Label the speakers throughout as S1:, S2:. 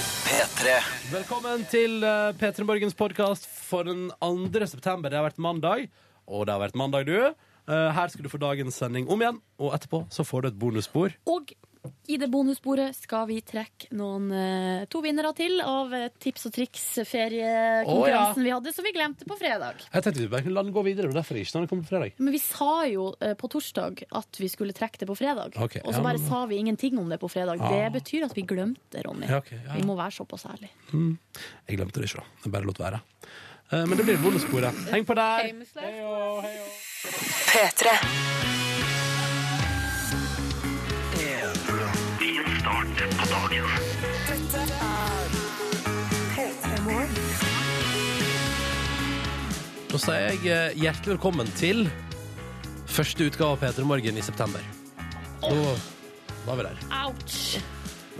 S1: P3.
S2: Velkommen til eh, P3 Morgens podkast for den 2. september. Det har vært mandag, og det har vært mandag, du. Eh, Her skal du få dagens sending om igjen, og etterpå så får du et bonusspor.
S3: Og i det bonusbordet skal vi trekke noen eh, to vinnere til av eh, tips og triks
S2: Å,
S3: feriekonkurransen vi hadde, som vi glemte på fredag.
S2: Jeg tenkte vi bare kunne la den gå videre, og derfor ikke når den kommer på fredag.
S3: Men vi sa jo eh, på torsdag at vi skulle trekke det på fredag.
S2: Ok,
S3: og
S2: ja,
S3: så bare
S2: men-
S3: sa vi ingenting om det på fredag.
S2: Ah.
S3: Det betyr at vi glemte det, Ronny.
S2: Ja, ok, ja.
S3: Vi må være såpass ærlige.
S2: Jeg glemte det ikke, da. Jeg bare lot være. Eh, Men det blir bonussporet. Heng på der. Heio, heio.
S4: P3.
S2: Da sier jeg eh, hjertelig velkommen til første utgave av P3 Morgen i september. Da var vi der.
S3: Ouch!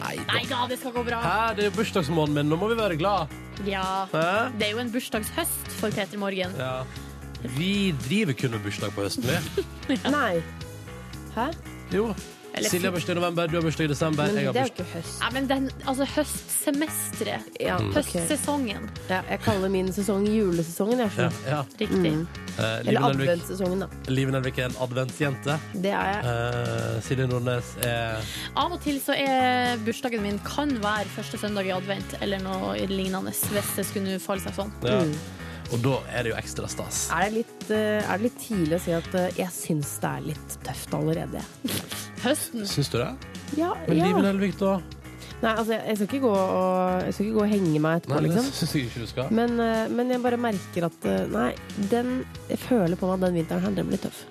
S2: Nei,
S3: Nei
S2: da.
S3: da, det skal gå bra.
S2: Hæ, det er jo bursdagsmåneden min, nå må vi være glad. Eh?
S3: Ja.
S2: Hæ?
S3: Det er jo en bursdagshøst for Peter Morgen.
S2: Ja. Vi driver kun med bursdag på høsten, vi.
S5: Nei. Hæ?
S2: Jo.
S3: Eller
S2: Silje har bursdag i november, du har bursdag i desember,
S5: Men
S2: jeg har
S5: det er jo
S2: bursdag
S5: ikke høst.
S3: Ja, men den, altså høstsemesteret.
S5: Ja,
S2: Mm.
S5: ok.
S3: Høstsesongen.
S5: ja, jeg kaller min sesong julesesongen. Jeg,
S2: ja,
S5: skjønner.
S2: ja.
S3: Riktig.
S2: Eh, Live
S5: Eller
S2: Nelvik,
S5: adventsesongen, da.
S2: Live Nelvik er en adventsjente.
S5: Det er jeg.
S2: Eh, Silje Nordnes er
S3: Av og til så er bursdagen min kan være første søndag i advent eller noe lignende. Hvis det skulle nå falle seg sånn.
S2: ja.
S5: Mm.
S2: Og da er det jo ekstra stas.
S5: Er det, litt, eh, er det litt tidlig å si at eh, jeg syns det er litt tøft allerede?
S3: Høsten.
S2: Syns du det?
S5: Ja,
S2: Men
S5: ja.
S2: Live Nelvik, da?
S5: Nei, altså, jeg, jeg, skal ikke gå og, jeg skal ikke gå og henge meg etterpå,
S2: Nei, det
S5: liksom.
S2: syns jeg ikke du skal.
S5: Men, eh, men jeg bare merker at eh, Nei, den, jeg føler på meg at den vinteren her, den blir tøff.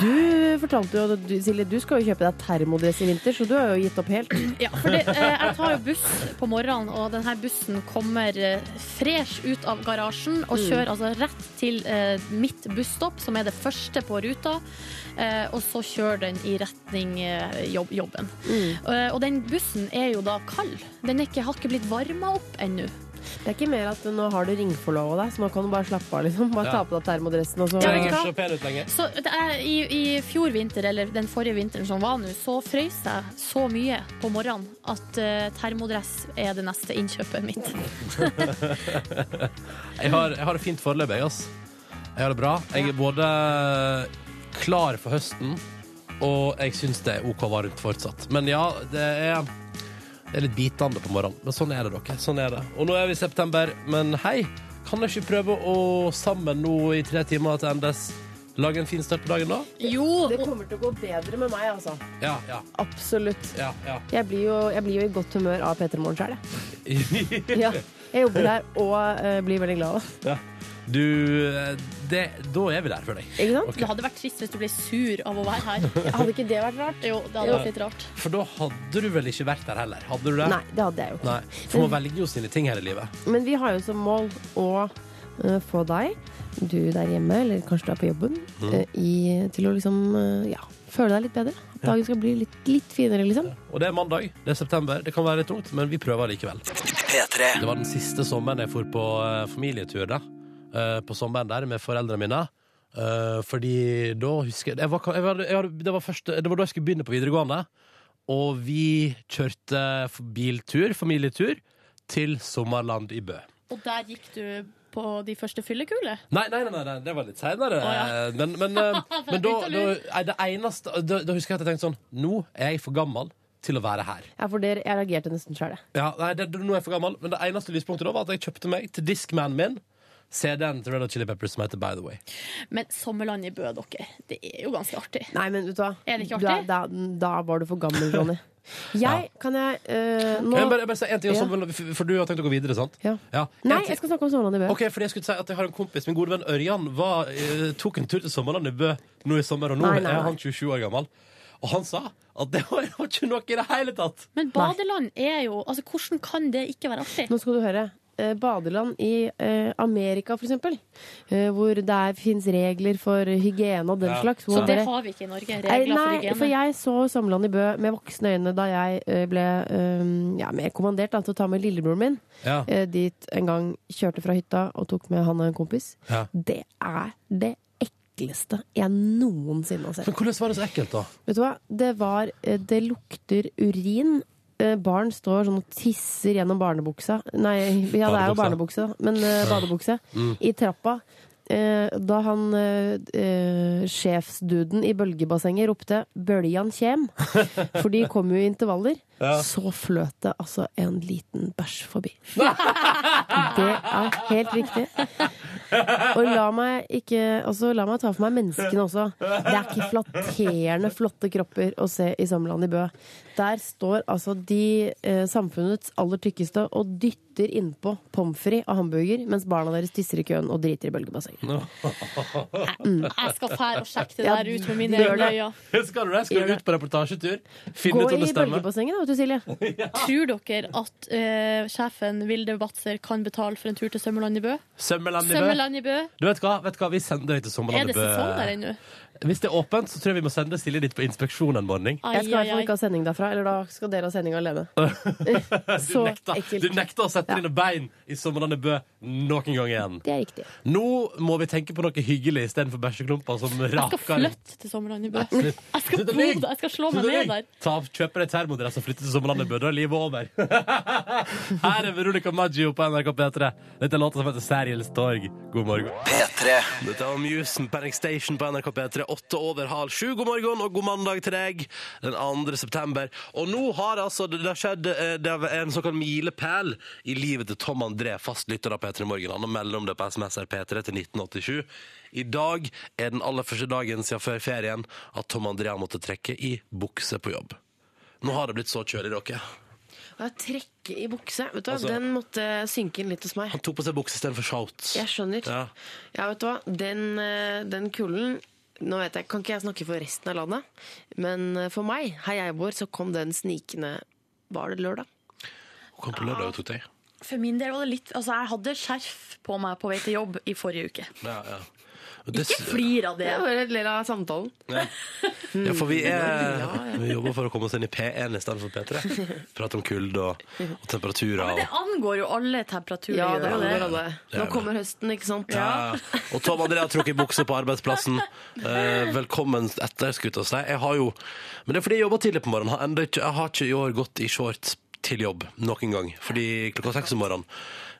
S5: Du fortalte jo, du, Silje, du skal jo kjøpe deg termodress i vinter, så du har jo gitt opp helt.
S3: Ja, for det, eh, jeg tar jo buss på morgenen, og denne bussen kommer eh, fresh ut av garasjen og kjører altså rett til eh, mitt busstopp, som er det første på ruta. Eh, og så kjører den i retning eh, jobb, jobben. Eh, og den bussen er jo da kald. Den er ikke, har ikke blitt varma opp ennå.
S5: Det er ikke mer at nå har du ringforlova deg, så nå kan du bare slappe av. liksom Bare
S2: Ja.
S5: ta på deg termodressen. Og så.
S3: Ja, vet du hva?
S2: ser pen ut lenger.
S3: Så det er, i, I fjor vinter, eller den forrige vinteren som var nå, så frøs jeg så mye på morgenen at eh, termodress er det neste innkjøpet mitt.
S2: Jeg har, jeg har det fint foreløpig, jeg, ass. Jeg har det bra. Jeg er både klar for høsten, og jeg syns det er OK varmt fortsatt. Men ja, det er, det er litt bitende på morgenen. Men sånn er det, dere. Sånn er det. Og nå er vi i september, men hei, kan dere ikke prøve å sammen nå i tre timer til endes lage en fin start på dagen, da?
S3: Jo,
S5: Det
S3: og-
S5: kommer til å gå bedre med meg, altså.
S2: Ja, ja,
S5: Absolutt.
S2: ja. ja.
S5: Jeg blir jo, jeg blir jo i godt humør av Peter Morgen sjøl, jeg.
S2: ja.
S5: Ja. Jeg jobber der og eh, blir veldig glad. også.
S2: Du, eh, det, da er vi der for deg.
S5: Ikke sant?
S2: Ok.
S3: det hadde vært trist hvis du ble sur av å være her.
S5: Hadde ikke det vært rart?
S3: Jo, det hadde vært litt rart.
S2: For da hadde du vel ikke vært der heller? Hadde du det?
S5: Nei, det hadde jeg jo.
S2: Nei. For man velger jo sine ting her i livet.
S5: Men vi har jo som mål å eh, få deg, du der hjemme, eller kanskje du er på jobben,
S2: Mm.
S5: eh, i, til å liksom eh, ja, føle deg litt bedre. At dagen skal bli litt, litt finere, liksom.
S2: Og det er mandag, det er september. Det kan være litt tungt, men vi prøver likevel.
S1: P3.
S2: Det var den siste sommeren jeg for på eh, familietur da. Eh, på sommeren der med foreldrene mine. Eh, fordi da husker jeg, jeg, var, jeg, var, jeg var, det, var første, det var da jeg skulle begynne på videregående. Og vi kjørte f- biltur, familietur, til sommerland i Bø.
S3: Og der gikk du på de første fyllekulene.
S2: Nei, nei, nei, nei, nei, det var litt seinere.
S3: ja.
S2: Men, men, eh, men da,
S3: Litt å
S2: da,
S3: lure.
S2: nei, det eneste, da, da husker jeg at jeg tenkte sånn Nå er jeg for gammel til å være her.
S5: Ja, for det, jeg reagerte nesten sjøl, jeg.
S2: Ja, nei, det, nå er jeg for gammel, men det eneste lyspunktet da var at jeg kjøpte meg til Discman min CD-en til Red Hot Chili Peppers som heter By The Way.
S3: Men Sommerland i Bø, dere, det er jo ganske artig.
S5: Nei, men vet du hva?
S3: Er det ikke
S5: Du
S3: artig?
S5: Da, da var du for gammel, Ronny. Jeg, kan jeg eh, nå
S2: Jeg bare, jeg bare si en ting, og så
S5: Ja.
S2: vil- for- for du har tenkt å gå videre, sant?
S5: Ja.
S2: en
S5: Nei,
S2: ting-
S5: jeg skal snakke om Sommerland i Bø.
S2: Ok, fordi jeg skulle si at jeg har en kompis, min gode venn Ørjan, var, eh, tok en tur til sommerland i Bø nå i sommer, og nå
S5: Nei, nei,
S2: er
S5: nei.
S2: han 27 år gammel. Og han sa at det var jo ikke noe i det hele tatt!
S3: Men badeland er jo Altså, hvordan kan det ikke være artig?
S5: Nå skal du høre. Eh, Badeland i eh, Amerika, for eksempel. Eh, hvor det fins regler for hygiene og den
S2: Ja.
S5: slags. Hvor
S3: Så det
S5: dere-
S3: har vi ikke i Norge.
S5: Nei,
S3: Regler for
S5: Nei, for
S3: hygiene.
S5: jeg så Sommerland i Bø med voksne øyne da jeg eh, ble eh, ja, mer kommandert da, til å ta med lillebroren min
S2: Ja.
S5: eh, dit en gang. Kjørte fra hytta og tok med han og en kompis.
S2: Ja.
S5: Det er det ekleste jeg noensinne har sett.
S2: Men hvordan var det så ekkelt, da?
S5: Vet du hva? Det var eh, Det lukter urin eh, barn står sånn og tisser gjennom barnebuksa Nei, ja, det er jo barnebukse, da, men eh, badebukse. I trappa. Eh, da han eh, eh, sjefsduden i bølgebassenget ropte 'Bøljan kjem', for de kom jo i intervaller, så fløt det altså en liten bæsj forbi. Det er helt riktig. Og la meg, ikke, altså, la meg ta for meg menneskene også. Det er ikke flatterende flotte kropper å se i Samland i Bø. Der står altså de eh, samfunnets aller tykkeste og dytter innpå pommes frites og hamburger, mens barna deres tisser i køen og driter i bølgebassenget.
S3: Jeg skal fære og sjekke det
S5: Ja,
S3: der ut med mine
S5: gjør
S3: egne
S5: det.
S3: øyne.
S2: Skal du det? Skal du ut på reportasjetur? Finne
S5: Gå
S2: ut om
S5: i
S2: det stemmer?
S5: bølgebassenget da, vet du, Silje.
S3: Tror dere at eh, sjefen Vilde Batzer kan betale for en tur til Sømmerland i Bø?
S2: Sømmeland i Bø.
S3: Sømmerland i Bø?
S2: Du vet hva? vet hva, vi sender deg til
S3: Er
S2: Sommerland i
S3: det sesong der
S2: Bø.
S3: ennå?
S2: Hvis det er åpent, så tror jeg vi må sende Silje dit på inspeksjon en morgen.
S3: Ai,
S5: Jeg skal
S3: ai,
S5: i hvert fall
S3: ai.
S5: ikke ha sending derfra, eller da skal dere ha sending alene.
S2: Du
S5: Så
S2: nekter, du
S5: ekkelt.
S2: nekter å sette dine bein i Sommerland i Bø noen gang igjen.
S5: Det er riktig.
S2: Nå må vi tenke på noe hyggelig istedenfor bæsjeklumper som
S3: Jeg skal
S2: raker
S3: flytte til Sommerland i Bø.
S2: Slutt.
S3: Jeg skal
S2: Slutt å
S3: bo
S2: lyve.
S3: der. Jeg skal slå
S2: Så
S3: meg
S2: det
S3: ned
S2: er
S3: der.
S2: jeg. Ta, kjøp deg termodress og flytt til sommerlandet Bø. Da er livet over. Her er Veronica Maggio på NRK P3. Dette er låta som heter Seriels torg. God morgen.
S1: P3
S2: Dette var Musen Panic Station på NRK P3. Åtte over halv sju. God morgen og god mandag til deg den 2. september. Og nå har altså det det har skjedd eh, det er en såkalt milepæl i livet til Tom André, fastlytter av P3 Morgen. Han melder om det på SMS her P3 til 1987. I dag er den aller første dagen siden før ferien at Tom André har måttet trekke i bukse på jobb. Nå har det blitt så kjølig, dere.
S6: Ja, trekke i bukse. Vet du hva?
S2: Altså-
S6: Den måtte synke inn litt hos meg.
S2: Han tok på seg bukse istedenfor shorts.
S6: Jeg skjønner.
S2: Ja.
S6: Ja, vet du hva? Den, eh, den kulen nå vet jeg, Kan ikke jeg snakke for resten av landet, men eh, for meg, her jeg bor, så kom den snikende Var det lørdag?
S2: Kom på lørdag og tok deg.
S3: For min del var det litt Altså, jeg hadde skjerf på meg på vei til jobb i forrige uke.
S2: Ja, ja. Og det-
S3: Ikke flir av det.
S6: Jeg bare ler av samtalen.
S2: Ja, for vi, er, vi jobber for å komme oss inn i P1 i stedet for P3. Prate om kulde og, og temperaturer.
S3: Det
S2: Og,
S3: angår jo alle temperaturer.
S6: Ja,
S3: gjør
S6: det
S3: jo
S6: angår alle.
S2: Ja,
S6: Nå
S2: men-
S6: kommer høsten, ikke sant?
S2: ja. og Tom André har trukket bukse på arbeidsplassen. Eh, velkommen etter, skulle jeg til å si. Jeg har jo, men det er fordi jeg jobber tidlig på morgenen. Har enda ikke, jeg har ikke i år gått i shorts til jobb noen gang, fordi klokka seks om morgenen.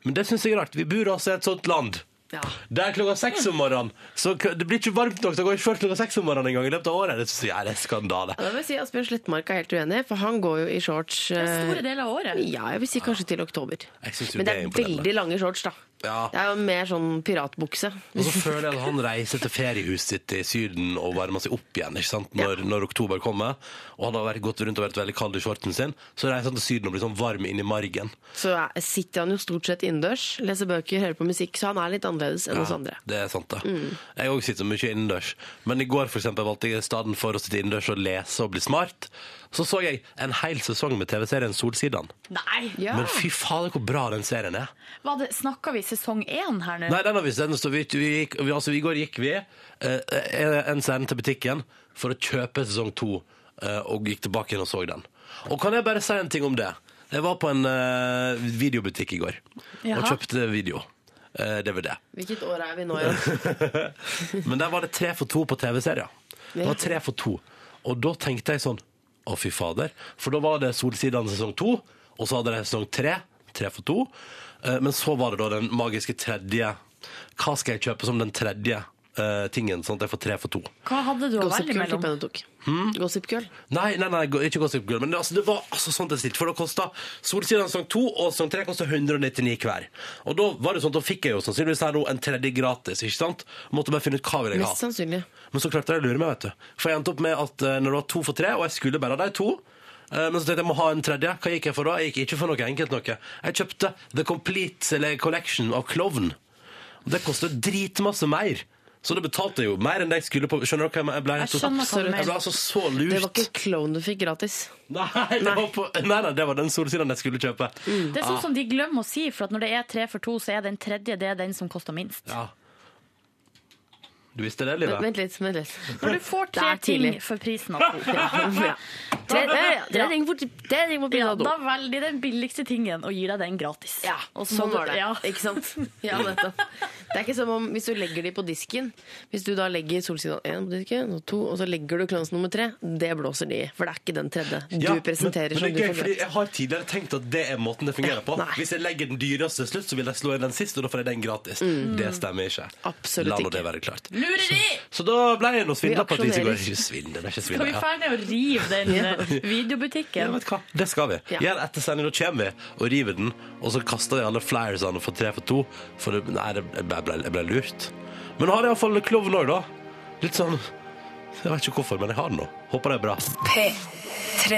S2: Men det syns jeg er rart. Vi bor altså i et sånt land.
S6: Ja.
S2: Det er klokka seks om morgenen, så k- det blir ikke varmt nok til å gå i shorts klokka seks om morgenen engang i løpet av året. Det synes jeg er en skandale.
S6: Ja, Da vil jeg si Asbjørn Slettmark er helt uenig, for han går jo i shorts eh,
S3: Store deler av året.
S6: Ja, jeg vil si kanskje til oktober.
S2: Jeg synes jo
S6: Men det
S2: det er
S6: er
S2: imponerende.
S6: veldig lange shorts, da.
S2: Ja.
S6: Det er jo mer sånn piratbukse.
S2: Og så føler jeg at han reiser til feriehuset sitt i Syden og varmer seg opp igjen ikke sant? Når, når oktober kommer. Og han har vært, gått rundt og vært veldig kald i shortsen sin. Så reiser han til Syden og blir sånn varm inni margen.
S6: Så er- sitter han jo stort sett innendørs, leser bøker, hører på musikk, så han er litt annerledes enn oss andre. Mm.
S2: Det er sant, det. Jeg òg sitter mye innendørs. Men i går for eksempel, valgte jeg i stedet for å sitte innendørs og lese og bli smart. Så så jeg en hel sesong med TV-serien Solsidan.
S7: Nei!
S6: Ja.
S2: Men fy fader, hvor bra den serien er!
S7: Var det, snakker vi sesong én her nå?
S2: Nei, den har vi sendt. så Vi, vi, gikk- vi, altså, I går gikk vi eh, en scene til butikken for å kjøpe sesong to, eh, og gikk tilbake igjen og så den. Og kan jeg bare si en ting om det? Jeg var på en eh, videobutikk i går og
S7: Jaha.
S2: kjøpte video. eh, DVD.
S6: Hvilket år er vi nå igjen?
S2: Men der var det tre for to på TV-serier. Det var tre for to. Og da tenkte jeg sånn Å, fy fader. For da var det Solsidan sesong to, og så hadde de sesong tre. Tre for to. Eh, Men så var det da den magiske tredje. Hva skal jeg kjøpe som den tredje eh, tingen, sånn at jeg får tre for to?
S7: Hva hadde du å
S6: Gossip
S7: velge
S6: Girl
S7: mellom?
S6: tipper jeg du tok.
S2: Hmm?
S6: Gossip Girl.
S2: Nei, nei, nei, ikke Gossip Girl, men det, altså, det var altså sånn det stilte, for det kostet Solsiden sesong 2 og sesong 3 kostet 199 hver. Og da var det sånn, da fikk jeg jo sannsynligvis her nå en tredje gratis, ikke sant? Måtte bare finne ut hva vil jeg
S6: Mest
S2: ha.
S6: sannsynlig.
S2: Men så klarte jeg å lure meg, vet du. For jeg endte opp med at eh, når det var to for tre, og jeg skulle bare ha de to, eh, men så tenkte jeg, jeg må ha en tredje. Hva gikk jeg for da? Jeg gikk ikke for noe enkelt noe. Jeg kjøpte The Complete eller Collection av Klovn. Og det kostet dritmasse mer. Så det betalte jeg jo mer enn det jeg skulle på. Skjønner dere hva jeg ble?
S7: Jeg skjønner hva du
S2: Jeg ble
S7: mener.
S2: altså så lurt.
S6: Det var ikke Clone du fikk gratis.
S2: Nei, det var, på, nei, nei, det var den solsiden jeg skulle kjøpe.
S7: Det er sånn som de glemmer å si, for at når det er tre for to, så er den tredje det er den som koster minst.
S2: Ja. Du visste det,
S5: Vent
S2: Live?
S5: vent litt. vent litt.
S7: Når du får
S5: Det
S7: tre
S5: er
S7: ting
S5: tidlig.
S7: for prisen av to,
S5: Tre ja, tre ting for- tre ting på
S7: ja,
S5: pinadol.
S7: da velger de den billigste tingen og gir deg den gratis.
S5: Ja,
S7: og så
S5: sånn
S7: må
S5: var
S7: du-
S5: det.
S7: Ja.
S5: Ikke sant? Ja, nettopp. Det er ikke som om hvis du legger de på disken Hvis du da legger solsiden én på disken, og to, og så legger du klans nummer tre, det blåser de i. For det er ikke den tredje du
S2: Ja, men-
S5: presenterer
S2: men
S5: som
S2: det er
S5: du
S2: gøy,
S5: får
S2: fordi
S5: gratis.
S2: Jeg har tidligere tenkt at det er måten det fungerer på.
S5: Nei.
S2: Hvis jeg legger den dyreste til slutt, så vil jeg slå inn den siste, og da får jeg den gratis. Det stemmer ikke.
S5: Mm. Absolutt
S2: La nå
S5: ikke.
S2: det være klart.
S7: Lureri!
S2: Så da ble jeg nå svindla på et vis i går.
S5: aksjonerer.
S2: Ikke svindel, det er ikke
S7: Skal vi
S2: svindel. Ja.
S7: ferdig å rive den eh, videobutikken?
S2: Ja, vet du hva? Det skal vi.
S5: Ja.
S2: Gjør etter sending, da kommer vi og river den. Og så kaster vi alle flyersene for tre for to. For det, nei, det jeg ble, jeg ble lurt. Men har jeg iallfall klovn òg, da. Litt sånn Jeg vet ikke hvorfor, men jeg har den nå. Håper det er bra.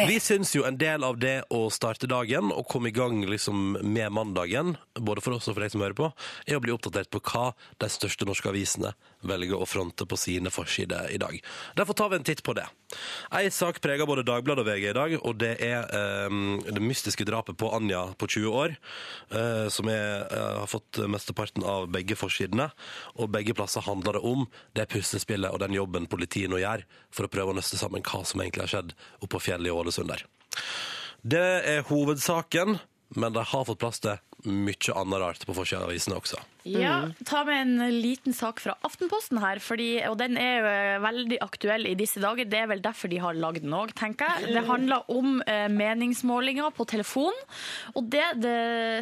S2: Vi syns jo en del av det å starte dagen og komme i gang liksom med mandagen, både for oss og for deg som hører på, er å bli oppdatert på hva de største norske avisene velger å fronte på sine forsider i dag. Derfor tar vi en titt på det. Ei sak preger både Dagbladet og VG i dag, og det er eh, det mystiske drapet på Anja på 20 år, eh, som er, eh, har fått mesteparten av begge forsidene. Og begge plasser handler det om det puslespillet og den jobben politiet nå gjør for å prøve å nøste sammen hva som egentlig har skjedd oppe på fjellet i Ålesund der. Det er hovedsaken, men de har fått plass til mye annet rart på forsida av avisene også.
S7: Ja,
S5: Mm.
S7: ta med en liten sak fra Aftenposten her, fordi, og den er jo eh, veldig aktuell i disse dager. Det er vel derfor de har lagd den òg, tenker jeg. Det handler om eh, meningsmålinger på telefon. Og det, det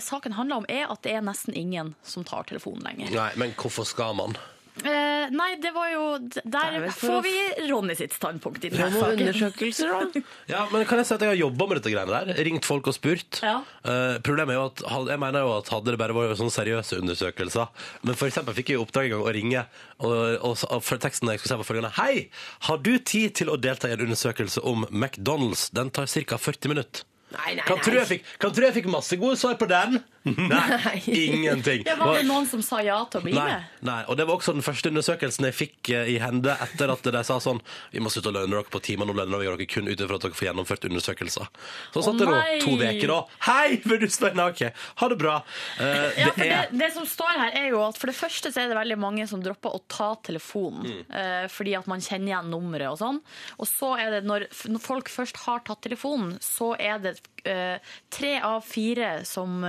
S7: saken handler om, er at det er nesten ingen som tar telefonen lenger.
S2: Nei, men hvorfor skal man?
S7: Eh, nei, det var jo d- Der
S5: er vel for
S7: får
S5: å-
S7: vi Ronny sitt standpunkt i
S5: Hva
S7: denne
S5: med
S7: saken.
S5: undersøkelser, da?
S2: Ja, men kan jeg si at jeg har jobba med dette greiene der? Ringt folk og spurt.
S7: Ja.
S2: Eh, problemet er jo at had- jeg mener jo at hadde det bare vært sånne seriøse undersøkelser Men for eksempel fikk jeg i oppdrag en gang å ringe, og, og, og for teksten jeg skulle si var følgende Hei! Har du tid til å delta i en undersøkelse om McDonald's? Den tar ca. 40 minutter.
S5: Nei, nei,
S2: Kan
S5: nei.
S2: tro jeg fikk, kan tro jeg fikk masse gode svar på den. Nei, ingenting.
S7: Ja, var det noen som sa ja til å bli
S2: Nei,
S7: med?
S2: nei, og det var også den første undersøkelsen jeg fikk eh, i hende etter at de sa sånn Vi må slutte å lønne dere på timer, nå lønner vi dere kun ut ifra at dere får gjennomført undersøkelser. Så satt jeg nå
S7: nei!
S2: to uker da. Hei, vil du spørre? Ok, ha det bra. Eh,
S7: Ja, for
S2: det
S7: det,
S2: er
S7: det som står her er jo at for det første så er det veldig mange som dropper å ta telefonen eh, fordi at man kjenner igjen nummeret og sånn. Og så er det når, f- når folk først har tatt telefonen, så er det eh, tre av fire som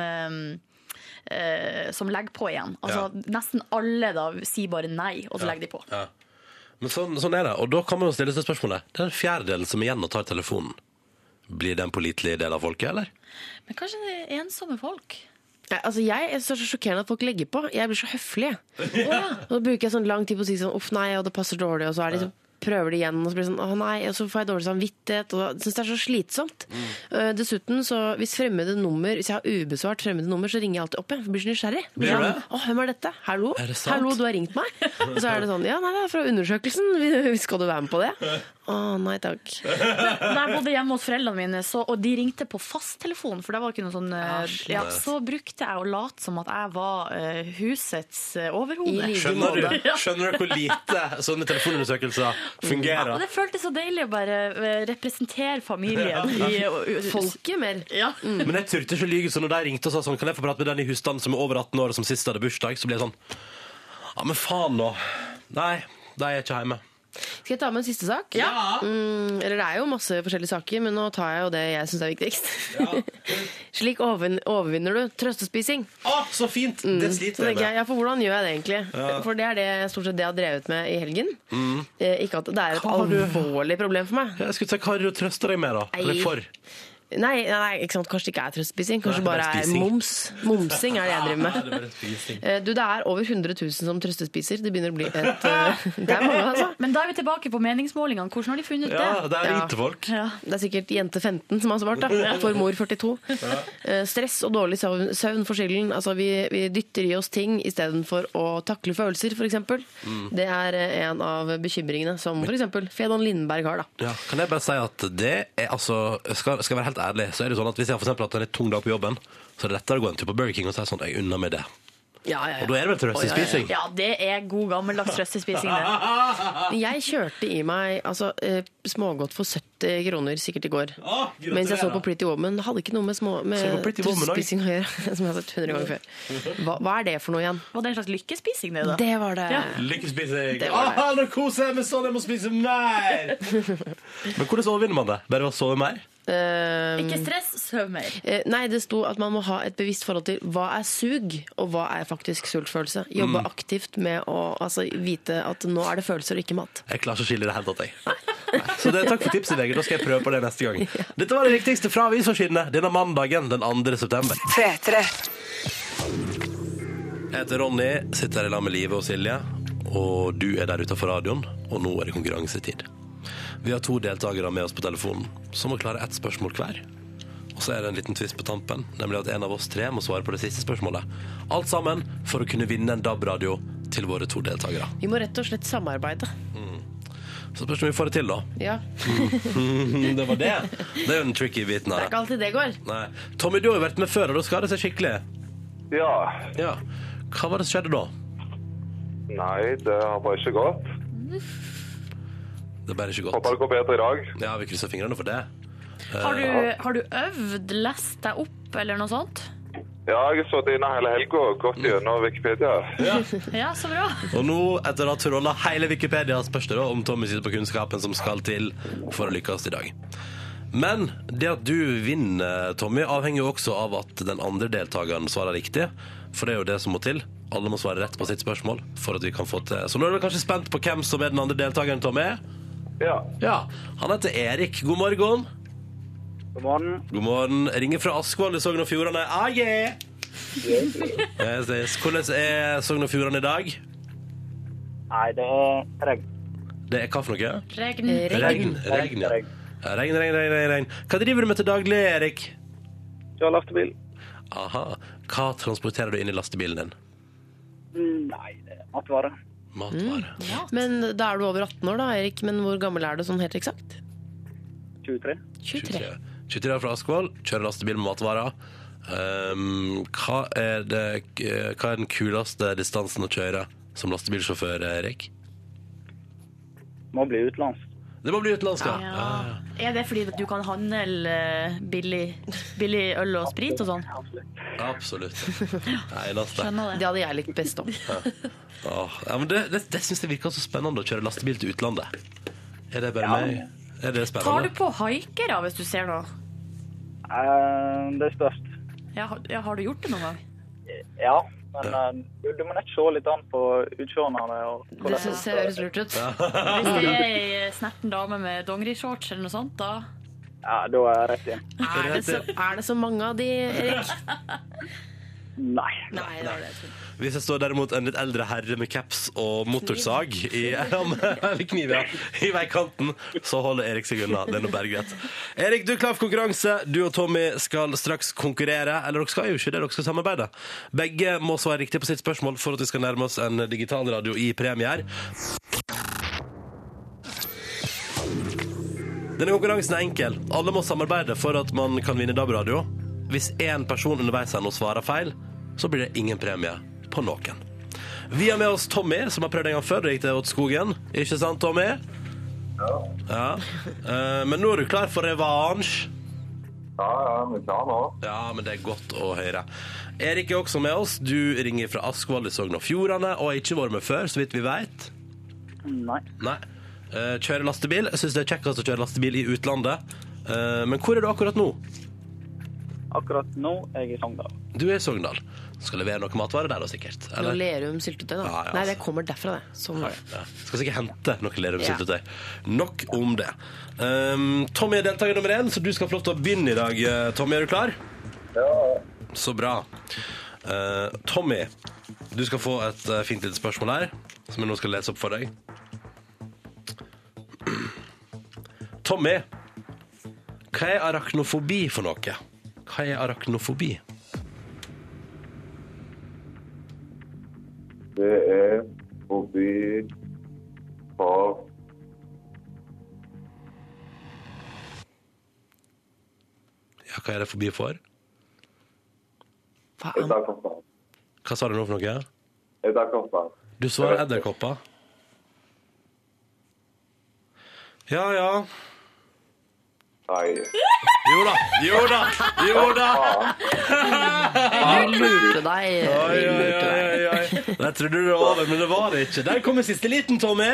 S7: eh, eh, som legger på igjen. Altså Nesten alle da sier bare nei, og så legger de på.
S2: Men sånn, sånn er det. Og da kan man jo stille seg spørsmålet Det er en fjerdedel som igjen og tar telefonen. Blir det en pålitelig del av folket, eller?
S7: Men kanskje det er ensomme folk?
S5: Ja, altså jeg jeg synes det er så sjokkerende at folk legger på. Jeg blir så høflig. jeg. Og Da bruker jeg sånn lang tid på å si sånn uff nei, og det passer dårlig, og så er de sånn prøver de igjen, og så blir det sånn, åh nei, og så får jeg dårlig samvittighet, og jeg synes det er så slitsomt.
S2: Mm.
S5: Eh, dessuten, så hvis fremmede nummer, hvis jeg har ubesvart fremmede nummer, så ringer jeg alltid opp igjen, for jeg blir så nysgjerrig. Jeg Blir
S2: Gjør
S5: sånn,
S2: det?
S5: åh, hvem er dette? Hallo?
S2: Er det sant?
S5: Hallo, du har ringt meg? Og så er det sånn, ja, nei, det er fra undersøkelsen, skal du være med på det? Åh, nei takk.
S7: Da jeg bodde hjemme hos foreldrene mine, så, og de ringte på fasttelefon, for det var ikke noe sånn eh,
S2: Ah,
S7: ja, Så brukte jeg å late som at jeg var eh, husets eh, overhode.
S2: Skjønner du,
S7: Ja.
S2: skjønner du hvor lite sånne telefonundersøkelser fungerer?
S7: Og det føltes så deilig å bare eh, representere familien i uh,
S5: Folket mer.
S7: Ja.
S2: Men jeg turte ikke å lyge, så når de ringte og sa sånn, kan jeg få prate med den i husstanden som er over 18 år, og som sist hadde bursdag, så ble jeg sånn Ja, men faen nå. Nei, de er ikke hjemme.
S5: Skal jeg ta med en siste sak? Mm, eller det er jo masse forskjellige saker, men nå tar jeg jo det jeg syns er viktigst. Slik overvin- overvinner du trøstespising.
S2: Å, så fint! Det
S5: Så
S2: sliter jeg
S5: tenker jeg,
S2: med.
S5: ja, for hvordan gjør jeg det egentlig? For det er det jeg stort sett det jeg har drevet med i helgen. Eh, ikke at det er et
S2: Mm. Hva har du-
S5: alvorlig problem for meg.
S2: Jeg skulle si hva er det du trøster deg med, da? Eller for?
S5: Nei, nei, nei ikke sant? kanskje det ikke er trøstespising. Kanskje
S2: Nei,
S5: bare
S2: det er
S5: er
S2: spising.
S5: moms. Momsing er det jeg driver med.
S2: Nei,
S5: Eh, Du, Det er over 100 000 som trøstespiser. Det begynner å bli et eh, Det er mange, altså.
S7: Men da er vi tilbake på meningsmålingene. Hvordan har de funnet
S2: ja,
S7: det?
S2: det er
S5: Ja.
S2: lite folk.
S5: Det er sikkert jente 15 som har svart, da. For mor 42. Eh, Stress og dårlig søvn, søvn for skylden. Altså, vi, vi dytter i oss ting istedenfor å takle følelser, f.eks.
S2: Mm.
S5: Det er eh, en av bekymringene som f.eks. Fedon Lindberg har, da.
S2: Ja, kan jeg bare si at det er altså skal, skal jeg være helt ærlig, så er det sånn at hvis jeg har for eksempel hatt en litt tung dag på jobben, så er det lettere å gå en tur på Burger King og si sånn Jeg unner meg det.
S5: Ja, ja, ja.
S2: Og da er det vel trøstespising?
S7: Ja, det er god gammeldags trøstespising, det.
S5: Jeg kjørte i meg altså, eh, smågodt for 70 kroner sikkert i går.
S2: Ah, gratulerer.
S5: Mens jeg så på Pretty Woman. Hadde ikke noe med, små,
S2: Så på
S5: med
S2: Pretty Woman, da.
S5: spising å gjøre. Som jeg har sagt 100 ganger før. Hva, hva er det for noe igjen?
S7: Var det en slags lykkespising, det, da?
S5: Det var det.
S2: Lykkespising!
S5: Det var det.
S2: Ah, nå koser jeg meg sånn, jeg må spise mer! Men hvordan overvinner man det? Bare ved å sove mer?
S5: Eh,
S7: Ikke stress, søv mer.
S5: eh, nei, det sto at man må ha et bevisst forhold til hva er sug, og hva er faktisk sultfølelse. Jobbe
S2: Mm.
S5: aktivt med å altså, vite at nå er det følelser og ikke mat.
S2: Jeg klarer ikke å skille i det hele tatt, jeg. Nei. Så det, takk for tipset, VG. Da skal jeg prøve på det neste gang. Dette var det viktigste fra avisforsidene denne mandagen den 2. september.
S1: P3.
S2: Jeg heter Ronny, sitter her i lag med Live og Silje, og du er der utenfor radioen, og nå er det konkurransetid. Vi har to deltakere med oss på telefonen, som må klare ett spørsmål hver. Og så er det en liten tvist på tampen, nemlig at en av oss tre må svare på det siste spørsmålet. Alt sammen for å kunne vinne en DAB-radio til våre to deltakere.
S5: Vi må rett og slett samarbeide.
S2: Så spørs det om vi får det til, da.
S5: Ja.
S2: Mm, Det var det. Det er jo den tricky biten
S5: Det er
S2: her.
S5: ikke alltid det går.
S2: Nei. Tommy, du har jo vært med før, og da skal det seg skikkelig.
S8: Ja.
S2: Ja. Hva var det som skjedde da?
S8: Nei, det har bare ikke gått.
S2: Det er bare ikke
S8: Håper
S2: godt.
S8: det går bedre i dag.
S2: Ja, vi krysser fingrene for det. Eh.
S7: Har du, har du øvd, lest deg opp, eller noe sånt?
S8: Ja, jeg har sittet inne hele helga og gått gjennom Wikipedia.
S7: Ja, så bra.
S2: Og nå, etter å ha trolla hele Wikipedia, spørs det da om Tommy sitter på kunnskapen som skal til for å lykkes i dag. Men det at du vinner, Tommy, avhenger jo også av at den andre deltakeren svarer riktig. For det er jo det som må til. Alle må svare rett på sitt spørsmål. for at vi kan få til. Så nå er du kanskje spent på hvem som er den andre deltakeren, Tommy?
S8: Ja.
S2: Ja, Han heter Erik. God morgen.
S8: God morgen.
S2: God morgen. Ringer fra Askvoll i Sogn og Fjordane. Ah, yeah! Yes, yes. Hvordan er Sogn og Fjordane i dag?
S8: Nei, det er tregt.
S2: Det er hva for noe?
S7: Regn.
S2: Regn. Regn, ja.
S8: Regn.
S2: Regn, regn, regn, regn, regn. Hva driver du med til daglig, Erik?
S8: Kjør lastebil.
S2: Aha. Hva transporterer du inn i lastebilen din?
S8: Nei, det er matvare.
S2: Matvarer.
S7: Mm.
S5: Men da er du over 18 år, da, Erik. Men hvor gammel er du sånn helt eksakt?
S8: 23.
S5: 23.
S2: 23 23 år fra Askvoll, kjører lastebil med matvarer. Um, hva, er det, eh, hva er den kuleste distansen å kjøre som lastebilsjåfør, Erik?
S8: Må bli utenlands.
S2: Det må bli utenlandsk, ja.
S7: Ja. Er det fordi at du kan handle eh, billig, billig øl og sprit og sånn?
S2: ja. Ah, Absolutt. Nei, eneste.
S7: Skjønner det.
S5: Det hadde jeg likt best om.
S2: Åh, ja, men det, det, det syns jeg virker så spennende å kjøre lastebil til utlandet. Er det bare meg? Er det
S7: Tar du
S2: spennende?
S7: på haikere hvis du ser noe?
S8: Eh, Det er størst.
S7: Ja, har, ja, har du gjort det noen gang?
S8: Ja. Men eh, du, du må nett se litt an på utseendene. og
S5: Det
S8: hvordan-
S5: synes jeg høres lurt ut.
S7: Hvis det er ei eh, snerten dame med dongerishorts eller noe sånt, da
S8: Ja, da er jeg rett igjen.
S5: Er det, så, er det så mange av de, Erik?
S8: Nei.
S5: Nei, det er det.
S2: Hvis jeg står derimot en litt eldre herre med caps og motorsag i, ja, med- eller kniv, ja, i veikanten, så holder Erik seg unna. Det er nå bare greit. Erik, du er klar for konkurranse. Du og Tommy skal straks konkurrere. Eller dere skal jo ikke det, dere skal samarbeide. Begge må svare riktig på sitt spørsmål for at vi skal nærme oss en digitalradio i premie her. Denne konkurransen er enkel. Alle må samarbeide for at man kan vinne DAB-radio. Hvis én person underveis her nå svarer feil, så blir det ingen premie på noen. Vi har med oss Tommy, som har prøvd en gang før. Da gikk det åt skogen. Ikke sant, Tommy? Ja. Eh, Men nå er du klar for revansj.
S8: Ja, ja, vi er klare nå.
S2: Ja, men det er godt å høre. Erik er også med oss. Du ringer fra Askvoll i Sogn og Fjordane og har ikke vært med før, så vidt vi vet.
S8: Nei.
S2: Nei. Eh, Kjører lastebil. Jeg syns det er kjekkest å kjøre lastebil i utlandet. Eh, Men hvor er du akkurat nå?
S8: Akkurat nå er jeg i Sogndal.
S2: Du er i Sogndal. Skal levere noe matvarer der da, sikkert.
S5: Nå
S2: Eller?
S5: ler du om syltetøy, da.
S2: Ja, ja,
S5: Nei, det
S2: altså.
S5: kommer derfra, det. Sånn var det.
S2: Ja. Skal sikkert hente noe lerumsyltetøy. Nok om det. Um, Tommy er deltaker nummer én, så du skal få lov til å begynne i dag. Eh, Tommy, er du klar? Ja. Så bra. Eh, Tommy, du skal få et eh, fint lite spørsmål her, som jeg nå skal lese opp for deg. Tommy, hva er arachnofobi for noe? Hva er arachnofobi?
S8: Det er forbi for
S2: Ja, hva er det fobi for?
S5: Hva
S8: Det
S5: an-
S8: er for faen.
S2: Hva sa du nå for noe?
S9: Edderkopper.
S2: Du svarer edderkopper. Ja, ja.
S9: Nei.
S2: Jo da, jo da, jo da!
S5: Lurte deg.
S2: Oi, oi, oi, oi. Der trodde du det var over, men det var det ikke. Der kom i siste liten, Tommy.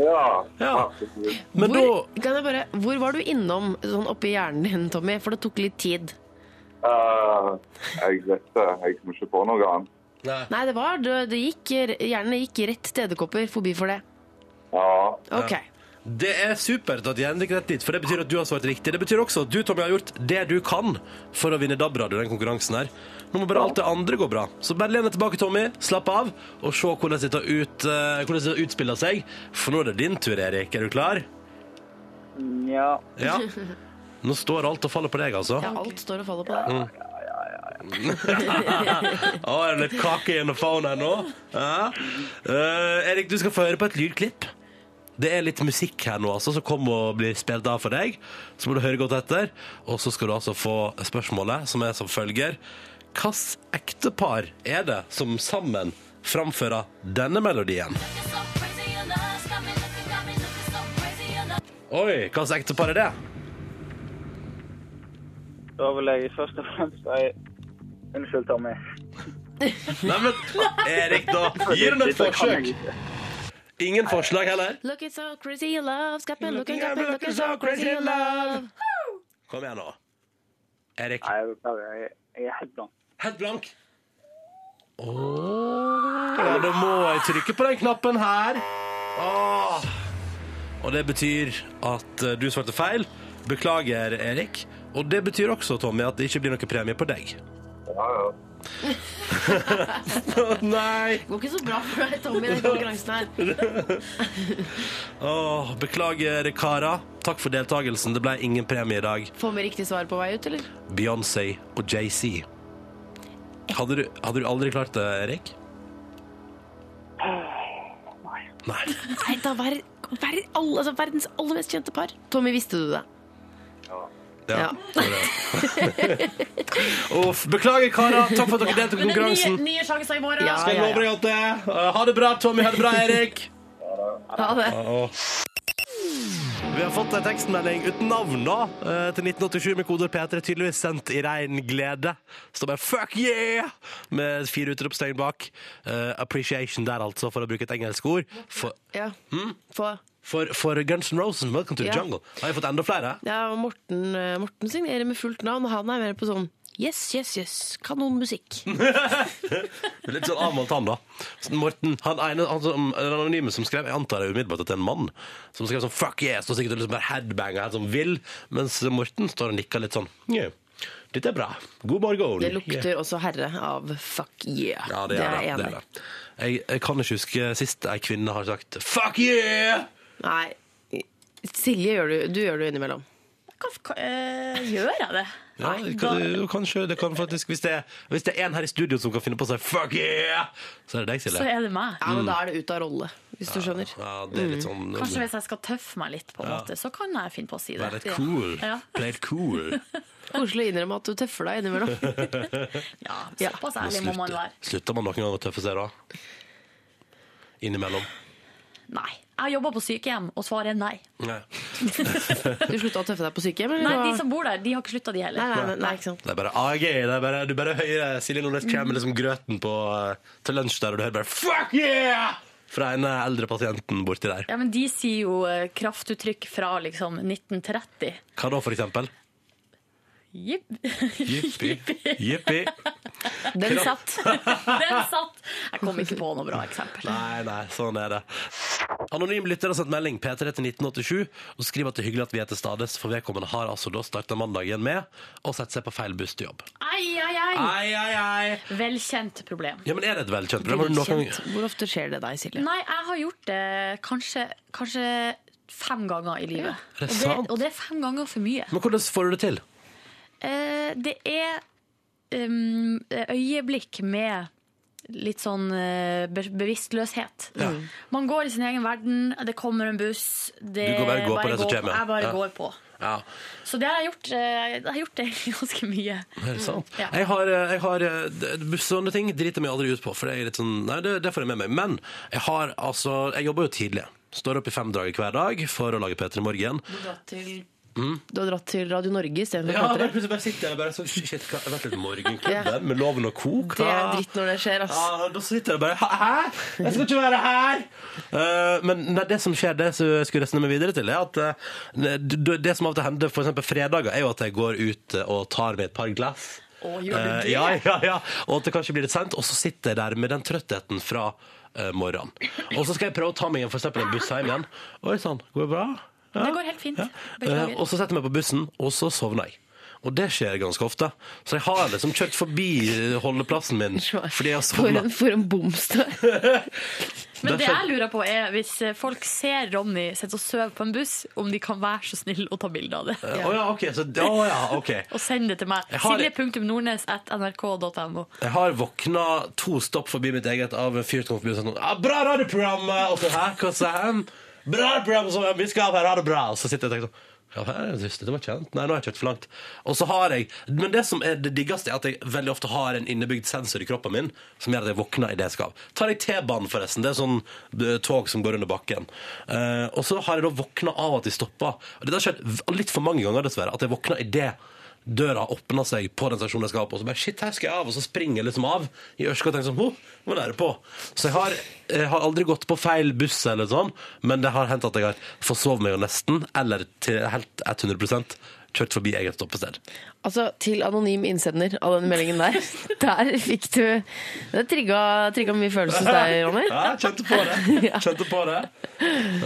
S9: Ja.
S2: Ja.
S9: absolutt.
S2: Men da
S5: Hvor, kan jeg bare, hvor var du innom sånn oppi hjernen din, Tommy? For det tok litt tid.
S9: Eh, jeg vet det. Jeg kommer ikke på noe annet.
S5: Nei, det var det, det gikk, Hjernen gikk rett til edderkopper forbi for det.
S9: Ja.
S5: Ok.
S2: Det er supert at Jende gikk rett dit, for det betyr at du har svart riktig. Det betyr også at du, Tommy, har gjort det du kan for å vinne DAB-radio, den konkurransen her. Nå må bare alt det andre gå bra. Så bare len deg tilbake, Tommy, slapp av, og se hvordan dette ut, eh, hvordan dette utspiller seg. For nå er det din tur, Erik. Er du klar?
S8: Ja.
S2: Ja. Nå står alt og faller på deg, altså.
S5: Ja, alt står og faller på
S2: Mm.
S5: deg.
S2: Å, er det litt kake gjennom faen her nå? Ja. Eh, Erik, du skal få høre på et lydklipp. Det er litt musikk her nå, altså, som kommer og blir spilt av for deg. Så må du høre godt etter. Og så skal du altså få spørsmålet, som er som følger. Hvilket ektepar er det som sammen framfører denne melodien? Oi, hvilket ektepar er det?
S8: Da vil jeg først og fremst si unnskyld, Tommy.
S2: Nei, men Erik, da! Gi den et
S8: Dette kan
S2: forsøk!
S8: jeg ikke.
S2: Ingen forslag heller?
S5: Look it's so crazy love, got me looking, got me looking so crazy love.
S2: Kom igjen nå. Erik.
S8: Nei, jeg beklager. Jeg- Jeg er helt blank.
S2: Helt blank. Ja, da må jeg trykke på den knappen her. Åh. Og det betyr at eh, du svarte feil. Beklager, Erik. Og det betyr også, Tommy, at det ikke blir noe premie på deg.
S9: ja, ja.
S2: Nei!
S5: Det går ikke så bra for deg, Tommy, i den konkurransen her.
S2: Åh, beklager, Kara. Takk for deltakelsen. Det ble ingen premie i dag.
S5: Får vi riktig svar på vei ut, eller?
S2: Beyoncé og JC. Hadde, du- hadde du aldri klart det, Erik? Nei.
S5: Nei, da vær, vær alle, altså, verdens aller mest kjente par. Tommy, visste du det?
S2: Ja.
S5: Ja.
S2: det var det. Uff, beklager, karer. Takk for at dere deltok i
S7: Men det er nye,
S2: konkurransen.
S7: nye sjanser i morgen.
S5: Ja,
S2: Jeg
S5: ja,
S2: lover deg
S5: ja.
S2: alt det. Uh, Ha det bra, Tommy. Ha det bra, Erik.
S5: Ha det.
S2: Vi har fått en tekstmelding uten navn da, eh, til 1987 med koder P3, tydeligvis sendt i rein glede. Så bare 'fuck yeah!' med fire utropstegn bak. Eh, appreciation der, altså, for å bruke et engelsk ord. For,
S5: Ja. Få.
S2: for, for Guns N' Roses, Welcome to the
S5: Ja.
S2: Jungle. Har jeg fått enda flere?
S5: Ja, og Morten, eh, Morten signerer med fullt navn, og han er mer på sånn Yes, yes, yes. Kanonmusikk.
S2: Litt sånn avmålt han, da. Morten, han ene han som, den anonyme som skrev Jeg antar det er umiddelbart at det er en mann som skrev sånn 'fuck yes' og sikkert liksom bare headbanger helt sånn vill, mens Morten står og nikker litt sånn «Nja, Dette er bra. God morgen.
S5: Det lukter også herre av fuck yeah.
S2: Ja, det er det.
S5: jeg
S2: det,
S5: enig
S2: er
S5: i.
S2: det. Jeg, jeg kan ikke huske sist ei kvinne har sagt 'fuck yeah'!
S5: Nei. Silje, gjør du, du gjør det innimellom.
S7: Hva, hva, eh, gjør jeg det?
S2: Ja, det kan, jo, kanskje, det kan faktisk, hvis det, hvis det er en her i studio som kan finne på å si 'fuck yeah', så er det deg,
S7: Så
S2: Silje.
S7: er det meg.
S5: Ja, men Da er det ut av rolle, hvis du skjønner.
S2: Ja, det er litt sånn
S7: Mm, Kanskje hvis jeg skal tøffe meg litt, på en måte, så kan jeg finne på å si
S2: Være
S7: det.
S2: litt cool.
S7: Ja.
S2: Play it cool.
S5: Koselig å innrømme at du tøffer deg innimellom.
S7: Ja, Såpass ærlig må man være.
S2: Slutter man noen gang å tøffe seg da? Innimellom.
S7: Nei. Jeg jobber på sykehjem, og svaret er nei.
S2: Nei.
S5: Du slutta å tøffe deg på sykehjem?
S7: Nei,
S5: Eller?
S7: De som bor der, de har ikke slutta, de
S5: nei,
S7: heller.
S5: nei, nei, nei, ikke sant.
S2: Det er bare AG. Det er bare, du bare hører Silje Nordnes kommer med liksom grøten på, eh, til lunsj der, og du hører bare 'fuck yeah!' fra den eh, eldre pasienten borti der.
S7: Ja, men De sier jo eh, kraftuttrykk fra liksom 1930.
S2: Hva da, for eksempel?
S7: Jipp.
S2: Jippi. Jippi.
S7: Den
S5: liksom
S7: satt. Den satt. Jeg kom ikke på noe bra eksempel.
S2: Nei, nei, sånn er det. Anonym lytter har sendt melding P3 til 1987 og skriver at det er hyggelig at vi er til stades, for vedkommende har altså da starta mandagen med å sette seg på feil buss til jobb.
S7: Ai, ai, ai.
S2: Ai, ai, ai.
S7: Velkjent problem.
S2: Ja, men er det et velkjent program? Har du noen gang
S5: Kjent. Hvor ofte skjer det deg, Silje?
S7: Nei, jeg har gjort det kanskje, kanskje fem ganger i livet.
S2: Er det
S7: og, det,
S2: sant?
S7: og det er fem ganger for mye.
S2: Men hvordan får du det til?
S7: Eh, det er um, øyeblikk med litt sånn eh, be bevisstløshet.
S5: Mm.
S7: Man går i sin egen verden, det kommer en buss det
S2: Du går bare og går på det som
S7: går
S2: kommer.
S7: Jeg bare
S2: Ja.
S7: går på.
S2: Ja.
S7: Så det har jeg gjort, eh, jeg har gjort det egentlig ganske mye.
S2: Er det sant?
S7: Ja.
S2: Jeg har, eh, jeg har d- d- Sånne ting driter jeg meg aldri ut på, for jeg er litt sånn, nei, det, det får jeg med meg. Men jeg har altså Jeg jobber jo tidlig. Står opp i fem dager hver dag for å lage P3 Morgen. Mm.
S5: Du har dratt til Radio Norge istedenfor
S2: Ja,
S5: P3.
S2: men plutselig bare sitter jeg bare sånn Shit, hva- jeg har vært litt morgenklubben med Loven og Co.
S5: Det er
S2: hva-
S5: dritt når det skjer, ass.
S2: Ja, da sitter jeg bare Hæ? Jeg skal ikke være her! Eh, men nei, det som skjer, det som jeg skulle resonnere meg videre til, er at eh, det, det som av og til hender for eksempel fredager, er jo at jeg går ut eh, og tar meg et par glass.
S7: Å, gjør du
S2: Eh,
S7: det?
S2: ja, ja, ja. Og at det kanskje blir litt sent, og så sitter jeg der med den trøttheten fra eh, morgenen. Og så skal jeg prøve å ta meg igjen for eksempel en buss hjem igjen. Oi sann, går det bra? Ja.
S7: Det går helt fint.
S2: Ja.
S7: Beklager.
S2: Eh, og så setter jeg meg på bussen, og så sovner jeg. Og det skjer ganske ofte. Så jeg har liksom kjørt forbi holdeplassen min fordi jeg har
S5: For
S2: sovna.
S5: en, for en boms du er.
S7: Men det
S2: Derfor-
S7: jeg lurer på er hvis eh, folk ser Ronny sitte og sove på en buss, om de kan være så snill å ta bilde av det.
S2: Eh, Å ja, ok. Så, å ja, ok.
S7: Og send det til meg.
S2: Jeg har-
S7: Silje.nordnes.nrk.no.
S2: Jeg har våkna to stopp forbi mitt eget av en fyr som kom forbi og sa sånn ah, 'Bra radioprogram!' Og så her, hva sa han? 'Bra radioprogram, så vi skal av her, ha det bra!' Og så sitter jeg og tenker sånn ja, her er det trist, det var kjent. Nei, nå har jeg kjørt for langt. Og så har jeg, Men det som er det diggeste, er at jeg veldig ofte har en innebygd sensor i kroppen min som gjør at jeg våkner i det jeg skal. Tar jeg T-banen, forresten. Det er sånn eh, tog som går under bakken. Eh, og så har jeg da våkna av at de stopper. Og det har skjedd v- litt for mange ganger, dessverre, at jeg våkner i det døra åpna seg på den stasjonen jeg skal på, og så bare shit, her skal jeg av, og så springer jeg liksom av i ørska og tenker sånn, ho, nå er det på. Så jeg har, jeg har aldri gått på feil buss eller sånn, men det har hendt at jeg har forsovet meg jo nesten, eller til helt 100 kjørt forbi eget stoppested.
S5: Altså, til anonym innsender av den meldingen der. Der fikk du Det trigga, trigga mye følelser hos deg, Ronny.
S2: Ja, jeg kjente på det. Kjente på det.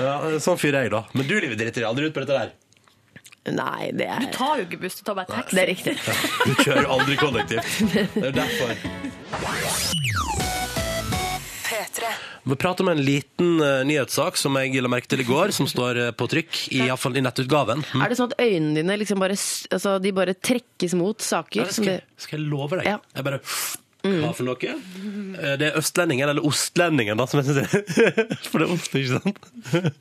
S2: Ja, sånn fyr er jeg da. Men du, Livet, driter jeg aldri ut på dette der.
S5: Nei, det er,
S7: Ta jo ikke buss, du tar bare taxi.
S5: det er riktig.
S2: Du kjører aldri kollektivt. Det er jo derfor. Vi prater om en liten eh, nyhetssak som jeg la merke til i går, som står eh, på trykk, i, hvert fall i nettutgaven. Hm?
S5: Er det sånn at øynene dine liksom bare, s- altså, de bare trekkes mot saker? Som
S2: skal,
S5: det,
S2: skal jeg love deg?
S5: Ja. Mm.
S2: Jeg bare Hva for noe? Eh, Det er østlendingen, eller ostlendingen, da, som jeg syns er For det er ost, ikke sant?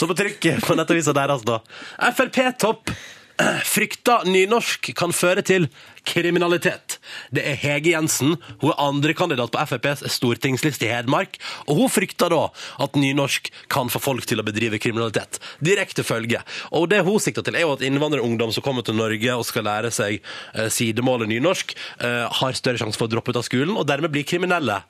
S2: Så på trykket på nettavisa deres, da. Frp-topp frykter Eh, nynorsk kan føre til kriminalitet. Det er Hege Jensen. Hun er andrekandidat på FrPs stortingsliste i Hedmark. Og hun frykter da at nynorsk kan få folk til å bedrive kriminalitet. Direkte følge. Og det hun sikter til, er jo at innvandrerungdom som kommer til Norge og skal lære seg eh, sidemålet nynorsk, eh, har større sjanse for å droppe ut av skolen og dermed bli kriminelle.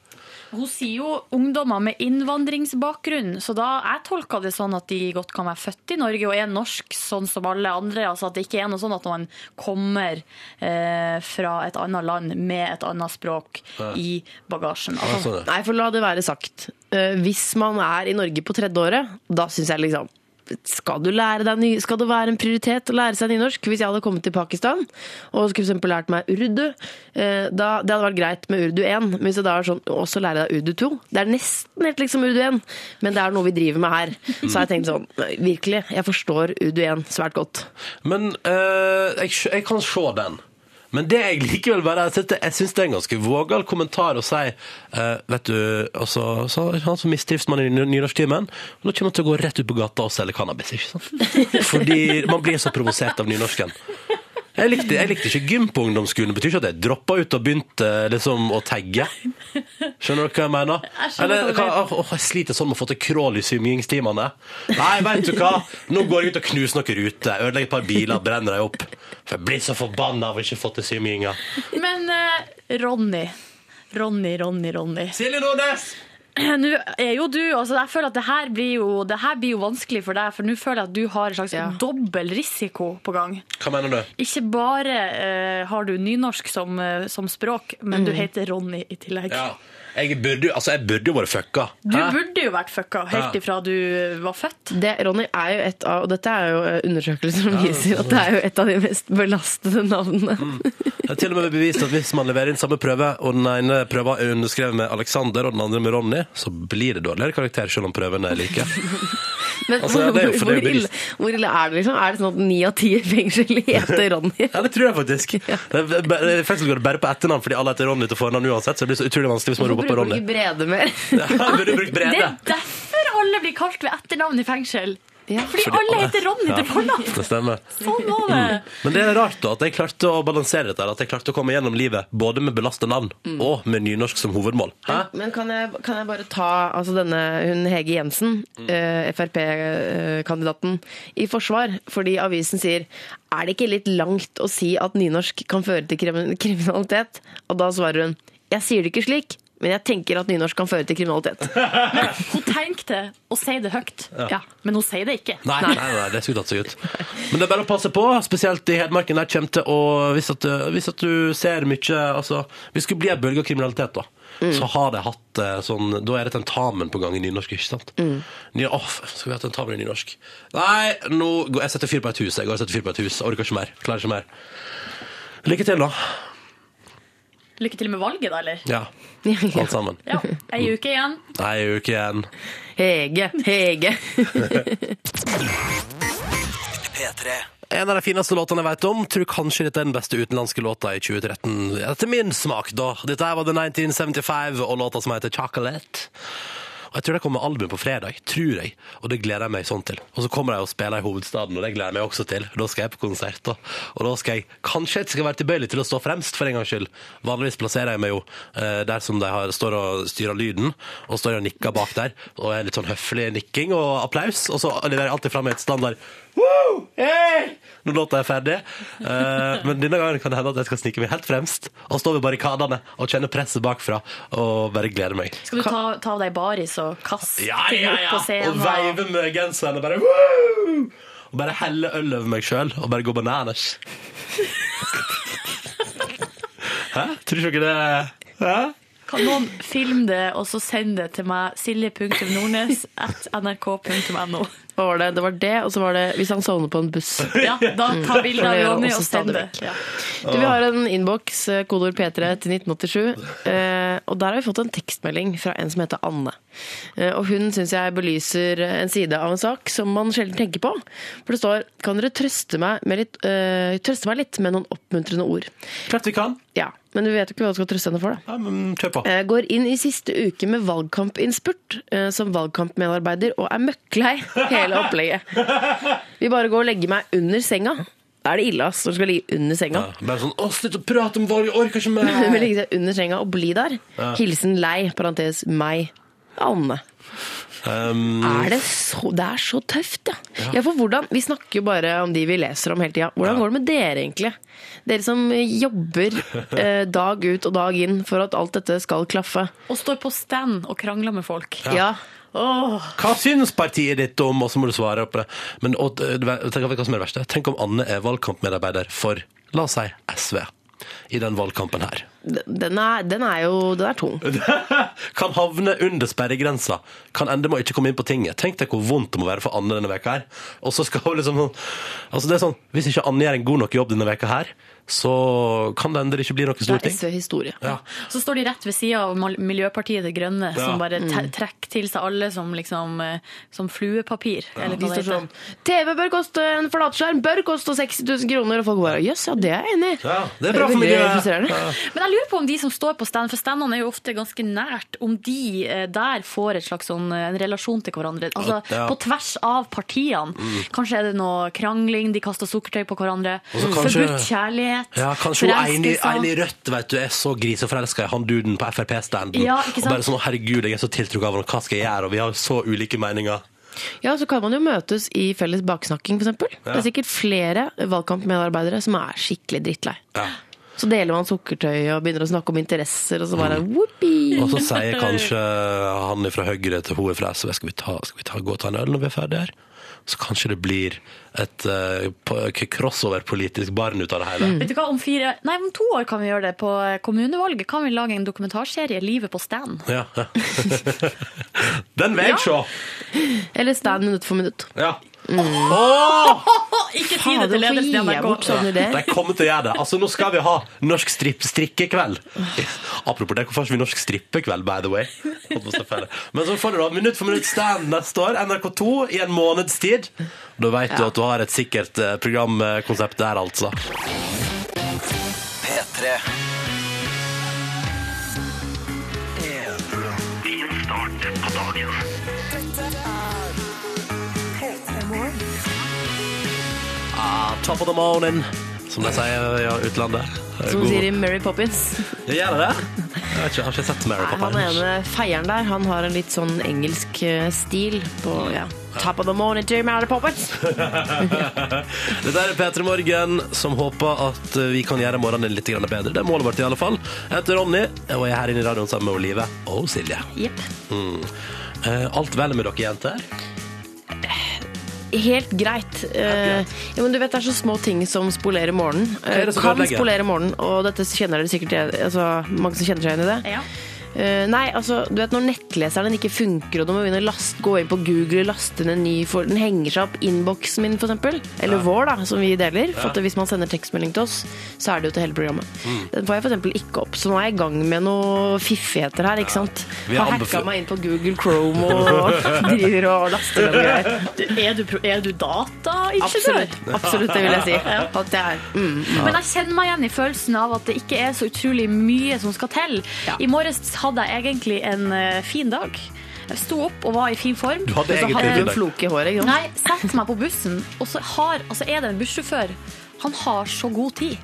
S7: Hun sier jo ungdommer med innvandringsbakgrunn, så da jeg tolker det sånn at de godt kan være født i Norge og er norsk, sånn som alle andre. Altså at det ikke er noe sånn at man kommer eh, fra et annet land med et annet språk i bagasjen. Altså,
S2: Altså,
S5: nei, for la det være sagt. Eh, Hvis man er i Norge på tredje året, da syns jeg liksom skal, du lære deg ny, skal det være en prioritet å lære seg nynorsk? Hvis jeg hadde kommet til Pakistan og skulle for eksempel lært meg urdu, eh, da, det hadde vært greit med urdu 1. Men hvis jeg da er sånn, også lære deg urdu 2 Det er nesten helt liksom urdu 1, men det er noe vi driver med her. Så har jeg tenkt sånn, nei, virkelig, jeg forstår urdu 1 svært godt.
S2: Men eh, jeg, skj- jeg kan se den. Men det jeg likevel bare jeg synes det- Jeg syns det er en ganske vågal kommentar å si eh, Vet du, altså, så, han som mistrives man i ny- nynorsktimen, og nå kommer han til å gå rett ut på gata og selge cannabis. ikke sant? Fordi man blir så provosert av nynorsken. Jeg likte, jeg likte ikke gym på ungdomsskolen. Det betyr ikke at jeg droppa ut og begynte liksom å tagge. Skjønner dere hva jeg mener?
S7: Jeg skjønner hva du
S2: hva- åh, jeg sliter sånn med å få til crawl i svømmingstimene. Nei, veit du hva! Nå går jeg ut og knuser noen ruter. Ødelegger et par biler, brenner dem opp. For jeg blir så forbanna av å ikke få til svømminga.
S7: Men eh, Ronny, Ronny, Ronny, Ronny. Eh,
S2: Silje Nordnes!
S7: Nå er jo du, altså jeg føler at det her blir jo, det her blir jo vanskelig for deg, for nå føler jeg at du har en slags dobbel risiko på gang.
S2: Hva mener du?
S7: Ikke bare eh, har du nynorsk som, eh, som språk, men du heter Ronny i tillegg.
S2: Ja. Jeg burde jo altså, jeg burde jo vært fucka.
S7: Du
S2: Hæ?
S7: burde jo vært fucka helt
S2: Ja.
S7: ifra du var født.
S5: Det, Ronny, er jo et av, og dette er jo eh, undersøkelser som viser at det er jo et av de mest belastede navnene.
S2: Det er til og med bevist at hvis man leverer inn samme prøve, og den ene prøva er underskrevet med Alexander og den andre med Ronny, så blir det dårligere karakter selv om prøvene er like.
S5: Men
S2: Altså, det er jo- for det er jo
S5: hvor, ille, hvor ille er det, liksom? Er det sånn at ni av ti i fengsel heter Ronny?
S2: Ja, det tror jeg faktisk. Det er bare- I fengsel går det bare på etternavn, fordi alle heter Ronny til fornavn uansett, så det blir så utrolig vanskelig hvis man roper på
S5: Hvorfor
S2: Ronny.
S5: ikke Brede mer?
S2: Ja, Burde du brukt
S7: Det
S2: Brede?
S7: er derfor alle blir kalt ved etternavn i fengsel. Fordi alle heter Ronny til fornavn!
S2: Det stemmer.
S7: Sånn var det!
S2: Men det er rart da at jeg klarte å balansere dette, her, at jeg klarte å komme gjennom livet både med belasta navn og med nynorsk som hovedmål. Hæ?
S5: Men kan jeg, kan jeg bare ta altså denne hun Hege Jensen,
S2: Mm.
S5: eh, Frp-kandidaten, i forsvar? Fordi avisen sier er det ikke litt langt å si at nynorsk kan føre til krim- kriminalitet? Og da svarer hun jeg sier det ikke slik, men jeg tenker at nynorsk kan føre til kriminalitet.
S7: Hun tenkte det og sier det høyt, ja. men hun sier det ikke.
S2: Nei, nei, nei, det skulle tatt seg ut. Men det er bare å passe på, spesielt i Hedmarken. Der kommer til å Hvis at, hvis at du ser mye Altså, hvis det skulle bli en bølge av kriminalitet, da, så har de hatt eh, sånn Da er det tentamen på gang i nynorsk, ikke sant? Ny, åh, skal vi ha tentamen i nynorsk? Nei, nå går Jeg setter fyr på et hus. Jeg går og setter fyr på et hus. Orker ikke mer. Klarer ikke mer. Lykke til, da.
S7: Lykke til med valget, da, eller?
S2: Ja, alt sammen.
S7: Ja, Ei uke igjen.
S2: Nei, ei uke igjen.
S5: Hege, Hege.
S2: En av de fineste låtene jeg vet om. Tror kanskje dette er den beste utenlandske låta i 2013. Etter min smak, da. Dette her var The 1975 og låta som heter Chocolate. Og jeg tror det kommer album på fredag, tror jeg, og det gleder jeg meg sånn til. Og så kommer de og spiller i hovedstaden, og det gleder jeg meg også til. Da skal jeg på konsert, da. Og da skal jeg kanskje jeg skal være tilbøyelig til å stå fremst, for en gangs skyld. Vanligvis plasserer jeg meg jo eh, der som de har, står og styrer lyden, og står og nikker bak der, og er litt sånn høflig nikking og applaus, og så leverer jeg alltid fram et standard Woo! Hey! Når låta er ferdig. Eh, men denne gangen kan det hende at jeg skal snike meg helt fremst og stå ved barrikadene og kjenne presset bakfra og bare glede meg.
S7: Skal du ta, ta av deg baris og kaste
S2: Ja, ja,
S7: ting opp
S2: ja.
S7: på scenen?
S2: Og veive med genseren og bare Woo! Og bare helle øl over meg sjøl og bare gå bananas. Hæ? Tror ikke det Hæ?
S7: Kan noen filme det og så sende det til meg? Silje.nordnes at nrk.no.
S5: Hva var det? Det var det, og så var det hvis han sovner på en buss.
S7: Ja, da ta bilde av Ronny
S5: Og
S7: og
S5: så
S7: send det.
S5: stadig
S7: Ja.
S5: Du, vi har en innboks, eh, kodeord P3 til 1987. eh, Og der har vi fått en tekstmelding fra en som heter Anne. Eh, Og hun syns jeg belyser en side av en sak som man sjelden tenker på. For det står Kan dere trøste meg, med litt, eh, trøste meg litt med noen oppmuntrende ord?
S2: Klart vi kan.
S5: Ja, Men du vet jo ikke hva du skal trøste henne for, da.
S2: Ja, men kjør på.
S5: Eh, Går inn i siste uke med valgkampinnspurt eh, som valgkampmedarbeider og er møkklei hele opplegget. Vil bare gå og legge meg under senga. Da er det ille ass, når du skal ligge under senga.
S2: Ja, bare sånn Å, slutt å prate om valg, jeg orker ikke mer!
S5: Hun vil ligge seg under senga og bli der. Hilsen lei, parentes meg. Anne.
S2: Um,
S5: Er det, så, det er så tøft, ja. Mm. ja for hvordan, vi snakker jo bare om de vi leser om hele tida. Hvordan går det med dere, egentlig? Dere som jobber eh, dag ut og dag inn for at alt dette skal klaffe.
S7: Og står på stand og krangler med folk.
S5: Ja.
S7: Åh,
S2: Hva syns partiet ditt om Og så må du svare på det. Men og, eh, du vet- tenk, hva som er det verste? Tenk om Anne er valgkampmedarbeider for, la oss si, SV i den valgkampen her.
S5: d- Den, er, den er jo den er tung.
S2: kan havne under sperregrensa. Kan ende med å ikke komme inn på tinget. Tenk deg hvor vondt det må være for Anne denne veka her. Og så skal hun liksom sånn- Altså det er sånn, Hvis ikke Anne gjør en god nok jobb denne veka her, så kan det ende det ikke blir noe
S5: Det
S2: stort
S5: er
S2: ting.
S5: SV-historie.
S2: Ja.
S7: så står de rett ved sida av Mal- Miljøpartiet De Grønne,
S2: Ja. Mm.
S7: som bare te- trekker til seg alle som, liksom, eh, som fluepapir. Eller
S5: De
S7: hva det
S5: står
S7: heter.
S5: sånn TV bør koste en flatskjerm, bør koste 60 000 kroner. Og folk bare jøss, ja det er jeg enig i.
S2: Ja, det er bra for
S5: veldig
S2: miljøet.
S5: frustrerende.
S7: Men jeg lurer på om de som står på stand, for standene er jo ofte ganske nært, om de eh, der får et slags sånn, eh, en relasjon til hverandre. Altså
S2: Ja. Mm.
S7: på tvers av partiene. Kanskje er det noe krangling, de kaster sukkertøy på hverandre.
S2: Og så kanskje-
S7: Forbudt kjærlighet.
S2: Ja, kanskje hun enig,
S7: forelskelser.
S2: enig i Rødt vet du, er så griseforelska i han duden på Frp-standen.
S7: Ja, ikke
S2: og
S7: sant?
S2: bare sånn 'herregud, jeg er så tiltrukket av han, hva skal jeg gjøre?' Og vi har så ulike meninger.
S5: Ja, så kan man jo møtes i felles baksnakking, f.eks. eksempel. Det er sikkert flere valgkampmedarbeidere som er skikkelig drittlei. Så deler man sukkertøy og begynner å snakke om interesser, og så bare whoopi!
S2: Mm. Og så sier kanskje han fra Høyre til hun fra SV skal vi, ta, skal vi ta, gå og ta en øl når vi er ferdige her? Så kanskje det blir et eh, på- k- crossover-politisk barn ut av det hele.
S7: Vet du hva, om, fire, nei, om to år kan vi gjøre det på eh, kommunevalget. Kan vi lage en dokumentarserie, 'Livet på stand'?
S2: Ja. ja. Den vil jeg se!
S5: Eller stand minutt for minutt.
S2: Ja. Åh!
S7: Ikke si
S5: Fader, sånn
S7: det til
S5: hvorfor
S7: ledelsen i
S5: gir jeg bort
S7: NRK.
S2: De
S5: sånne ideer?
S2: kommer til å gjøre det. Altså, nå skal vi ha norsk stripp strikkekveld. Apropos det, hvorfor har ikke vi norsk strippekveld, by the way? Holdt på å si feil. Men så får du da Minutt for minutt stand neste år, NRK2, i en måneds tid. Da vet du at du har et sikkert eh, programkonsept der, altså.
S1: Din start på dagen. Dette er P3 Morgen.
S2: Ah, top of the morning, som de sier i utlandet.
S5: Som sier i Mary Poppins.
S2: Gjør det det? Jeg vet ikke, jeg har ikke sett mer
S5: Nei,
S2: på
S5: han ene feieren der, han har en litt sånn engelsk eh, stil på ja. Top of the morning to Mary Poppins.
S2: Dette er P3 Morgen, som håper at eh, vi kan gjøre morgenen litt grann bedre. Det er målet vårt i alle fall. Jeg heter Ronny, og jeg er her inne i radioen sammen med Olive og Silje.
S5: Jepp.
S2: Eh, Alt vel med dere jenter?
S5: Helt greit. Eh, ja, men du vet, det er så små ting som spolerer morgenen.
S2: er
S5: Eh,
S2: det som
S5: kan
S2: ødelegger?
S5: spolere morgenen, og dette kjenner dere sikkert til, altså, mange som kjenner seg igjen i det.
S7: Ja.
S5: Eh, nei, altså, du vet når nettleseren din ikke funker, og du må begynne å last, gå inn på Google og laste inn en ny for Den henger seg opp innboksen min, for eksempel. Eller vår, da, som vi deler. For at hvis man sender tekstmelding til oss, så er det jo til hele programmet. Den får jeg for eksempel ikke opp, så nå er jeg i gang med noen fiffigheter her, ikke sant.
S2: Vi
S5: Har
S2: anbef-
S5: hacka meg inn på Google Chrome og driver og laster noen greier.
S7: Du, er, du, pro- er du dataingeniør?
S5: Absolutt, absolutt, det vil jeg si. At det er, mm.
S7: Men jeg kjenner meg igjen i følelsen av at det ikke er så utrolig mye som skal til. I morges hadde jeg egentlig en eh, fin dag. Jeg sto opp og var i fin form.
S2: Du hadde
S5: Så har
S2: egentlig
S5: jeg en
S2: middag.
S5: floke i håret. Ikke sant?
S7: Nei, setter meg på bussen, og så har, altså er det en bussjåfør. Han har så god tid.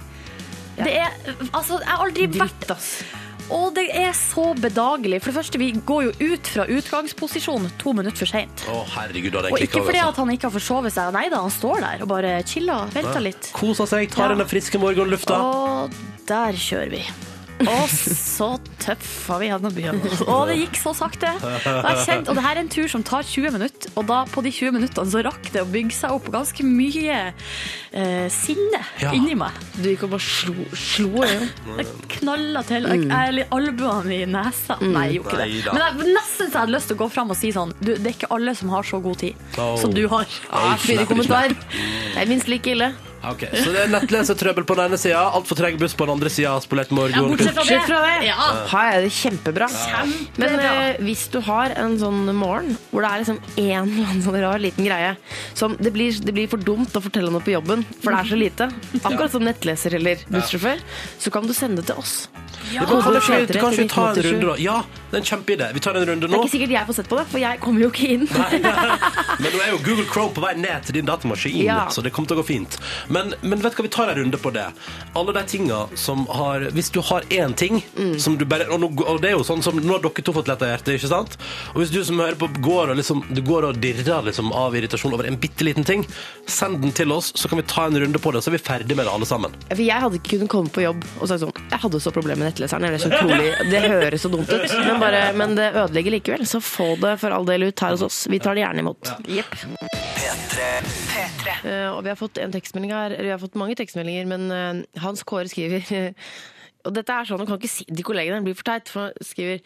S7: Det er, altså, jeg har aldri vært Og det er så bedagelig. For det første, vi går jo ut fra utgangsposisjon to minutter for seint.
S2: Å, herregud, da hadde
S7: Og
S2: jeg altså.
S7: ikke
S2: klikka
S7: fordi at han ikke har forsovet seg. Nei da, han står der og bare chiller. Venter litt.
S2: Kosa seg, tar
S7: Ja.
S2: denne friske morgenlufta.
S7: Og der kjører vi. Og så tøffa vi gjennom byen. Og det gikk så sakte. Og, jeg kjente, og det her er en tur som tar 20 minutter, og da på de 20 minuttene så rakk det å bygge seg opp ganske mye eh, sinne
S2: Ja.
S7: inni meg.
S5: Du gikk og bare slo, slo det, jo.
S7: Jeg knalla til.
S5: Mm.
S7: Jeg, jeg, albuene i nesa. Nei, jeg gjorde ikke det.
S2: Neida.
S7: Men jeg, nesten så jeg hadde lyst til å gå fram og si sånn du, Det er ikke alle som har så god tid
S2: Oh.
S7: som du har.
S2: Nei,
S5: Fin
S2: slipper ikke
S5: kommentar. Det er minst like ille.
S2: Ok, Så det er nettlesertrøbbel på den ene sida, altfor treg buss på den andre sida, spolert morgen.
S5: Bortsett fra det
S7: Ja.
S5: har jeg det kjempebra. Men eh, hvis du har en sånn morgen hvor det er liksom en eller annen sånn rar liten greie som det blir, det blir for dumt å fortelle noe på jobben, for det er så lite, akkurat som nettleser eller bussjåfør, så kan du sende det til oss.
S2: Ja, men kan ikke vi-
S5: Kodesetere
S2: kan ikke vi
S5: til
S2: ta en
S5: 1987.
S2: runde, da? Ja, det er en kjempeidé. Vi tar en runde
S5: Det
S2: nå.
S5: er ikke sikkert jeg får sett på det, for jeg kommer jo ikke inn.
S2: Men nå er jo Google Chrome på vei ned til din datamaskin,
S5: Ja.
S2: så det kommer til å gå fint. Men, men vet du hva, vi tar en runde på det. Alle de tinga som har Hvis du har én ting som du bare og, nå, og det er jo sånn som nå har dere to fått letta hjertet, ikke sant? Og hvis du som hører på går og liksom Du går og dirrer liksom av irritasjon over en bitte liten ting, send den til oss, så kan vi ta en runde på det, så er vi ferdig med det alle sammen.
S5: For jeg hadde ikke kunnet komme på jobb og sagt sånn Jeg hadde så problemer med nettleseren. Det, er så utrolig, det høres så dumt ut, men, bare, men det ødelegger likevel. Så få det for all del ut her hos oss. Vi tar det gjerne imot. Eh, og vi har fått en tekstmelding her, eller vi har fått mange tekstmeldinger, men eh, Hans Kåre skriver Og dette er sånn, han kan ikke si de kollegene, det blir for teit, for han skriver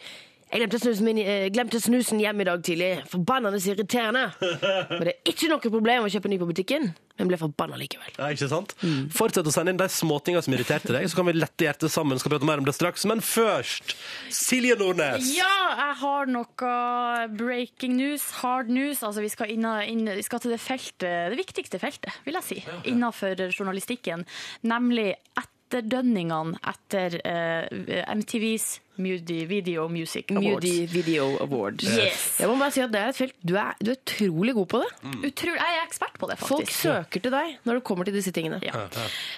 S5: jeg glemte snusen, min, eh, glemte snusen hjemme i dag tidlig. Forbannende irriterende. Men det er ikke noe problem å kjøpe ny på butikken. Men ble forbanna likevel.
S2: Ja, ikke sant? Fortsett å sende inn de småtinga som irriterte deg, så kan vi lette hjertet sammen. Skal prate mer om det straks, men først Silje Nordnes.
S7: Ja, jeg har noe breaking news, hard news. Altså, vi, skal inna- inn, vi skal til det, feltet, det viktigste feltet, vil jeg si, innenfor journalistikken. Nemlig etterdønningene etter eh, MTVs Mudi Video Music Awards.
S5: Mudi Video Award.
S7: Yes. Mm.
S5: Jeg må bare si at det er et felt Du er, du er utrolig god på det.
S7: Utrolig, jeg er ekspert på det,
S5: Folk
S7: faktisk.
S5: søker til deg når det kommer til disse tingene.
S7: Ja.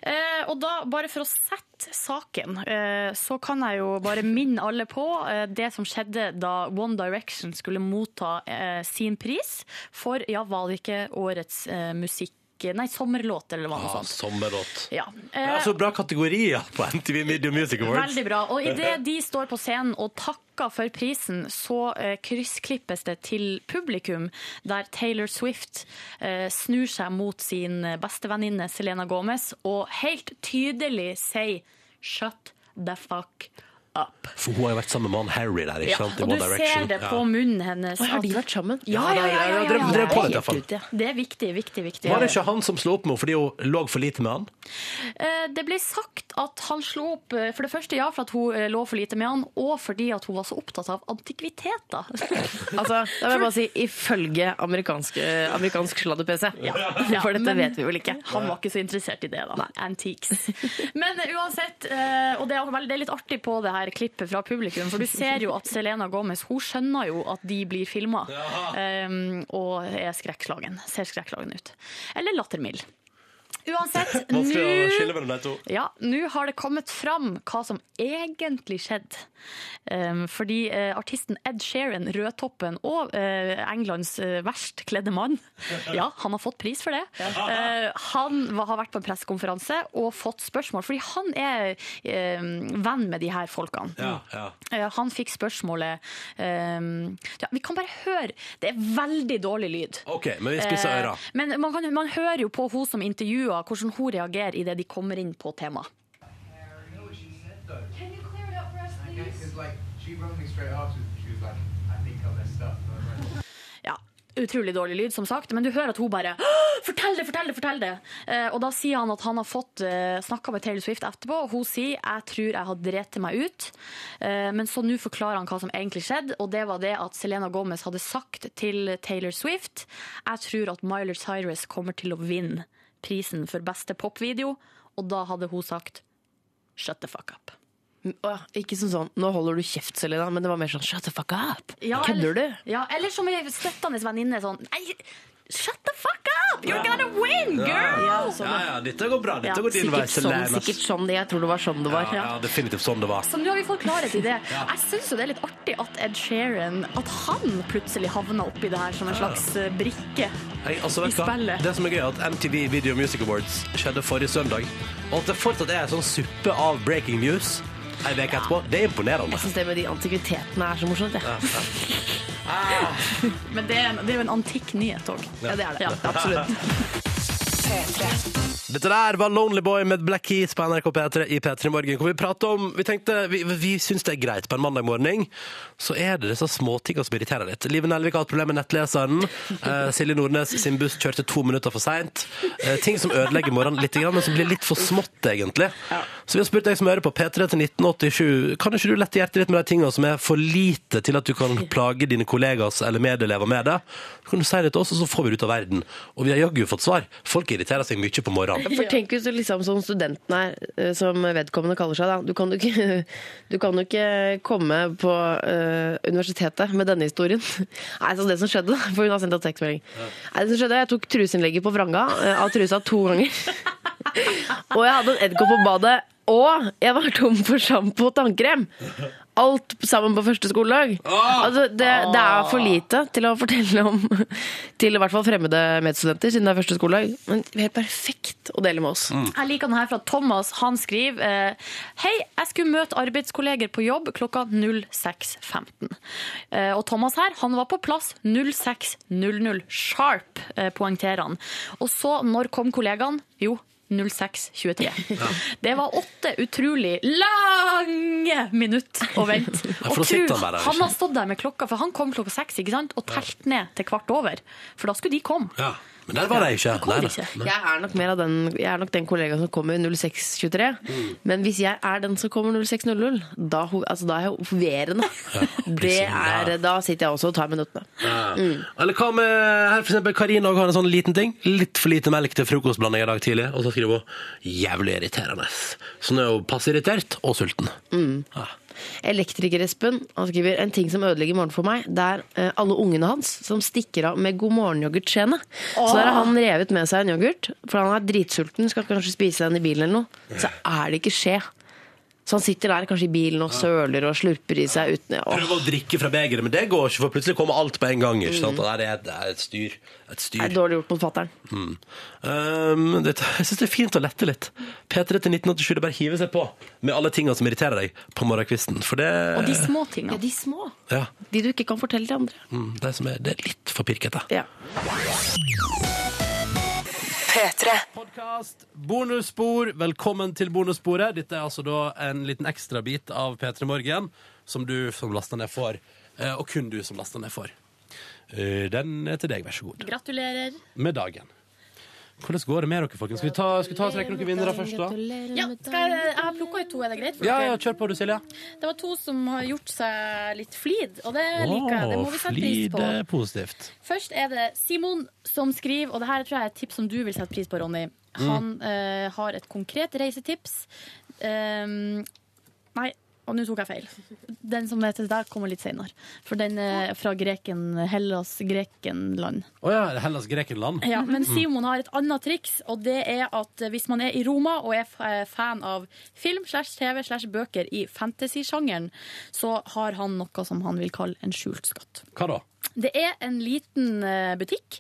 S7: Eh, og da, bare for å sette saken, eh, så kan jeg jo bare minne alle på eh, det som skjedde da One Direction skulle motta eh, sin pris for, ja, var det ikke årets eh, musikk, nei, sommerlåt eller hva noe
S2: Ah,
S7: sånt.
S2: sommerlåt.
S7: Ja.
S2: Det
S7: Eh,
S2: er så bra kategorier på MTV Video Music Awards.
S7: Veldig bra. Og idet de står på scenen og takker for prisen, så eh, kryssklippes det til publikum, der Taylor Swift eh, snur seg mot sin bestevenninne Selena Gomez og helt tydelig sier 'shut the fuck up'.
S2: For hun har jo vært sammen med han Harry der, ikke
S7: Ja,
S2: sant? i
S7: og du
S2: One
S7: ser
S2: Direction.
S7: det
S2: Ja.
S7: på munnen hennes.
S5: Har de
S7: at-
S5: vært sammen?
S7: altså- Ja, ja, ja, ja,
S2: Jeg
S7: ja,
S2: drev,
S7: ja.
S2: drev på litt, i hvert fall.
S5: Helt ute, ja.
S7: Det er viktig, viktig, viktig.
S2: Var det ikke han som slo opp med henne fordi hun lå for lite med han?
S7: Eh, Det ble sagt at han slo opp eh, For det første ja, for at hun eh, lå for lite med han, og fordi at hun var så opptatt av antikviteter.
S5: Altså, da vil jeg bare si ifølge amerikansk, eh, amerikansk sladder-PC.
S7: Ja,
S5: For dette
S7: men-
S5: vet vi vel ikke.
S7: Han var ikke så interessert i det, da. Antiques. Men eh, uansett, eh, og det er, vel- det er litt artig på det her klippet fra publikum, for du ser jo at Selena Gomez hun skjønner jo at de blir eh, filma, og er skrekkslagen. Ser skrekkslagen ut. Eller lattermild. uansett,
S2: Vanskelig å
S7: nå
S2: skille mellom de to.
S7: ja, nå har det kommet fram hva som egentlig skjedde. Um, fordi eh, artisten Ed Sheeran, Rødtoppen og eh, Englands eh, verst kledde mann, ja, han har fått pris for det. Eh, han var, har vært på en pressekonferanse og fått spørsmål, fordi han er eh, venn med de her folkene.
S2: Ja, ja.
S7: Eh, Han fikk spørsmålet ehm, ja, Vi kan bare høre. Det er veldig dårlig lyd.
S2: OK, men vi spisser
S7: Eh,
S2: øra.
S7: Men man, kan, man hører jo på hun som intervjuer, hvordan hun reagerer idet de kommer inn på temaet.
S10: Can you clear it up for us, please? Because like she wrote me straight after. She was like, "I think I messed up." And I was like,
S7: Ja, utrolig dårlig lyd, som sagt, men du hører at hun bare Fortell det, fortell det, fortell det! Eh, og da sier han at han har fått uh, snakka med Taylor Swift etterpå, og hun sier jeg tror jeg har drept meg ut. Eh, men så nå forklarer han hva som egentlig skjedde, og det var det at Selena Gomez hadde sagt til Taylor Swift jeg tror at Myler Cyrus kommer til å vinne prisen for beste popvideo, og da hadde hun sagt shut the fuck up.
S5: Å, ja, ikke som sånn 'nå holder du kjeft, Selena', men det var mer sånn 'shut the fuck up'.
S7: Ja,
S5: Kødder du?
S7: eller- Ja, eller som ei støttende venninne sånn Nei, shut the fuck up! You're gonna win, girl!
S2: Ja,
S7: sånn,
S2: ja, ja, dette går bra. Dette
S7: Ja,
S2: går din vei,
S5: Sikkert sånn,
S2: Selena.
S5: sikkert sånn det, jeg tror det var sånn det var.
S2: Ja, ja, definitivt sånn det var.
S7: Så nå har vi fått klarhet i det. Jeg syns jo det er litt artig at Ed Sheeran At han plutselig havna oppi det her som en slags eh, brikke.
S2: Hei, altså, vet
S7: I
S2: du hva?
S7: spillet.
S2: Det som er gøy, er at MTV Video Music Awards skjedde forrige søndag. Og at det fortsatt er en sånn suppe av breaking news ei uke etterpå, det er imponerende.
S5: Jeg syns det med de antikvitetene er så morsomt. jeg.
S2: Ah.
S7: Men det er, en- det er jo en antikk nyhet òg. Ja, det er det. absolutt.
S2: Dette der var Lonely Boy med Black Keys på NRK P3 i P3 Morgen. Hvor vi prater om Vi tenkte, vi, vi syns det er greit på en mandag morgen, så er det disse småtinga som irriterer litt. Live Nelvik har hatt problemer med nettleseren. Eh, Silje Nordnes sin buss kjørte to minutter for seint. Eh, ting som ødelegger morgenen litt, grann, men som blir litt for smått, egentlig. Så vi har spurt deg som hører på P3 til 1987, kan ikke du lette hjertet ditt med de tinga som er for lite til at du kan plage dine kollegas eller medelever med det? Så kan du si det til oss, og så får vi det ut av verden. Og vi har jaggu fått svar. Folk irriterer seg mye på morgenen.
S5: For tenk hvis du liksom som studenten er, eh, som vedkommende kaller seg, da. Du kan jo ikke, du kan jo ikke komme på eh, universitetet med denne historien. Nei, så det som skjedde, da, for hun har sendt oss tekstmelding. Nei, det som skjedde, jeg tok truseinnlegget på vranga eh, av trusa to ganger. Og jeg hadde en edderkopp på badet, og jeg var tom for sjampo og tannkrem. Alt sammen på første skoledag. Altså, det, det er for lite til å fortelle om til i hvert fall fremmede medstudenter, siden det er første skoledag. Men helt perfekt å dele med oss.
S7: Jeg liker den her fra Thomas. Han skriver eh, Hei, jeg skulle møte arbeidskolleger på jobb klokka 06.15. Eh, Og Thomas her, han var på plass 06.00 sharp, eh, poengterer han. Og så, når kom kollegaen? Jo, 06.23. Det var åtte utrolig lange minutter å vente.
S2: for da
S7: Og tro,
S2: sitter han der, ikke?
S7: han har stått der med klokka, for han kom klokka seks ikke sant? og telt ned til kvart over. For da skulle de komme.
S2: Ja, men der var de ikke.
S7: Kom de
S2: Nei,
S7: ikke?
S2: nei.
S5: Jeg er nok, mer av den, jeg er nok den kollegaen som kommer 06.23. Men hvis jeg er den som kommer 06.00, da, ho- altså, da er jeg hoverende. Det
S2: ja.
S5: er, da sitter jeg også og tar minuttene.
S2: Ja. Eller hva med her for eksempel Karina også har en sånn liten ting. Litt for lite melk til frokostblanding i dag tidlig. Og så skriver hun 'jævlig irriterende'. Så nå er hun passe irritert og sulten. Ja.
S5: Elektriker Espen han skriver en ting som ødelegger morgenen for meg. Det er eh, alle ungene hans som stikker av med god morgen-yoghurtskjeene. Så der har han revet med seg en yoghurt, for han er dritsulten, skal kanskje spise den i bilen eller noe. Så er det ikke skje. Så han sitter der kanskje i bilen og søler og slurper i seg uten Åh,
S2: Prøve å drikke fra begeret, men det går ikke, for plutselig kommer alt på en gang. ikke
S7: Mm.
S2: sant? Og det er, det er et styr. Et
S5: det er
S2: styr.
S5: dårlig gjort mot fatter'n.
S2: Mm. Um, det, jeg syns det er fint å lette litt. P3 til 1987, det bare hiver seg på med alle tinga som irriterer deg på morgenkvisten. For
S7: Og
S2: det
S7: de små tingene.
S5: Ja, de små.
S2: ja,
S5: De du ikke kan fortelle til andre.
S2: mm, det, som er, det er litt for pirkete.
S5: Ja.
S1: Podkast, bonusspor. Velkommen til bonussporet. Dette er altså da en liten ekstrabit av P3 Morgen som du som laster ned får. eh, Og kun du som laster ned får. Eh, Den er til deg, vær så god.
S3: Gratulerer.
S1: Med dagen. Hvordan går det med dere, folkens? Skal vi ta, skal vi ta og trekke noen vinnere først, da?
S3: Ja, skal jeg, jeg har plukka ut to, er det greit? for
S1: Ja,
S3: dere?
S1: ja, kjør på du, Silje.
S3: Det var to som har gjort seg litt flid, og det liker jeg. Det må vi sette pris
S1: flid eh,
S3: på.
S1: er positivt.
S3: Først er det Simon som skriver, og det her tror jeg er et tips som du vil sette pris på, Ronny. Han eh, har et konkret reisetips. Um, Eh, nei, Og nå tok jeg feil. Den som heter der, kommer litt senere. For den er fra Greken, Hellas, Grekenland. Mm.
S2: Å ja, Hellas Grekenland.
S3: Ja, men Simon har et annet triks, og det er at hvis man er i Roma og er f- eh, fan av film slash TV slash bøker i fantasy-sjangeren, så har han noe som han vil kalle en skjult skatt.
S2: Hva da?
S3: Det er en liten eh, butikk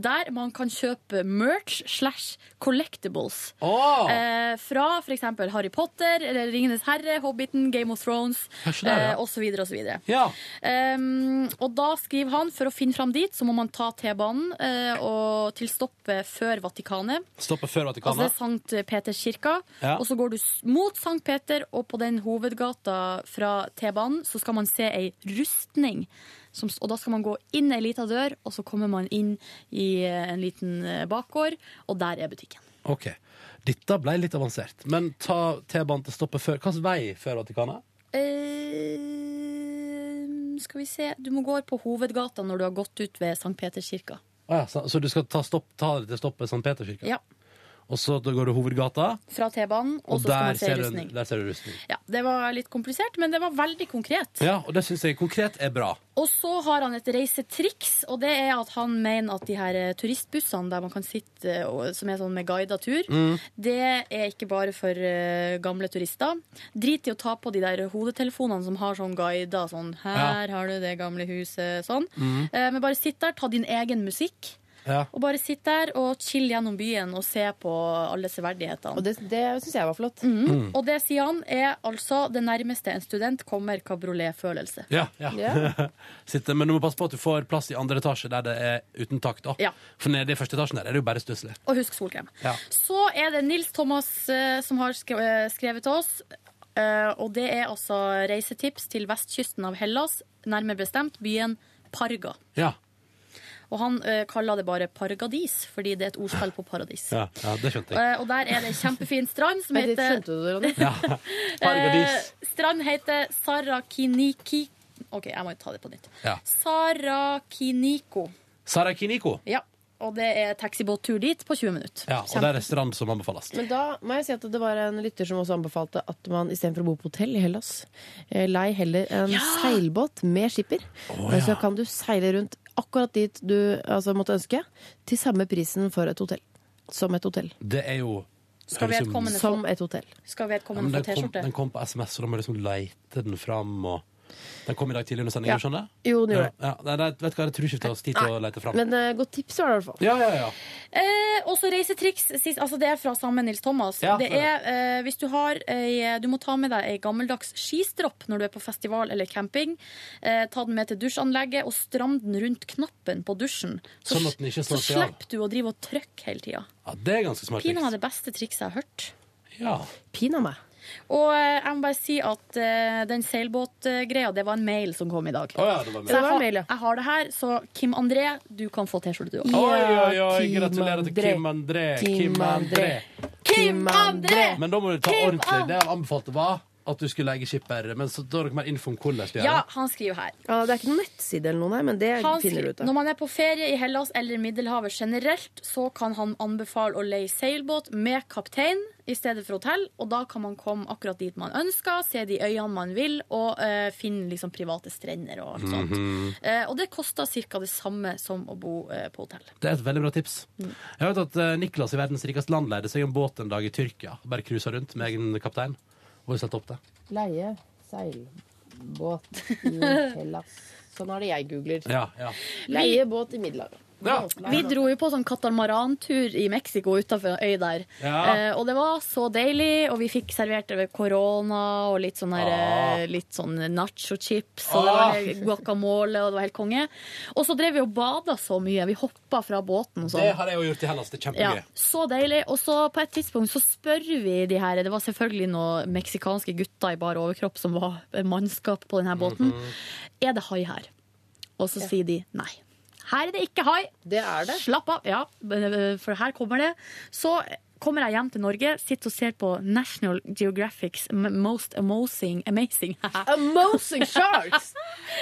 S3: der man kan kjøpe merch slash collectibles.
S2: Åh!
S3: Eh, fra f.eks. Harry Potter, eller Ringenes herre, Hobbiten, Game of Thrones
S2: Kanskje der, ja.
S3: eh, osv. osv.
S2: ja.
S3: Um, og da skriver han for å finne fram dit, så må man ta T-banen eh, og til stoppet før Vatikanet.
S2: Stopper før
S3: Altså det
S2: Vatikanet.
S3: er Sankt Peters kirka.
S2: Ja.
S3: Og så går du s- mot Sankt Peter, og på den hovedgata fra T-banen så skal man se ei rustning. Som, s- og da skal man gå inn ei lita dør, og så kommer man inn i eh, en liten eh, bakgård, og der er butikken.
S2: Ok. Dette ble litt avansert. Men ta T-banen til stoppet før Hvilken vei før Vatikanet?
S3: Eh, skal vi se Du må gå på hovedgata når du har gått ut ved Sankt Peters kirka.
S2: Å ja, så, så du skal ta, stopp, ta det til stoppet St. Peterskirka?
S3: Ja.
S2: Og så da går du hovedgata,
S3: Fra T-banen, og,
S2: og,
S3: så skal
S2: der,
S3: man se
S2: ser du,
S3: rustning.
S2: der ser du rustning.
S3: Ja, det var litt komplisert, men det var veldig konkret.
S2: Ja, og det syns jeg konkret er bra.
S3: Og så har han et reisetriks, og det er at han mener at de her eh, turistbussene der man kan sitte, eh, og, som er sånn med guida tur, det er ikke bare for eh, gamle turister. Drit i å ta på de der hodetelefonene som har sånn guida sånn Her har du det gamle huset, sånn. Eh, Men bare sitt der, ta din egen musikk.
S2: Ja.
S3: Og bare sitt der og chill gjennom byen og se på alle severdighetene.
S5: Og det, det syns jeg var flott.
S3: Og det, sier han, er altså det nærmeste en student kommer kabrioletfølelse.
S2: Ja, ja.
S5: Ja.
S2: Sitte, men du må passe på at du får plass i andre etasje der det er uten tak. da.
S3: Ja.
S2: For nede i første etasjen der er det jo bare stusslig.
S3: Og husk solkrem.
S2: Ja.
S3: Så er det Nils Thomas eh, som har skre- eh, skrevet til oss. eh, og det er altså reisetips til vestkysten av Hellas, nærmere bestemt byen Parga.
S2: Ja.
S3: Og han eh, kaller det bare Pargadis, fordi det er et ordspill på paradis.
S2: Ja, ja, det skjønte jeg.
S3: Eh, og der er det en kjempefin strand som
S5: Men det
S3: heter
S5: skjønte du det, Ronny?
S2: Paradis.
S3: Eh, strand heter Sarakiniki... OK, jeg må ta det på nytt.
S2: Ja.
S3: Sarakiniko.
S2: Sara Kiniko.
S3: Ja. Og det er taxibåttur dit på 20 minutter.
S2: Ja, og der er strand som anbefales.
S5: Men da må jeg si at det var en lytter som også anbefalte at man istedenfor å bo på hotell i Hellas, eh, lei heller en seilbåt med skipper. Eh,
S2: ja.
S5: Så kan du seile rundt akkurat dit du altså, måtte ønske, til samme prisen for et hotell. Som et hotell.
S2: Det er jo
S3: Skal
S2: høres jo-
S3: vedkommende få,
S5: Som et hotell.
S2: Ja,
S3: skal
S2: men
S3: vedkommende
S2: den,
S3: få
S2: kom,
S3: T-skjorte?
S2: den kom på SMS, så da må jeg liksom leite den fram. Og... Den kom i dag tidlig under sendingen,
S5: Ja.
S2: skjønner jeg?
S5: Jo, den gjorde
S2: Ja,
S5: det.
S2: ja. Nei, det- vet du hva, jeg tror ikke vi tar oss tid til å leite fram.
S5: Men eh, godt tips var det i hvert fall.
S2: Ja, ja, ja.
S3: Eh, også reisetriks. sist- Altså det er fra samme Nils Thomas.
S2: Ja,
S3: det
S2: det
S3: er, eh, hvis du, har ei, du må ta med deg ei gammeldags skistropp når du er på festival eller camping. Eh, ta den med til dusjanlegget og stram den rundt knappen på dusjen. Så,
S2: Sånn at den ikke
S3: så
S2: slår seg av.
S3: slipper du å drive og trykke hele tida.
S2: ja. Det er ganske smart.
S3: Pinadø
S2: triks.
S3: det beste trikset jeg har hørt.
S2: Ja.
S5: Pina meg.
S3: Og eh, jeg må bare si at eh, den seilbåtgreia, det var en mail som kom i dag.
S2: Å ja, det var
S5: Så
S2: med.
S5: det var en mail, ja.
S3: Jeg har det her, så Kim André, du kan få T-skjorte, du òg.
S2: Oi, oi, oi,
S5: Kim
S2: gratulerer til Kim André. Kim André.
S5: Kim André!
S2: Men da må du ta
S3: Eh, Kim
S2: ordentlig.
S3: André.
S2: Det han anbefalte, var at du skulle legge skipper. Men så da er dere mer info om hvordan du gjør
S3: Ja,
S2: det.
S3: han skriver her.
S5: Ja, det er ikke noen nettside eller noe, nei, men det
S3: Han
S5: finner du
S3: skriver,
S5: ut av.
S3: når man er på ferie i Hellas eller Middelhavet generelt, så kan han anbefale å leie seilbåt med kaptein i stedet for hotell, og da kan man komme akkurat dit man ønsker, se de øyene man vil, og eh, finne liksom private strender og alt sånt. Eh, og det koster ca. det samme som å bo eh, på hotell.
S2: Det er et veldig bra tips.
S3: Mm.
S2: Jeg vet at eh, Niklas i verdens rikeste land leide seg en båt en dag i Tyrkia. og Bare cruisa rundt med egen kaptein. Og satte opp det.
S5: Leie seilbåt i Hellas. Sånn er det jeg googler.
S2: Ja, ja.
S5: Leie båt i Middelhavet.
S2: ja.
S3: Vi dro jo på sånn katamarantur i Mexico utenfor øy der.
S2: Ja.
S3: Eh, og det var så deilig, og vi fikk servert det ved korona og litt sånn her,
S2: Ah.
S3: eh, litt sånn nacho chips og det var helt guacamole, og det var helt konge. Og så drev vi og bada så mye. Vi hoppa fra båten og
S2: Det
S3: sånn.
S2: har jeg jo gjort i Hellas. Det er
S3: Ja,
S2: kjempegøy.
S3: så deilig. Og så på et tidspunkt så spør vi de her Det var selvfølgelig noen meksikanske gutter i bar overkropp som var mannskap på denne båten.
S2: Mhm.
S3: Er det hai her? Og så sier de nei. Her er det ikke hai.
S5: Det er det.
S3: Slapp av, ja, eh, for her kommer det. Så kommer jeg hjem til Norge, sitter og ser på National Geographics Most Amazing Amazing.
S5: Amazing sharks!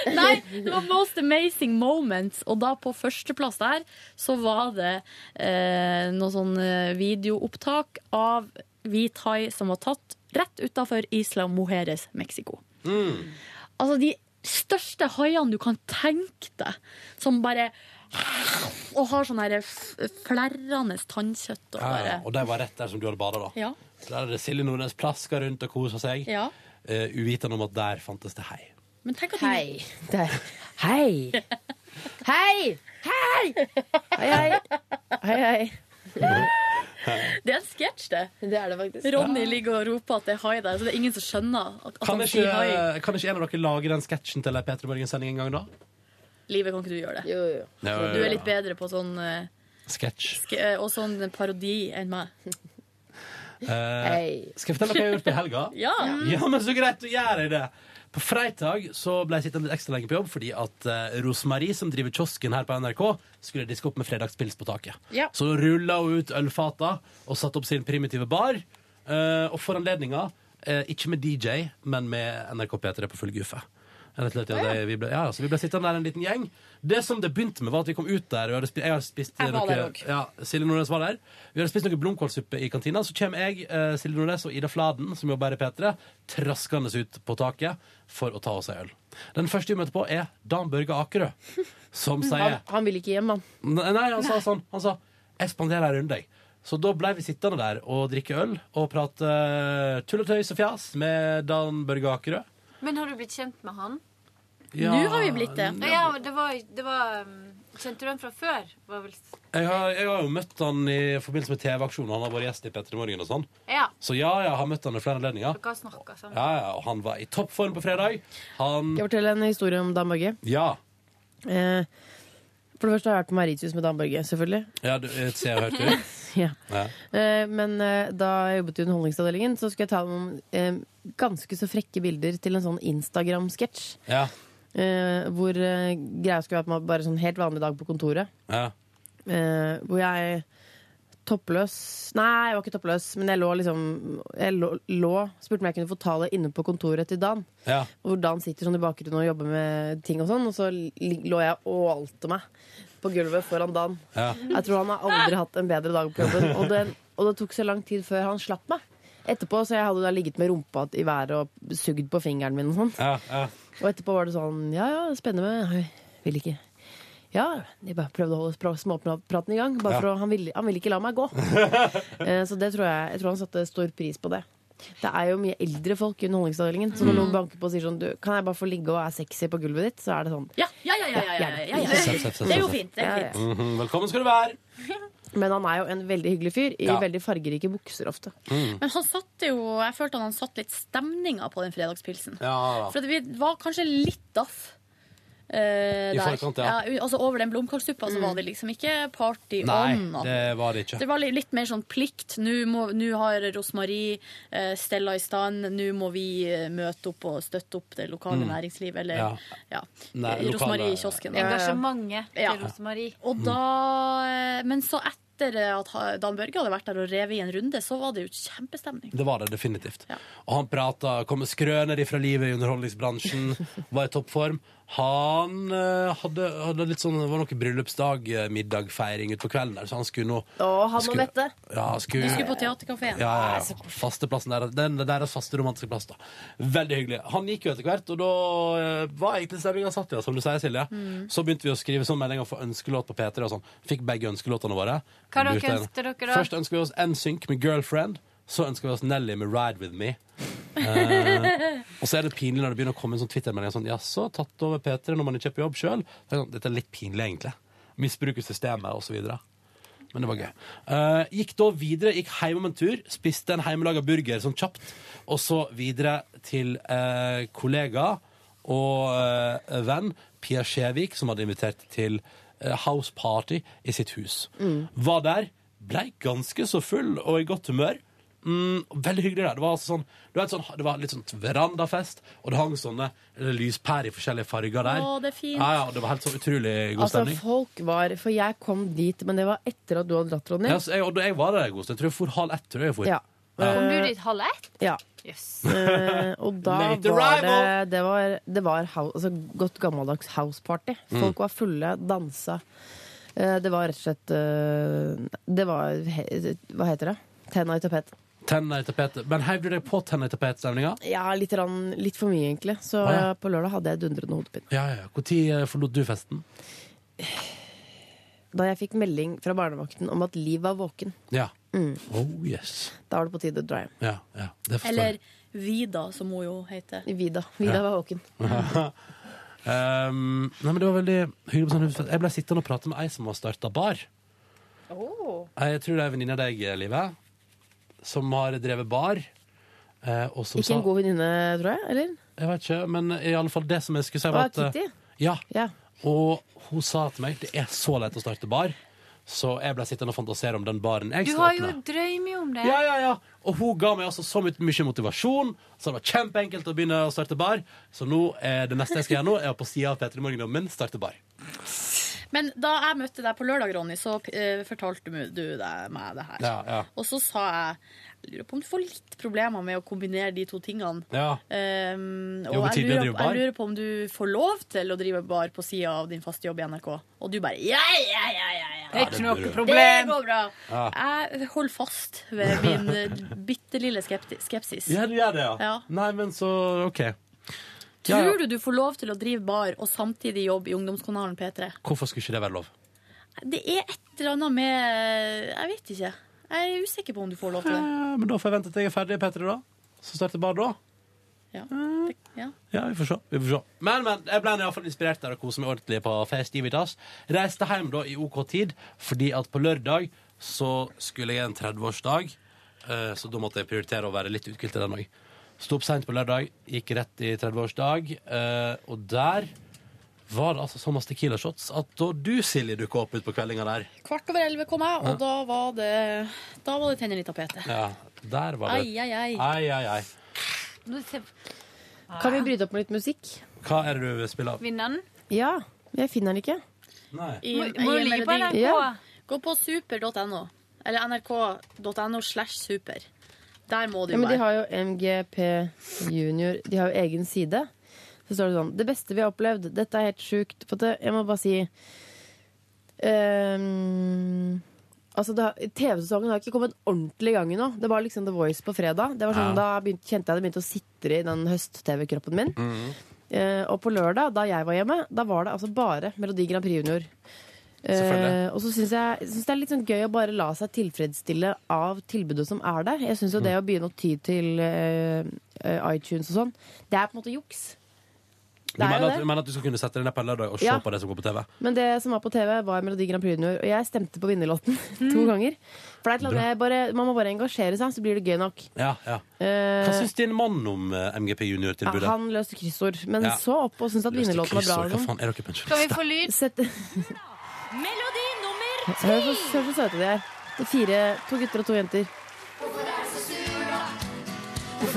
S3: Nei, det var Most Amazing Moments, og da på førsteplass der så var det eh, noe sånn eh, videoopptak av hvit hai som var tatt rett utafor Isla Mujeres, Mexico. Altså de største haiene du kan tenke deg, som bare Og har sånn her f- flerrende tannkjøtt og bare
S2: Og de var rett der som du hadde bada, da.
S3: Ja.
S2: Så der er det Silje Nordnes plaska rundt og kosa seg,
S3: ja.
S2: eh, uvitende om at der fantes det hei.
S3: Men tenk at du-
S11: Hei. Der. Hei. Hei. Hei. Hei, hei. Hei, hei.
S3: Det er en sketsj, det.
S11: Det er det faktisk.
S3: Ronny ligger og roper at det er hai der, så det er ingen som skjønner at, at
S2: Kan
S3: han
S2: ikke, eh,
S3: sier hai.
S2: kan ikke en av dere lage den sketsjen til P3 Morgen-sending en gang, da?
S3: Livet, kan ikke du gjøre det?
S11: Jo, jo.
S3: Du er litt bedre på sånn eh,
S2: Sketsj.
S3: sk- eh, og sånn parodi enn meg.
S11: Hei.
S2: Skal jeg fortelle hva jeg har gjort i helga?
S3: Ja!
S2: Ja, men så greit, å gjøre det. På fredag så ble jeg sittende litt ekstra lenge på jobb fordi at eh, Rosmarie, som driver kiosken her på NRK, skulle diske opp med fredagspils på taket.
S3: Ja.
S2: Så rulla hun ut ølfata og satte opp sin primitive bar. eh, og for anledninga, eh, ikke med DJ, men med NRK P3 på full guffe. Rett og slett, ja, det, vi ble, ja, så vi ble sittende der en liten gjeng. Det som det begynte med, var at vi kom ut der. Og jeg, hadde spi jeg har spist
S3: Jeg var
S2: noe-
S3: der også.
S2: ja, Silje Nordnes var der. Vi hadde spist noe blomkålsuppe i kantina. Så kommer jeg, eh, Silje Nordnes og Ida Fladen, som jobber her i P3, traskende ut på taket for å ta oss ei øl. Den første vi møter på, er Dan Børge Akerø, som
S11: Han,
S2: sier
S11: han vil ikke hjem, han.
S2: Nei, nei, han sa sånn. Han sa 'jeg spanderer en runde', jeg. Så da ble vi sittende der og drikke øl og prate eh, tull og tøys og fjas med Dan Børge Akerø.
S7: Men har du blitt kjent med han?
S2: Ja,
S3: Nå har vi blitt det.
S7: Ja, ja det var, det var um, Kjente du han fra før? Var vel,
S2: Jeg har, jeg har jo møtt han i forbindelse med TV-aksjonen. Han har vært gjest i P3 Morgen og sånn.
S7: ja.
S2: Så ja, jeg har møtt han ved flere anledninger.
S7: Dere har snakka sammen.
S2: Ja, ja, og han var i toppform på fredag. Han
S5: Skal jeg fortelle en historie om Dan Børge?
S2: Ja.
S5: Eh, For det første har jeg vært på Mauritius med Dan Børge, selvfølgelig.
S2: ja du, jeg ser og hørte det.
S5: Ja.
S2: Ja.
S5: Eh, Men eh, da jeg jobbet i Underholdningsavdelingen, så skulle jeg ta noen eh, ganske så frekke bilder til en sånn Instagram-sketsj.
S2: Ja,
S5: eh, Hvor eh, greia skulle være at man bare sånn helt vanlig dag på kontoret.
S2: ja.
S5: Eh, hvor jeg toppløs Nei, jeg var ikke toppløs, men jeg lå liksom Jeg lå, lå spurte om jeg kunne få ta det inne på kontoret til Dan.
S2: ja.
S5: Hvor Dan sitter sånn i bakgrunnen og jobber med ting og sånn, og så li- lå jeg og ålte meg på gulvet foran Dan.
S2: Ja.
S5: Jeg tror han har aldri hatt en bedre dag på jobben, og det, og det tok så lang tid før han slapp meg. Etterpå så jeg hadde da ligget med rumpa i været og sugd på fingeren min og sånn.
S2: ja, ja.
S5: Og etterpå var det sånn Ja, ja, spennende, men jeg vil ikke. Ja, de bare prøvde å holde spra- småpraten i gang. Bare for å, han, ville, han ville ikke la meg gå. Eh, så det tror jeg, jeg tror han satte stor pris på det. Det er jo mye eldre folk i Underholdningsavdelingen. Så
S2: Mm.
S5: når noen banker på og sier sånn du, Kan jeg bare få ligge og er sexy på gulvet ditt? Så er det sånn.
S3: Ja, ja, ja, ja, ja, ja, ja, ja.
S2: Seff, seff, seff,
S3: Det er jo
S2: seff.
S3: fint. Det er fint.
S2: Mhm, Velkommen skal du være.
S5: Men han er jo en veldig hyggelig fyr i
S2: Ja.
S5: veldig fargerike bukser ofte.
S3: Men han satte jo, jeg følte han satt litt stemninga på den fredagspilsen.
S2: Ja,
S3: For at vi var kanskje litt daff. eh,
S2: I
S3: der.
S2: forkant, ja.
S3: u- altså Over den blomkålsuppa så var det liksom ikke party
S2: Nei,
S3: on. at-
S2: det var det ikke.
S3: Det var li- litt mer sånn plikt. Nå må- nå har Rosmarie eh, stella i stand. Nå må vi eh, møte opp og støtte opp det lokale næringslivet. Eller
S2: Ja.
S3: Mm. ja.
S2: Nei, lokale-
S3: Rosmarie i kiosken. da.
S7: Engasjementet til
S3: Ja.
S7: Rosemarie.
S3: Og da, men så etter at ha- Dan Børge hadde vært der og revet i en runde, så var det jo kjempestemning.
S2: Det var det definitivt.
S3: Ja.
S2: Og han prata, kom med skrøner ifra livet i underholdningsbransjen, var i toppform. Han eh, hadde, hadde litt sånn, det var noe bryllupsdag, eh, middagfeiring utpå kvelden der, så han skulle nå
S5: Å, han og
S2: Skulle-
S5: Mette!
S2: ja, han
S3: Du
S2: skulle,
S3: skulle på teaterkafeen.
S2: Ja, ja, ja. Fasteplassen der, den det er deres faste romantiske plass. da Veldig hyggelig. Han gikk jo etter hvert, og da eh, var egentlig stemninga satt, ja, som du sier, Silje.
S7: Mm.
S2: Så begynte vi å skrive sånn meldinger for ønskelåt på P3 og sånn. Fikk begge ønskelåtene våre.
S7: Hva dere
S2: Lurte en-
S7: ønsket dere da?
S2: Først ønsker vi oss NSYNC med 'Girlfriend'. Så ønsker vi oss Nelly med 'Ride With Me'. Eh, og så er det pinlig når det begynner å komme en sånn Twitter-melding sånn 'Jaså, tatt over P3 når man ikke er på jobb sjøl?' Sånn, Dette er litt pinlig, egentlig. Misbruker systemet, og så videre. Men det var gøy. Eh, gikk da videre, gikk hjem om en tur, spiste en hjemmelaga burger sånn kjapt, og så videre til eh, kollega og eh, venn Pia Skjevik, som hadde invitert til eh, house party i sitt hus.
S3: Mm.
S2: Var der, blei ganske så full og i godt humør. Mm, veldig hyggelig der. Det var, altså sånn, det var, et sånn, det var litt sånn verandafest, og det hang sånne eh, lyspærer i forskjellige farger der.
S3: Å, det er fint.
S2: Ja, ja, og det var helt sånn utrolig god
S5: Altså,
S2: stemning.
S5: folk var For jeg kom dit, men det var etter at du hadde dratt, Ronny.
S2: Ja, så jeg, og da jeg var der en god stund. Jeg tror jeg for halv ett. Tror jeg jeg for.
S5: Ja.
S7: Kom du dit halv ett?
S5: ja.
S7: Jøss.
S5: Eh, og da
S2: Late
S5: var
S2: arrival!
S5: det Det var, det var hou- altså, godt gammeldags houseparty.
S2: Mm.
S5: Folk var fulle, dansa. Eh, det var rett og slett eh, Det var he, Hva heter det? Tenna i tapet.
S2: Tenner i tapetet. Men heiv du deg på tenner i tapetet-stemninga?
S5: Ja, litt, rann, litt for mye, egentlig. Så
S2: Å, ja.
S5: eh, på lørdag hadde jeg dundrende hodepine.
S2: Ja, ja. Når forlot du festen?
S5: Da jeg fikk melding fra barnevakten om at Liv var våken,
S2: Ja.
S5: Mm.
S2: Oh yes.
S5: da var det på tide å dra hjem.
S2: Ja, ja. Det forstår jeg.
S3: Eller Vida, som hun jo heter.
S5: Vida. Vida
S2: Ja.
S5: var våken.
S2: Um, nei, men det var veldig hyggelig på sånn husfest. Jeg ble sittende og prate med ei som har starta bar. Jeg tror det er en venninne av deg, Live, som har drevet bar. eh, og som
S5: Ikke en god venninne, tror jeg? Eller?
S2: Jeg vet ikke, men i alle fall det som jeg skulle si,
S5: Å,
S2: var at eh,
S5: Kitty?
S2: Ja.
S5: Ja.
S2: Og hun sa til meg det er så lett å starte bar, så jeg ble sittende og fantasere om den baren jeg
S7: Du
S2: skal
S7: har jo
S2: åpne.
S7: drømt om det.
S2: Ja, ja, ja. Og hun ga meg altså så my- mye motivasjon, så det var kjempeenkelt å begynne å starte bar. Så nå er det neste jeg skal gjøre nå, er på sida av P3 Morgen-dommen starte bar.
S3: Men da jeg møtte deg på lørdag, Ronny, så eh, fortalte du du deg meg det her.
S2: Ja, ja.
S3: Og så sa jeg jeg lurer på om du får litt problemer med å kombinere de to tingene.
S2: ja.
S3: Ehm,
S2: Jo,
S3: og
S2: men
S3: jeg
S2: tidligere
S3: lurer,
S2: driver
S3: på, jeg
S2: bar.
S3: lurer på om du får lov til å drive bar på sida av din faste jobb i NRK. Og du bare ja, ja, ja, ja, ja.
S7: Ikke noe
S3: Det
S7: problem.
S3: går bra.
S2: Ja.
S3: Jeg holder fast ved min eh, bitte lille skepti skepsis.
S2: Ja, du gjør det, ja.
S3: Ja.
S2: Nei, men så OK. Ja, ja.
S3: Tror du du får lov til å drive bar og samtidig jobbe i ungdomskanalen P3?
S2: Hvorfor skulle ikke det være lov?
S3: Det er et eller annet med eh, Jeg vet ikke. Jeg er usikker på om du får lov til det.
S2: Eh, men da får jeg vente til jeg er ferdig, Petter, da. Så starter bar da.
S3: Ja. det ja.
S2: Ja, vi får se. Vi får se. Men, men, jeg ble i hvert fall inspirert der og koset meg ordentlig på festivitas. Reiste hjem da i OK tid, fordi at på lørdag så skulle jeg en 30-årsdag, eh, så da måtte jeg prioritere å være litt utkilt til den òg. Sto opp seint på lørdag, gikk rett i 30-årsdag, eh, og der var det altså så masse Tequila shots at da du, Silje, dukka opp utpå kveldinga der.
S3: Kvart over elleve kom jeg, og da var det, da var det tenner i tapetet.
S2: Ja, der var
S3: Ai,
S2: det.
S3: ai, ai.
S2: Ai, ai, ai.
S7: Nå ser-
S5: Kan vi bryte opp med litt musikk?
S2: Hva er det du vil spille av?
S7: Vinneren
S5: Ja. Jeg finner den ikke.
S2: Nei.
S3: I,
S7: må,
S3: i
S7: må
S3: en
S7: ligge på
S3: melodi.
S7: NRK.
S5: Ja.
S3: Gå på super.no, eller nrk.no slash super. Der må det
S5: Ja,
S3: jo
S5: men
S3: være.
S5: de har jo MGP Junior De har jo egen side. Så står det sånn Det beste vi har opplevd. Dette er helt sjukt. For det, jeg må bare si ehm, Altså, det har- TV-sesongen har ikke kommet ordentlig i gang ennå. Det var liksom The Voice på fredag. Det var sånn, Da begynte, kjente jeg det begynte å sitre i den høst-TV-kroppen min. Eh, og på lørdag, da jeg var hjemme, da var det altså bare Melodi Grand Prix Junior.
S2: Selvfølgelig.
S5: Eh, og så syns jeg synes det er litt sånn gøy å bare la seg tilfredsstille av tilbudet som er der. Jeg syns jo det å begynne å ty til eh, eh, iTunes og sånn, det er på en måte juks.
S2: Du
S5: Det er
S2: mener
S5: jo
S2: at,
S5: det.
S2: du mener at du skal kunne sette deg ned på en lørdag og se
S5: Ja.
S2: på det som går på TV?
S5: Men det som var på TV, var Melodi Grand Prix Junior, og jeg stemte på vinnerlåten to ganger. For det er et eller annet jeg bare, man må bare engasjere seg, så blir det gøy nok.
S2: Ja, ja.
S5: Eh,
S2: Hva syns din mann om eh, MGP Junior-tilbudet?
S5: han løste kryssord, men
S2: Ja.
S5: så opp og syntes at
S2: Løste
S5: vinnerlåten var bra.
S2: kryssord.
S5: liksom. eller
S2: Hva
S5: noe.
S2: faen, er dere
S7: Skal vi
S2: pensjonister?
S7: få lyd?
S5: Sett,
S3: Melodi nummer
S5: hør, så, hør så søte de er. Det er Fire, to gutter og to jenter.
S12: Hvorfor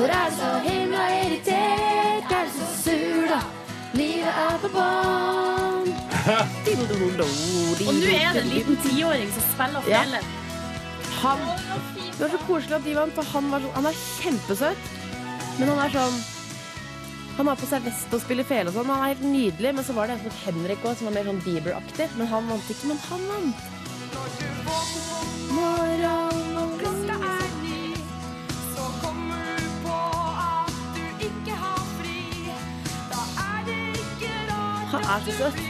S12: er du så himla irritert? Er du så sur, da? Livet er på bånn.
S3: Og nå er det en liten tiåring som spiller
S5: Ja.
S3: fjellet.
S5: Han, det var så koselig at de vant, for han, var, så- han er kjempesøt. Men han er sånn Han har på seg vest og spiller fele og sånn. Han er helt nydelig. Men så var det en som het Henrik òg, som var mer sånn Bieber-aktig. Men han vant ikke. Men han vant. Han er så søt.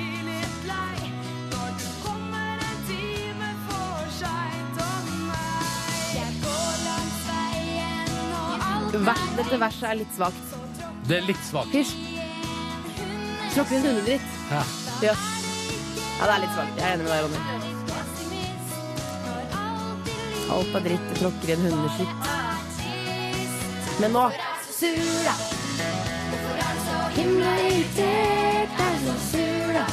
S5: Vers, dette verset er litt svakt.
S2: Det er litt svakt.
S5: Hysj. Tråkker en hundedritt.
S2: Ja.
S5: Jøss. Ja, det er litt svakt. Jeg er enig med deg, Ronny. Alt er dritt. Det tråkker i en hundeskitt. Men nå
S12: Sura. Hvorfor er du så himla irritert? Er du så sur, da?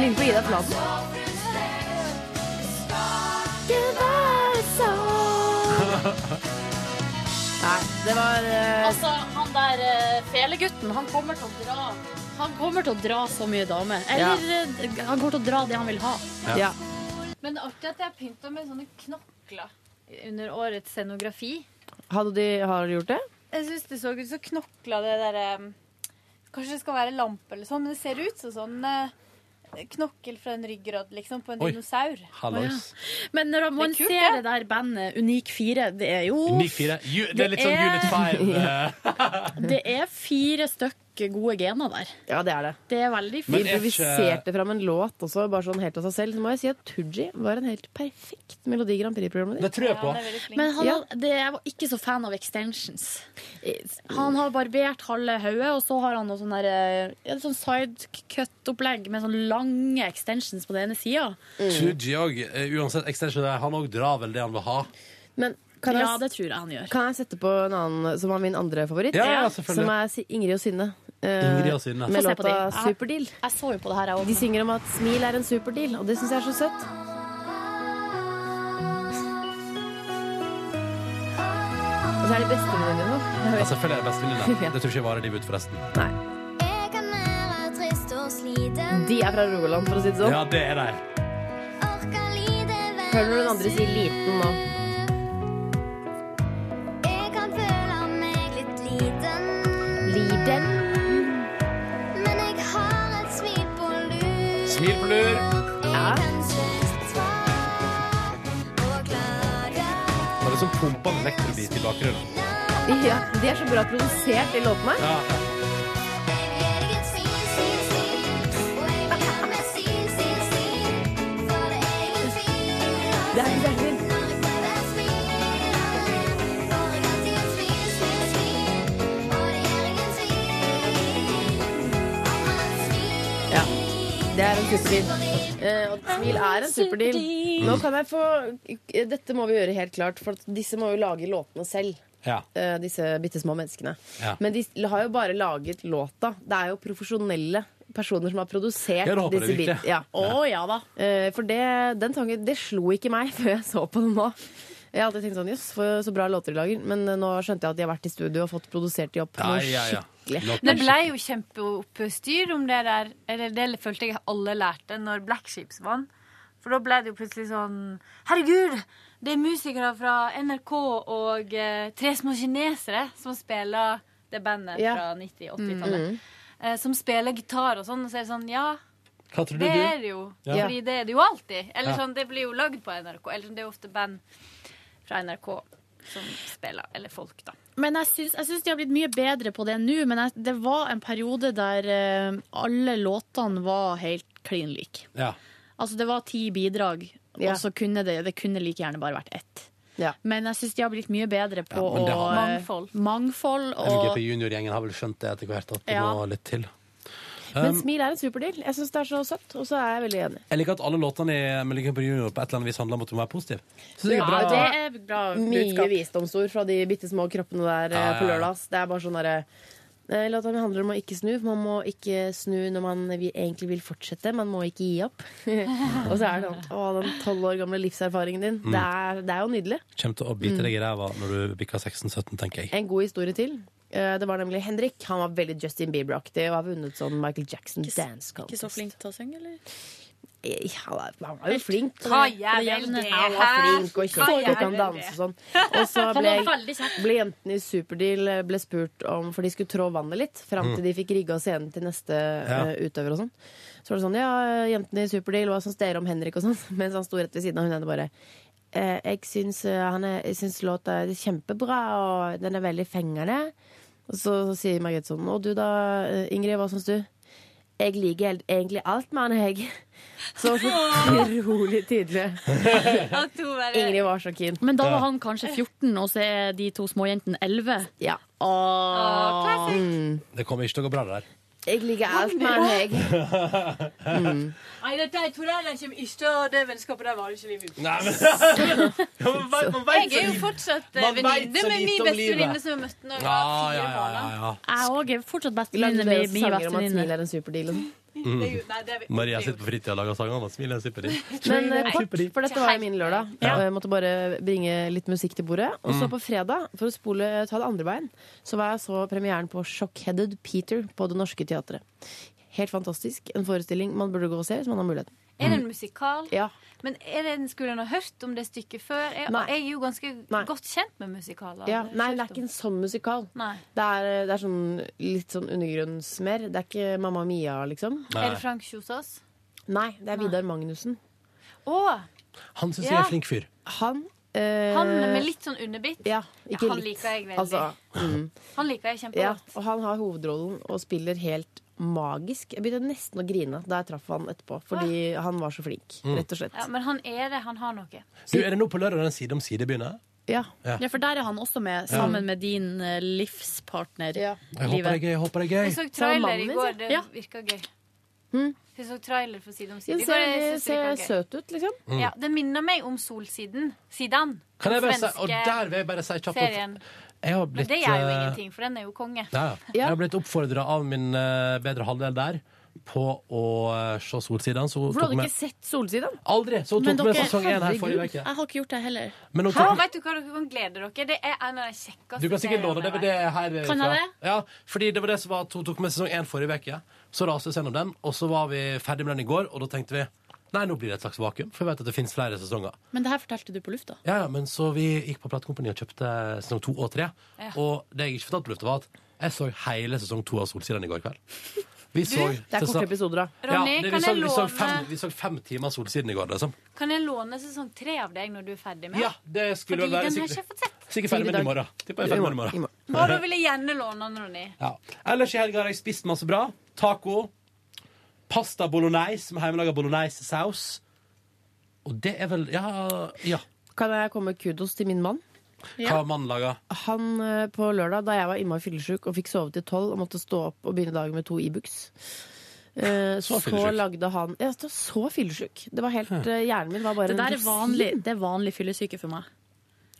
S5: ligner på Ida Fladen.
S12: Det var sånn.
S5: Nei, det var eh,
S3: Altså, han der eh, felegutten, han kommer til å dra. Han kommer til å dra så mye damer. Eller eh, han kommer til å dra det han vil ha.
S5: Ja.
S7: Men det er artig at jeg har pynta med sånne knokler under årets scenografi.
S5: Hadde de, har de gjort det?
S7: Jeg syns det så ut som knokler, det derre Kanskje det skal være lampe eller sånn, men det ser ut som sånn eh, knokkel fra en ryggrad, liksom, på en
S3: Oi.
S7: dinosaur.
S13: Hallois.
S3: Men når man
S7: Det er kult,
S3: ser det der bandet Unik 4, det er jo
S13: Unik fire. Ju, det er litt sånn Unit Five. eh.
S3: Det er fire stykk gode gener der.
S5: Ja, det er det.
S3: Det er veldig
S5: Vi
S3: fint.
S13: eh.
S5: improviserte fram en låt også, bare sånn helt av seg selv. Så må jeg si at Tooji var en helt perfekt Melodi Grand Prix-programleder.
S13: Det tror jeg på.
S3: Men han,
S5: Ja.
S3: det, jeg var ikke så fan av extensions. Han har barbert halve hodet, og så har han noe sånn der, eh, et sånn sidecut-opplegg med sånn lange extensions på den ene sida.
S13: Tooji òg. eh, Uansett extension, der, han òg drar vel det han vil ha.
S5: Men kan
S3: Ja,
S5: jeg,
S3: det tror jeg han gjør.
S5: kan jeg sette på en annen som var min andre favoritt?
S13: Ja, ja, selvfølgelig.
S5: som er Si- Ingrid og Synne. Eh,
S13: Ingrid og Synne.
S5: Med
S3: Få se på de.
S5: låta
S3: Jeg-
S5: Superdeal.
S3: Jeg så jo på det her, jeg
S5: De
S3: også.
S5: synger om at smil er en superdeal, og det syns jeg er så søtt. Og så er de bestevenninnene nå.
S13: Ja, selvfølgelig er det bestevenninna. Det tror ikke jeg varer livet ut, forresten.
S14: Jeg kan være trist og sliten.
S5: De er fra Rogaland, for å si det sånn.
S13: Ja, det er de.
S14: Orker lite være
S5: Hører du den andre si liten nå?
S14: Jeg kan føle meg litt liten,
S5: Liden.
S14: men jeg har et smil på lur.
S13: Smil på lur.
S14: Jeg kan synes svar og klage.
S13: Det er liksom pumpa med vekkelbit i bakgrunnen.
S5: Ja, de er så bra produsert, de låtene her.
S13: Ja.
S14: Jeg vil ikke si, si, si, og jeg vil gjerne si, si, si, for det er ingen tvil om
S5: Det er det er fint.
S14: Når jeg prøver å smile litt, får jeg alltid et smil, smil, smil, og det er ingen tvil om at smil
S5: Ja. Det er en superdeal. Eh, og smil er en superdeal. Nå kan jeg få Dette må vi gjøre helt klart, for at disse må jo lage låtene selv.
S13: Ja.
S5: eh, disse bitte små menneskene.
S13: Ja.
S5: Men de har jo bare laget låta. Det er jo profesjonelle personer som har
S13: Ja,
S5: produsert
S13: det håper jeg
S5: disse
S13: det
S5: bit-
S13: virker.
S5: Ja.
S3: Å ja da.
S5: Eh, For det, den tanken Det slo ikke meg før jeg så på den nå. Jeg har alltid tenkt sånn, jøss, for så bra låter de lager. Men eh, nå skjønte jeg at de har vært i studio og fått produsert de opp
S13: Ja,
S5: noe
S13: ja, ja.
S5: skikkelig.
S13: Låten
S7: Det
S13: er
S7: ble jo kjempeoppstyr om det der. Eller det følte jeg alle lærte når Black Ships vant. For da ble det jo plutselig sånn Herregud! Det er musikere fra NRK og eh, Tre små kinesere som spiller det bandet
S5: Ja.
S7: fra 90-80-tallet. Eh, som spiller gitar og sånn. Og så er det sånn Ja,
S13: skikkelig. Hva tror du?
S7: det er
S13: du?
S7: det jo.
S13: Ja.
S7: Fordi det er det jo alltid. Eller
S13: Ja.
S7: sånn, det blir jo lagd på NRK. Eller sånn, det er jo ofte band fra NRK som spiller. Eller folk, da.
S3: Men jeg syns, jeg syns de har blitt mye bedre på det nå, men jeg, det var en periode der eh, alle låtene var helt klin like.
S13: Ja.
S3: Altså det var ti bidrag,
S5: Ja.
S3: og så kunne det, det kunne like gjerne bare vært ett.
S5: Ja.
S3: Men jeg syns de har blitt mye bedre på
S13: Ja, men det
S3: å
S13: har-
S3: eh,
S7: Mangfold.
S3: mangfold og
S13: MGP junior-gjengen har vel skjønt det etter hvert, at det
S3: Ja.
S13: må litt til.
S5: Men
S13: Um,
S5: smil er en superdeal. Jeg syns det er så søtt, og så er jeg veldig enig.
S13: Jeg liker at alle låtene i Melodica på junior på et eller annet vis handler om at du må være positiv. Synes jeg er
S3: Ja,
S13: bra.
S3: det er bra
S5: Mye
S3: budskap.
S5: visdomsord fra de bitte små kroppene der eh,
S13: Ja, ja,
S5: på
S13: ja.
S5: lørdag. ass. Det er bare sånn derre eh, Låta mi handler om å ikke snu. for Man må ikke snu når man vi- egentlig vil fortsette. Man må ikke gi opp. og så er det sånn Å, den tolv år gamle livserfaringen din.
S13: Mm.
S5: Det, er, det er jo nydelig.
S13: Kjem til å bite deg i ræva når du bikker 16-17, tenker jeg.
S5: En god historie til. Eh, Det var nemlig Henrik. Han var veldig Justin Bieber-aktig og har vunnet sånn Michael Jackson dance contest.
S3: Ikke så flink til å synge, eller?
S5: Eh, Han er- han var jo flink.
S7: Hva gjør vel det
S5: Han var flink og
S7: Hva
S5: kjekk og
S7: gjør
S5: kan
S7: vel
S5: danse
S7: det?
S5: og sånn. Og så
S3: Han
S5: ble,
S3: var veldig kjekk.
S5: ble jentene i Superdeal eh, ble spurt om For de skulle trå vannet litt fram til de fikk rigga scenen til neste eh, utøver og sånn. Så var det sånn Ja, eh, jentene i Superdeal, hva syns dere om Henrik og sånn? Mens han sto rett ved siden av hun ene bare eh, Jeg syns, eh, han er, jeg syns låta er kjempebra, og den er veldig fengende. Og så, så sier Margrethe sånn Og du da, eh, Ingrid, hva syns du? Jeg liker helt- egentlig alt med han, jeg. Så så utrolig tydelig.
S7: At hun bare-
S5: Ingrid var så keen.
S3: Men da var han kanskje 14, og så er de to småjentene 11.
S5: Ja.
S7: Å, classic.
S13: Det kommer ikke til å gå bra, det der.
S5: Jeg liker alt med han, jeg.
S7: Nei, det, de to der de kommer ikke til å Det vennskapet der varer ikke livet ut.
S13: Nei, men, ja, men vet- man vet
S7: Jeg er jo fortsatt eh,
S13: Man vet så
S7: venninne
S13: lite
S7: med min
S13: om
S7: bestevenninne
S13: livet.
S7: som jeg møtte da jeg
S13: Ja,
S7: var
S13: ja,
S7: fire
S13: ja,
S7: barn.
S13: ja, ja.
S3: Jeg òg er fortsatt
S5: Lagde
S3: bestevenninne
S5: dere
S3: mi.
S5: også
S3: mi
S5: sanger om at smil
S3: bestevenninne.
S5: er en superdeal? og sånn?
S7: Det er jo- nei, det er vi-
S13: Maria sitter på fritida og lager sanger om at smilet er superdritt.
S5: Men eh, kort,
S13: Superdeal.
S5: for dette var jo min lørdag. Og jeg måtte bare bringe litt musikk til bordet. Og så på fredag, for å spole, ta det andre veien, så var jeg så premieren på Shockheaded Peter på Det Norske Teatret. Helt fantastisk. En forestilling man burde gå og se hvis man har muligheten.
S7: Er det en musikal?
S5: Ja.
S7: Men er det en skulle en ha hørt om det stykket før? Jeg,
S5: Nei.
S7: jeg er jo ganske
S5: Nei.
S7: godt kjent med musikaler.
S5: ja.
S7: Har jeg
S5: Nei,
S7: hørt
S5: det er
S7: om.
S5: ikke en sånn musikal.
S7: Nei.
S5: Det er, det er sånn, litt sånn undergrunnsmer. Det er ikke Mamma Mia, liksom.
S7: Er det Frank Kjosås?
S5: Nei, det er Vidar Magnussen.
S2: Han syns jeg
S7: Ja.
S2: er flink fyr.
S5: Han eh,
S7: Han med litt sånn underbitt.
S5: Ja, ikke
S7: han
S5: litt.
S7: liker jeg veldig.
S5: Altså, mm.
S7: Han liker jeg
S5: ja,
S7: kjempegodt.
S5: og han har hovedrollen og spiller helt magisk. Jeg begynte nesten å grine da jeg traff han etterpå, fordi
S7: Ah.
S5: han var så flink,
S2: Mm.
S5: rett og slett.
S7: Ja, men han er det. Han har noe.
S2: Du, er det nå på lørdag den side om side begynner?
S5: Ja.
S2: Ja.
S3: Ja, for der er han også med, sammen med din eh, livspartner.
S2: Jeg håper det er gøy. Jeg håper det er
S7: Jeg
S2: gøy.
S7: så trailer i
S3: mannen
S7: går.
S3: sin?
S7: Det
S3: Ja.
S7: virka gøy.
S5: Mm.
S7: Jeg så trailer for Side om side.
S5: Den
S7: i går,
S5: ser,
S7: jeg synes det virka
S5: ser
S7: gøy.
S5: søt ut, liksom.
S2: Mm.
S7: Ja, det minner meg om Solsiden. Sidan.
S2: Kan jeg bare si,
S7: Svenske
S2: og der vil jeg bare si kjapt at
S7: serien.
S2: jeg har
S7: Men
S2: blitt
S7: det gjør jo
S2: eh,
S7: ingenting, for den er jo konge.
S2: Ja, ja. Jeg har blitt oppfordra av min eh, bedre halvdel der på å eh, se Solsiden. Så hun
S5: For du
S2: tok
S5: hadde
S2: med
S5: ikke sett Solsiden?
S2: Aldri! Så hun tok med sesong én her
S5: herregud,
S2: forrige uke.
S3: Jeg har ikke gjort det heller.
S2: Men hun
S7: Hæ?
S2: tok med,
S7: Vet du hva dere kan glede dere? Det er en av de kjekkeste
S2: du kan sikkert låne
S7: seriene
S2: DVD her. eh,
S3: Kan jeg
S2: fra.
S3: det?
S2: Ja, fordi det var det som var at hun tok med sesong én forrige uke. Så raste vi oss gjennom den, og så var vi ferdig med den i går, og da tenkte vi Nei, nå blir det et slags vakuum, for jeg vet at det fins flere sesonger.
S3: Men det her fortalte du på lufta.
S2: Ja, ja, men så vi gikk på platekompani og kjøpte sesong to og tre.
S7: Ja.
S2: Og det jeg ikke fortalte på lufta, var at jeg så hele sesong to av Solsiden i går kveld. Vi så
S5: Det er korte episoder, da.
S7: Ronny,
S2: det- vi,
S7: kan
S2: så,
S7: jeg
S2: vi, så
S7: låne-
S2: fem, vi så fem timer Solsiden i går, liksom.
S7: Kan jeg låne sesong tre av deg når du er ferdig med
S2: Ja, det skulle
S7: Fordi
S2: vel
S7: den har
S2: være
S7: jeg ikke
S2: sikkert,
S7: fått sett.
S2: sikkert ferdig med den i morgen. Tipper jeg er ferdig med den i morgen.
S7: Å, da vil jeg gjerne låne den, Ronny.
S2: Ja. Ellers i helga har jeg spist masse bra. Taco. Pasta bolognese med hjemmelaga bolognese-saus. Og det er vel Ja. ja.
S5: Kan jeg komme med kudos til min mann?
S2: Hva har mannen laga?
S3: Ah.
S5: Han eh, på lørdag, da jeg var innmari fyllesyk og fikk sove til tolv og måtte stå opp og begynne dagen med to Ibux, eh,
S2: Så
S5: så,
S2: fyllesyk.
S5: lagde han Ja, det var så fyllesyk. Det var helt eh, Hjernen min var bare
S3: Det der
S5: en
S3: er
S5: rosin.
S3: vanlig, det er vanlig fyllesyke for meg.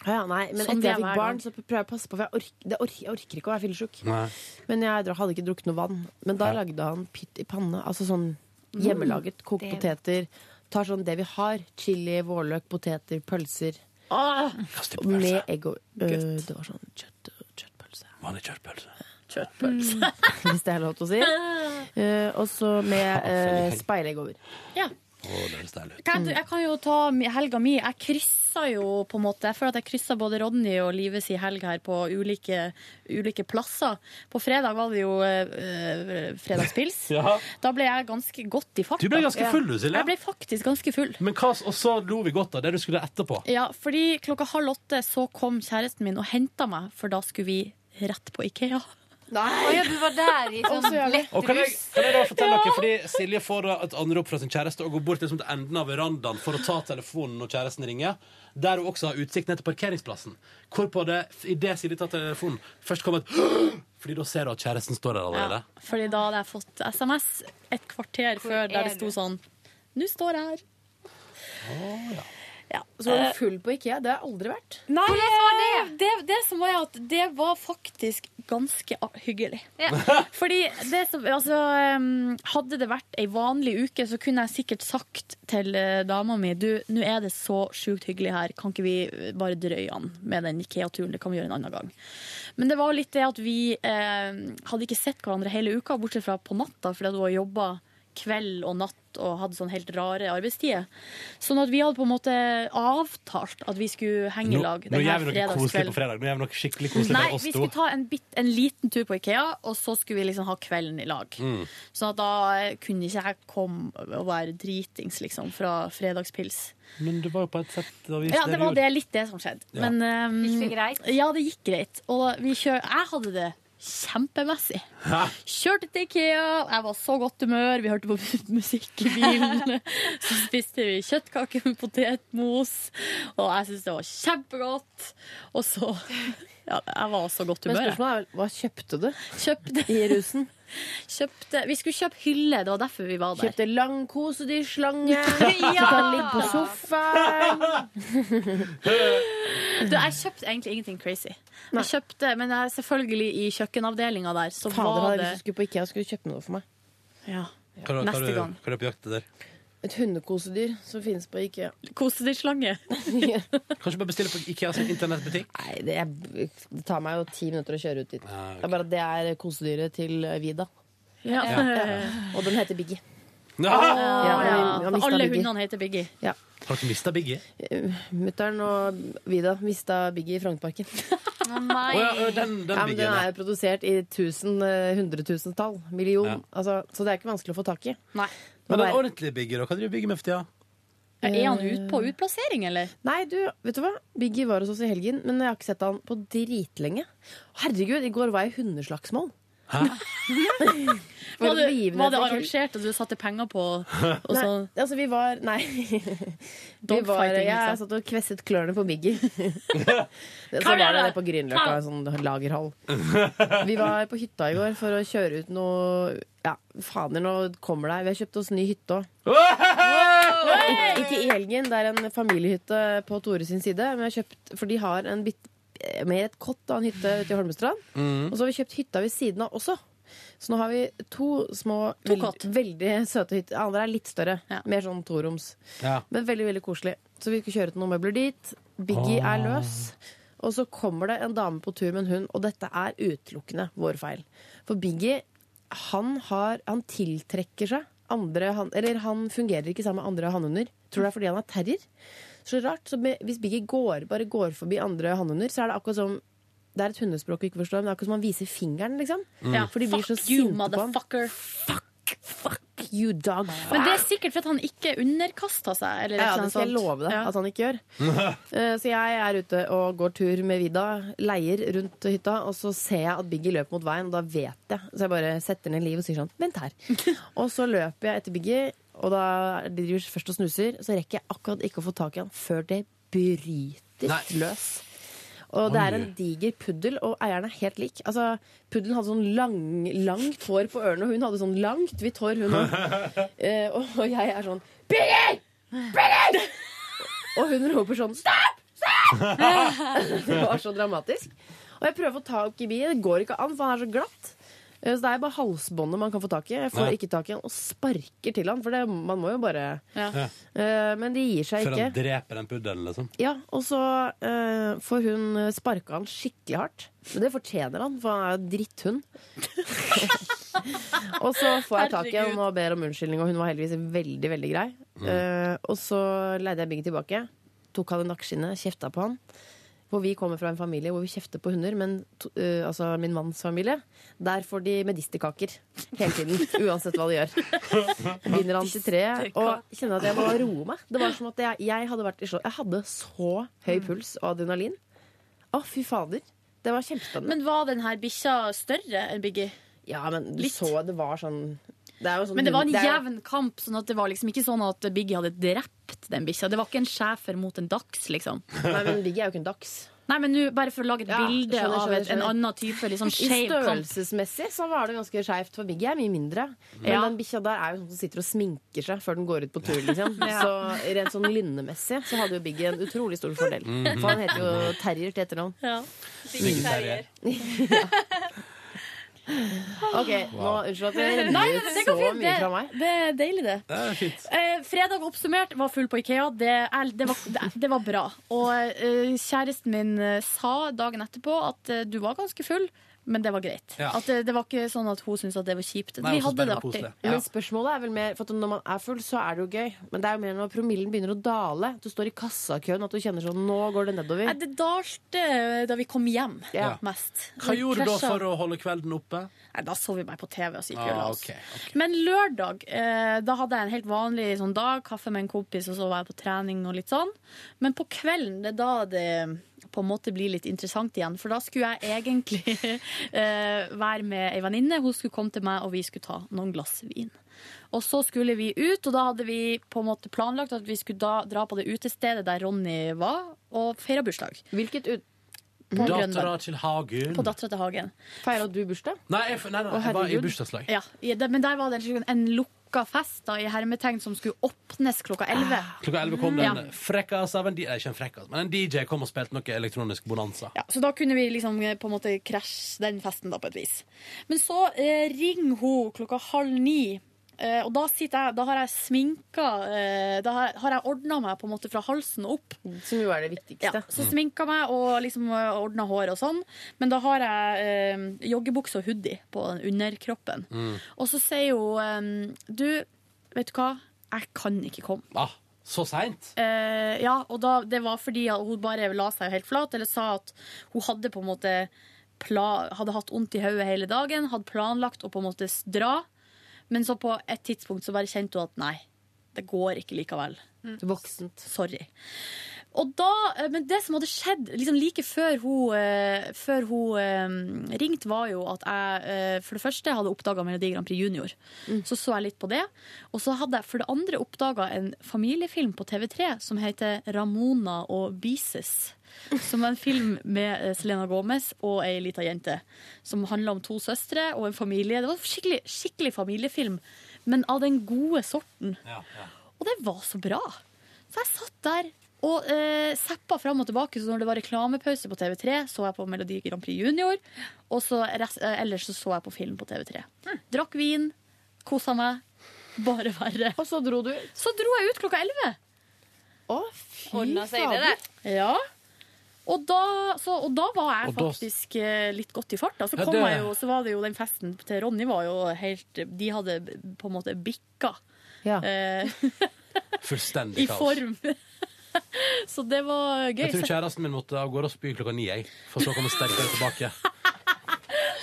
S5: Ja, ja, nei, men
S3: Sånn
S5: etter
S3: det er
S5: jeg
S3: hver
S5: fikk barn,
S3: gang.
S5: så prøver jeg å passe på, for jeg, ork, det ork, jeg orker ikke å være fyllesyk.
S2: Nei.
S5: Men jeg dra- hadde ikke drukket noe vann. Men da lagde han pytt i panne. Altså sånn
S3: Mm.
S5: hjemmelaget kokt
S7: Det-
S5: poteter. Tar sånn det vi har. Chili, vårløk, poteter, pølser.
S2: Kast i
S5: Med
S2: pølse.
S5: egg og øh, Det var sånn kjøtt, kjøttpølse,
S2: Vanlig kjøttpølse.
S5: hvis det er lov til å si. Eh, og så med uh, speilegg over.
S2: Å, det høres deilig ut.
S3: Kan, jeg- jeg kan jo ta mi- helga mi. Jeg krysser jo på en måte. Jeg føler at jeg krysser både Ronny og Live si helg her på ulike, ulike plasser. På fredag var det jo eh, eh, fredagspils.
S2: Ja.
S3: Da ble jeg ganske godt i farta.
S2: Du ble ganske full, du, Silje.
S3: Jeg ble faktisk ganske full.
S2: Men hva, og så lo vi godt av det du skulle etterpå.
S3: Ja, fordi klokka halv åtte så kom kjæresten min og henta meg, for da skulle vi rett på Ikea.
S7: Å ja, du var der i sånn lett
S2: Og kan jeg,
S7: rus.
S2: kan jeg da fortelle dere, fordi Silje får da et anrop fra sin kjæreste og går bort liksom til enden av verandaen for å ta telefonen når kjæresten ringer, der hun også har utsikt ned til parkeringsplassen. Hvorpå det, i det Silje tar telefonen, først kommer et Fordi da ser du at kjæresten står der allerede.
S3: Fordi da hadde jeg fått SMS et kvarter før der det
S7: er
S3: sto sånn Nå står jeg her.
S5: Så
S3: Eh.
S5: var du full på Ikea. Det har jeg aldri vært.
S3: Nei, det? Det, som var at det var faktisk ganske a- hyggelig. Fordi det som, altså, um, hadde det vært ei vanlig uke, så kunne jeg sikkert sagt til eh, dama mi Du, nå er det så sjukt hyggelig her, kan ikke vi eh, bare drøye an med den Ikea-turen? Det kan vi gjøre en annen gang. Men det var litt det at vi eh, hadde ikke sett hverandre hele uka, bortsett fra på natta, fordi at hun har jobba kveld og natt og hadde sånn helt rare arbeidstider. Sånn at vi hadde på en måte avtalt at vi skulle henge i
S2: Nå,
S3: lag
S2: nå
S3: denne
S2: gjør vi noe koselig
S3: fredagskvelden.
S2: på fredag. Nå gjør vi noe skikkelig koselig
S3: Nei,
S2: med oss
S3: vi
S2: to.
S3: skulle ta en, bit, en liten tur på Ikea, og så skulle vi liksom ha kvelden i lag. Sånn at da eh, kunne ikke jeg komme og være dritings, liksom, fra fredagspils.
S2: Men du var jo på et sett og
S3: Ja, det var det, litt det som skjedde.
S2: Ja.
S3: Men ehm,
S7: Gikk det greit?
S3: Ja, det gikk greit. Og vi kjør, jeg hadde det kjempemessig. Kjørte til Ikea, jeg var så godt humør, vi hørte på musikk i bilen. Så spiste vi kjøttkaker med potetmos, og jeg syntes det var kjempegodt. Og så Ja, jeg var så godt
S5: Men
S3: humør. jeg.
S5: spørsmålet er vel, hva kjøpte du
S3: Kjøpte,
S5: i rusen?
S3: kjøpte Vi skulle kjøpe hylle, det var derfor vi var der.
S5: Kjøpte langkosedyrslange.
S7: Ja!
S5: Kan ligge på sofaen.
S3: Du, jeg kjøpte egentlig ingenting crazy. Jeg kjøpte, Men jeg, selvfølgelig i kjøkkenavdelinga der, så
S5: Fader,
S3: var
S5: hadde jeg
S3: det
S5: lyst til å skulle på Ikea, skulle du kjøpe noe for meg.
S3: ja.
S2: Hva
S3: Neste
S2: er
S3: gang.
S2: du på jakt etter?
S5: Et hundekosedyr som finnes på Ikea.
S3: Kosedyrslange.
S2: Kanskje bare bestille på Ikea sin internettbutikk?
S5: Nei, det, er, det tar meg jo ti minutter å kjøre ut dit.
S2: Ah, ok.
S5: Det er bare at det er kosedyret til eh, Vida.
S3: Ja.
S5: Og den heter Biggie.
S2: Ah!
S5: Ja,
S3: Ja,
S5: jeg- jeg
S3: For
S5: mistet
S3: alle
S5: Biggie.
S3: hundene heter Biggie.
S2: Har dere mista Biggie?
S5: Mutter'n og Vida mista Biggie i Frognerparken.
S2: Å
S7: Å
S2: ja,
S7: nei.
S2: ø, den, den
S5: Ja, men
S2: Biggie.
S5: den
S2: ja.
S5: er jo produsert i tusen, eh, hundretusentall. Million.
S2: Ja.
S5: Altså, så det er ikke vanskelig å få tak i.
S3: Nei.
S5: Du
S13: Men den
S5: Bare-
S13: ordentlige Biggie, da? Hva driver Biggie med for tida?
S3: Er han ute på utplassering, eller?
S5: Nei, du, vet du hva? Biggie var hos oss i helgen, men jeg har ikke sett han på dritlenge. Herregud, i går var jeg i hundeslagsmål. For
S3: Var det,
S5: begivenhet
S3: var det
S5: i kveld.
S3: arrangert at du satte penger på og
S5: Nei,
S3: så,
S5: altså vi var Nei. Vi var,
S3: Dogfighting,
S5: jeg
S3: liksom.
S5: satt og kvesset klørne på Biggie. Så
S3: Kom
S5: var
S3: igjen,
S5: det
S3: da.
S5: det på Grünerløkka, en sånn lagerhall. Vi var på hytta i går for å kjøre ut noe Ja, fader, nå kommer det her. Vi har kjøpt oss ny hytte òg. Ik ikke i helgen, det er en familiehytte på Tore sin side. Men vi har kjøpt, for de har en bit, mer et kott av en hytte ute i Holmestrand.
S14: Mhm.
S5: Og så har vi kjøpt hytta ved siden av også. Så nå har vi to små, veld, veldig søte hytter. Andre er litt større. Mer sånn toroms.
S13: Ja.
S5: Men veldig, veldig koselig. Så vi skal kjøre til noen møbler dit. Biggie
S13: Ah.
S5: er løs. Og så kommer det en dame på tur med en hund, og dette er utelukkende vår feil. For Biggie, han, har, han tiltrekker seg andre han, Eller han fungerer ikke sammen med andre hannhunder. Tror det er fordi han er terrier. Så rart. Så med, hvis Biggie går, bare går forbi andre hannhunder, så er det akkurat som det er et hundespråk vi ikke forstår, men det er akkurat som han viser fingeren. liksom.
S3: Mm. Ja,
S5: For de blir så
S3: fuck you,
S5: sinte på ham.
S3: motherfucker.
S5: Fuck you, dog.
S3: Men det er sikkert for at han ikke underkasta seg. Eller et eller
S5: Ja, det
S3: annet
S5: skal jeg
S3: sånt.
S5: love deg
S3: Ja.
S5: at han ikke gjør. Eh, Så jeg er ute og går tur med Vida, leier rundt hytta, og så ser jeg at Biggie løper mot veien, og da vet jeg. Så jeg bare setter ned livet og sier sånn, vent her. og så løper jeg etter Biggie, og da driver jeg først og snuser, så rekker jeg akkurat ikke å få tak i han før det bryter
S14: Nei.
S5: løs. Og det er
S14: Oi.
S5: en diger puddel, og eieren er helt lik. Altså, puddelen hadde sånn lang, langt hår på ørene, og hun hadde sånn langt hvitt hår, hun òg. Eh, og, og jeg er sånn Birgit! Birgit! og hun roper sånn Stopp! Stopp! det var så dramatisk. Og jeg prøver å få tak i bilen. Det går ikke an, for han er så glatt. Eh, Så det er bare halsbåndet man kan få tak i. Jeg får
S13: Ja.
S5: ikke tak i han og sparker til han, for det, man må jo bare
S13: Ja.
S5: Eh, Men de gir seg
S13: Før han
S5: ikke.
S13: dreper den puddelen, liksom?
S5: Ja, og så eh, får hun sparka han skikkelig hardt. Men det fortjener han, for han er jo dritthund. og så får jeg tak i
S14: Herregud.
S5: han og ber om unnskyldning, og hun var heldigvis veldig, veldig grei.
S14: Mm.
S5: Eh, og så leide jeg bygget tilbake. Tok han i nakkeskinnet, kjefta på han. For vi kommer fra en familie hvor vi kjefter på hunder, men to, eh, altså min manns familie, der får de medisterkaker hele tiden. Uansett hva de gjør. Binder han til treet og kjenner at jeg må roe meg. Det var som at jeg, jeg hadde vært i slå. Jeg hadde så
S3: Mm.
S5: høy puls og adrenalin. Å, fy fader. Det var kjempespennende.
S3: Men var den her bikkja større enn Biggie?
S5: ja, men du så det var sånn det er jo sånn
S3: Men det var en
S5: hund- er-
S3: jevn kamp, sånn at det var liksom ikke sånn at Biggie hadde drept den bikkja. Det var ikke en schæfer mot en dachs, liksom.
S5: Nei, men Biggie er jo ikke en dachs.
S3: Nei, men nå bare for å lage et
S5: Ja,
S3: bilde
S5: skjønner,
S3: av
S5: skjønner,
S3: et, en
S5: skjønner.
S3: annen type liksom,
S5: I
S3: skeiv kamp.
S5: størrelsesmessig så var det ganske skeivt, for Biggie er mye mindre. Men
S3: Ja.
S5: den bikkja der er jo sånn som sitter og sminker seg før den går ut på tur. Liksom.
S3: Ja.
S5: Så rent sånn lynnemessig så hadde jo Biggie en utrolig stor fordel.
S13: Mhm.
S5: For han heter jo Terrier til etternavn.
S13: Biggie Terrier.
S5: OK, nå
S13: Wow.
S5: unnskyld at
S3: Nei,
S5: jeg renner
S3: det, det
S5: ut
S3: går
S5: så
S3: fint.
S5: mye fra meg.
S3: Det, det er deilig, det.
S13: Det er fint.
S3: Eh, fredag oppsummert var full på Ikea. Det, er- det, var, det, det var bra. Og eh, kjæresten min eh, sa dagen etterpå at eh, du var ganske full, men det var greit.
S5: Ja.
S3: At, eh, det var ikke sånn at hun syntes at det var kjipt.
S5: Nei,
S3: Vi
S5: hun syntes
S3: hadde det
S5: bare det var
S3: artig.
S5: koselig. Men spørsmålet er vel mer For at når man er full, så er det jo gøy. Men det er jo mer når promillen begynner å dale, at du står i kassakøen, at du kjenner sånn Nå går det nedover.
S3: Nei, det dalte eh, da vi kom hjem
S5: Ja.
S3: mest.
S13: Hva
S3: Vi
S13: gjorde du da
S3: krasja.
S13: for å holde kvelden oppe?
S3: Nei, Da så vi bare på TV og så gikk vi og la
S13: Ah,
S3: oss.
S13: ok.
S3: Men lørdag eh, da hadde jeg en helt vanlig sånn dag. Kaffe med en kompis, og så var jeg på trening og litt sånn. Men på kvelden, det er da det på en måte blir litt interessant igjen. For da skulle jeg egentlig eh, være med ei venninne. Hun skulle komme til meg, og vi skulle ta noen glass vin. Og så skulle vi ut, og da hadde vi på en måte planlagt at vi skulle da dra på det utestedet der Ronny var, og feire bursdag.
S5: Hvilket ut...
S3: På
S13: Dattera
S3: Grønland.
S13: til Hagen.
S2: Mm.
S3: På Dattera til Hagen.
S5: Feira du bursdag?
S13: Nei, jeg, nei, nei,
S3: Å,
S13: jeg var i
S3: herregud.
S13: bursdagslag.
S3: Ja, i det, men der var det en, en lukka fest da, i hermetegn som skulle åpnes klokka 11.
S13: Klokka 11 kom
S3: Mm. Ja.
S13: en frekkas av en DJ, ikke en frekkas, men en DJ kom og spilte noe elektronisk bonanza.
S3: Ja, så da kunne vi liksom eh, på en måte krasje den festen da på et vis. Men så eh, ringer hun klokka halv ni. Eh, og da sitter jeg, da har jeg sminka eh, Da har, har jeg ordna meg på en måte fra halsen og opp.
S5: Som jo er det
S3: Ja,
S5: viktigste.
S3: så sminka meg og liksom ordna hår og sånn. Men da har jeg eh, joggebukse og hoodie på den underkroppen. Og så sier hun eh, Du, vet du hva? Jeg kan ikke komme.
S13: Ah, så seint?
S3: Eh, ja, og da, det var fordi at hun bare la seg helt flat, eller sa at hun hadde på en måte pla hadde hatt vondt i hodet hele dagen, hadde planlagt å på en måte s- dra. Men så på et tidspunkt så bare kjente hun at nei, det går ikke likevel.
S5: Voksent.
S3: Sorry. Og da, eh, men det som hadde skjedd liksom like før hun, eh, før hun eh, ringte, var jo at jeg eh, for det første hadde oppdaga Melodi Grand Prix Junior. Så så jeg litt på det. Og så hadde jeg for det andre oppdaga en familiefilm på TV3 som heter Ramona og Bises. Som var en film med eh, Selena Gomez og ei lita jente. Som handla om to søstre og en familie. Det var en skikkelig, skikkelig familiefilm, men av den gode sorten. Og det var så bra. Så jeg satt der og eh, zappa fram og tilbake. Så når det var reklamepause på TV3, så jeg på Melodi Grand Prix Junior. Og så rest, eh, ellers så, så jeg på film på TV3. Drakk vin, kosa meg. Bare verre.
S5: Og så dro du ut?
S3: Så dro jeg ut klokka elleve.
S5: Å,
S7: Ordna seg det der.
S3: Ja. Og da, så, og da var jeg
S2: Og da-
S3: faktisk eh, litt godt i farta. Så
S2: Ja,
S3: kom
S2: det-
S3: jeg jo, så var det jo den festen til Ronny var jo helt De hadde på en måte bikka.
S5: Ja.
S3: Eh,
S2: Fullstendig
S3: I
S2: kaos.
S3: form. Så det var gøy.
S2: Jeg tror kjæresten min måtte av gårde og spy klokka ni, jeg. For så å komme sterkere tilbake.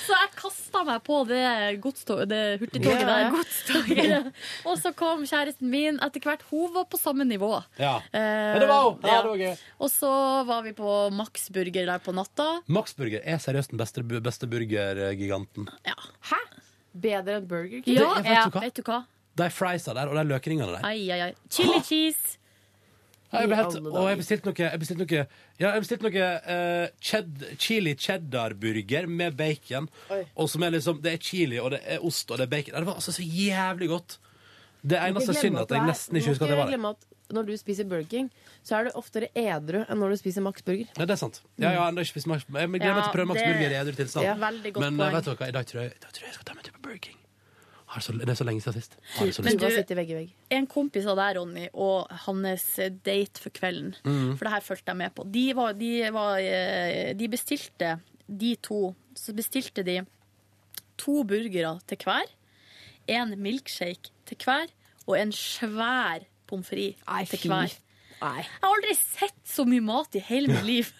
S3: Så jeg kasta meg på det, godstog, det hurtigtoget der. og så kom kjæresten min etter hvert. Hun var på samme nivå.
S2: Ja.
S3: Eh,
S2: Men det var hun! Ja,
S3: ja.
S2: det var gøy.
S3: Og så var vi på Max Burger der på natta.
S2: Max Burger er seriøst den beste, beste burgergiganten.
S5: Bedre enn Burger King?
S3: Ja,
S2: Det- vet du hva?
S3: vet du hva?
S2: De friesa der, og de løkringene der.
S3: Ai, ai, ai. Chili cheese.
S2: Ja, Jeg ble helt,
S5: I alle
S2: og jeg bestilte noe, jeg bestilte noe, ja, jeg bestilte noe eh, ched, chili cheddar-burger med bacon. Og som er liksom, Det er chili, og det er ost, og det er bacon. Ja, Det var altså så jævlig godt. Det eneste synd at jeg nesten ikke husker at det var det.
S5: Glemme at når du spiser Burger King, så er du oftere edru enn når du spiser Max Burger.
S2: Ja, det er sant. Ja, ja, enda ikke spist Max, jeg gleder meg til å prøve Max
S3: det-
S2: Burger i edru tilstand.
S5: Ja.
S3: Veldig godt
S2: Men eh,
S3: poeng.
S2: vet dere hva, i dag tror jeg, i dag tror jeg jeg skal ta meg en tur på Burger King. Har så, det er så lenge siden sist. Har så
S5: Men
S3: Men
S2: lyst.
S5: du
S3: du-
S5: sitter vegg i vegg.
S3: En kompis av deg, Ronny, og hans date for kvelden. For det her fulgte jeg med på. De, var, de, var, eh, de bestilte, de to, så bestilte de to burgere til hver, en milkshake til hver, og en svær pommes frites til hver. Jeg har aldri sett så mye mat i hele mitt liv.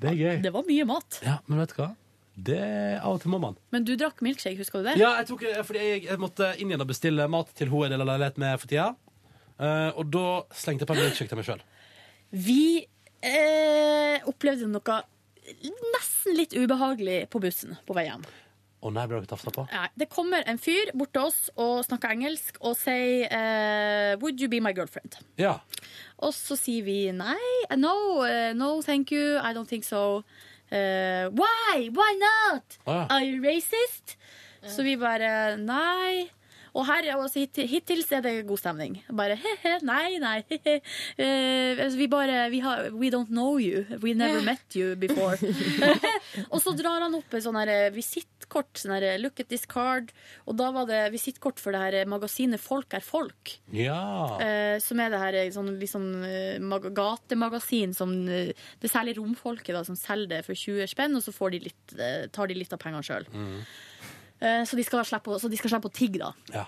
S2: Det er gøy.
S3: Det var mye mat.
S2: Ja, men vet du hva? Det Av og til må man.
S3: Men du drakk milkshake, husker du det?
S2: Ja, jeg, tok, fordi jeg, jeg måtte inn igjen og bestille mat til hun jeg deler leilighet med for tida. Eh, og da slengte jeg på en milkshake til meg sjøl.
S3: Vi eh, opplevde noe nesten litt ubehagelig på bussen på vei hjem.
S2: Å nei, ble dere tafsa på?
S3: Nei, det kommer en fyr bort til oss og snakker engelsk og sier eh, Would you be my girlfriend?
S2: Ja.
S3: Og så sier vi nei, no, eh, no thank you, I don't think so. Eh, why? Why not?
S2: Å, ja.
S3: Are you racist? Så vi bare nei. Og her, altså, hitt- hittil så er det god stemning. Bare he-he, nei, nei. he-he. Eh, altså, vi bare vi har, We don't know you. We never met you before. og så drar han opp et sånn her, eh, visittkort. Sånn her, Look at this card. Og da var det visittkort for det her eh, magasinet Folk er folk.
S2: ja.
S3: Eh, som er det her eh, sånn, litt sånn, eh, mag gatemagasin som eh, Det er særlig romfolket da, som selger det for 20 spenn, og så får de litt, eh, tar de litt av pengene sjøl. Så de skal slippe å- så de skal slippe å tigge, da.
S2: ja.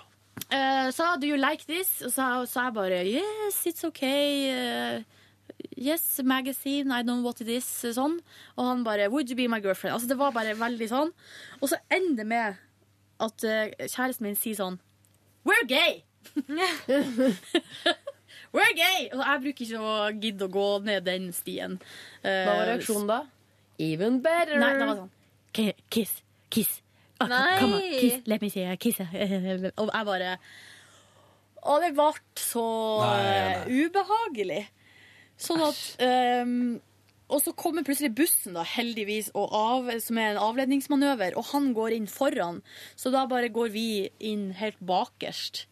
S3: Eh, sa do you like this? Og så sa jeg bare yes, it's okay. eh, yes, magazine, I don't know what it is. Sånn. Og han bare would you be my girlfriend? Altså Det var bare veldig sånn. Og så ender det med at eh, kjæresten min sier sånn We're gay! We're gay! Og jeg bruker ikke å gidde å gå ned den stien. Eh,
S5: Hva var reaksjonen da? Even better!
S3: Nei, det var sånn "Ki- Kiss, kiss Ah,
S7: Nei.
S3: Come on, kiss, let me see you kiss Og jeg bare Og det ble så
S2: Nei, nei,
S3: eh, ubehagelig Sånn at ehm, Og så kommer plutselig bussen da Heldigvis, og av, som er en avledningsmanøver Og han går inn foran Så da bare går vi inn helt bakerst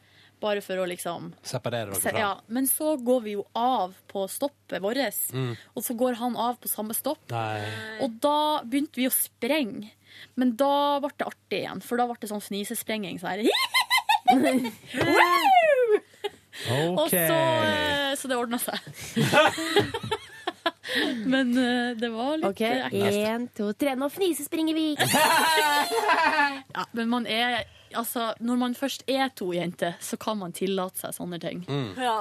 S3: Bare for å liksom
S2: Separerer dere
S3: Se-
S2: fra?
S3: ja, men så går vi jo av på stoppet vårt,
S2: Mm.
S3: og så går han av på samme stopp.
S2: Nei.
S3: Og da begynte vi å sprenge. Men da ble det artig igjen, for da ble det sånn fnisesprenging. Så, her. Og
S2: OK.
S3: så, eh, så det ordna seg. Men eh, det var litt
S5: Ok,
S3: eh, ekkelt.
S5: én, to, tre. Nå fnisespringer vi!
S3: Ja, men man er Altså, når man først er to jenter, så kan man tillate seg sånne ting.
S7: Ja.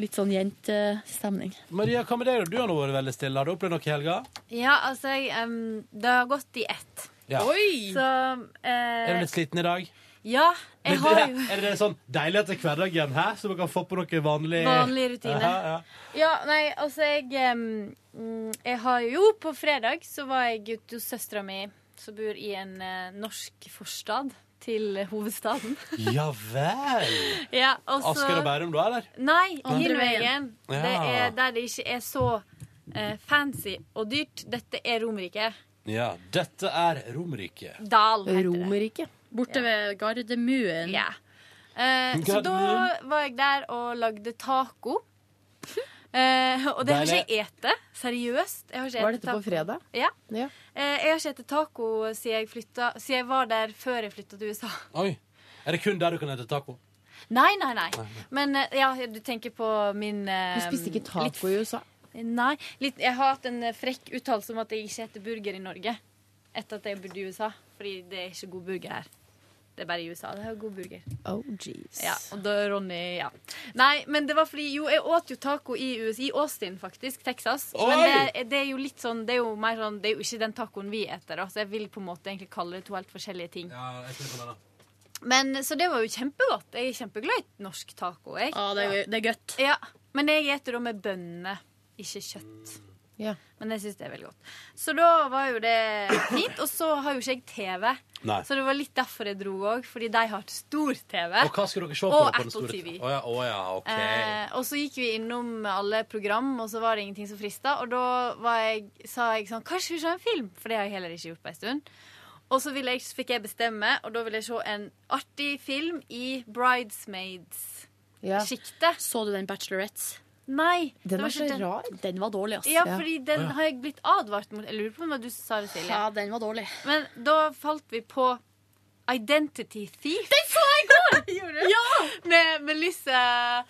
S3: Litt sånn jentestemning.
S2: Maria, hva med deg? da? Du har nå vært veldig stille. Har du opplevd noe i helga?
S7: ja, altså jeg, em, Det har gått i ett.
S2: Ja.
S7: Så eh,
S2: Er du litt sliten i dag?
S7: Ja, jeg har
S13: er,
S7: jo
S13: er det sånn deilig etter hverdagen her, så man kan få på noe vanlig
S7: Vanlig rutine.
S13: Ja,
S7: Ja, nei, altså jeg em, mm, Jeg har jo på fredag så var jeg ute hos søstera mi, som bor i en eh, norsk forstad til hovedstaden.
S13: ja. ja vel!
S7: ja, og så-
S13: Asker og Bærum, da, eller?
S7: Nei,
S13: Andre
S7: Hinvegen.
S13: veien.
S7: Det
S13: Ja.
S7: er der det ikke er så eh, fancy og dyrt. Dette er Romerike.
S13: Ja. Dette er Romerike.
S7: Dal heter det.
S5: Romerike.
S3: Borte ved Gardermuen.
S7: Ja. Eh, så da
S3: Gardermoen.
S7: var jeg der og lagde taco. Eh, og det har ikke jeg ete. Seriøst. Jeg har ikke
S5: Var
S7: ete
S5: dette på
S7: taco.
S5: fredag?
S7: Ja.
S5: Ja.
S7: Eh, jeg har ikke spist taco siden jeg, flytta, siden jeg var der før jeg flytta til USA.
S13: Oi. Er det kun der du kan hete taco?
S7: Nei, nei, nei.
S13: Nei,
S7: Men eh, ja, du tenker på min eh,
S5: Du spiste ikke taco i USA?
S7: litt- Nei. Litt, jeg har hatt en eh, frekk uttalelse om at jeg ikke heter burger i Norge etter at jeg bodde i USA. Fordi det er ikke god burger her. Det er bare i USA. Det er god burger.
S5: Oh, jeez.
S7: Ja, og da Ronny, ja. Nei, men det var fordi Jo, jeg åt jo taco i US, i Austin, faktisk. Texas. Men
S14: Oi!
S7: det, det er jo litt sånn Det er jo mer sånn Det er jo ikke den tacoen vi eter, da. Så jeg vil på en måte egentlig kalle det to helt forskjellige ting. Men, så det var jo kjempegodt. Jeg er kjempeglad i norsk taco. Jeg.
S3: Ja, det er- godt.
S7: Ja, men jeg eter da med bønner, ikke kjøtt.
S5: Ja.
S7: Men jeg syns det er veldig godt. Så da var jo det fint. Og så har jo ikke jeg TV,
S13: Nei.
S7: så det var litt derfor jeg dro òg. Fordi de har et stor TV.
S13: Og hva skal dere se på?
S7: Og
S13: da, på den
S7: Apple
S13: store-
S7: TV.
S13: Å ja, å ja, ok.
S7: Eh, og så gikk vi innom alle program, og så var det ingenting som frista. Og da var jeg, sa jeg sånn Kanskje vi ser en film? For det har jeg heller ikke gjort på en stund. Og så ville jeg, så fikk jeg bestemme, og da ville jeg se en artig film i
S5: Ja.
S7: Bridesmaids-sjiktet.
S3: Så du den Bachelorettes?
S7: Nei. det
S3: Den
S7: var
S3: er
S7: ikke
S3: så rar. Den var dårlig, ass.
S7: Ja, fordi den
S3: Ja.
S7: har jeg blitt advart mot. Jeg lurer på om det var du som sa det, Silje.
S3: Ja, den var dårlig.
S7: Men da falt vi på Identity Thief. Den
S3: så jeg i går!
S7: ja! Med Melissa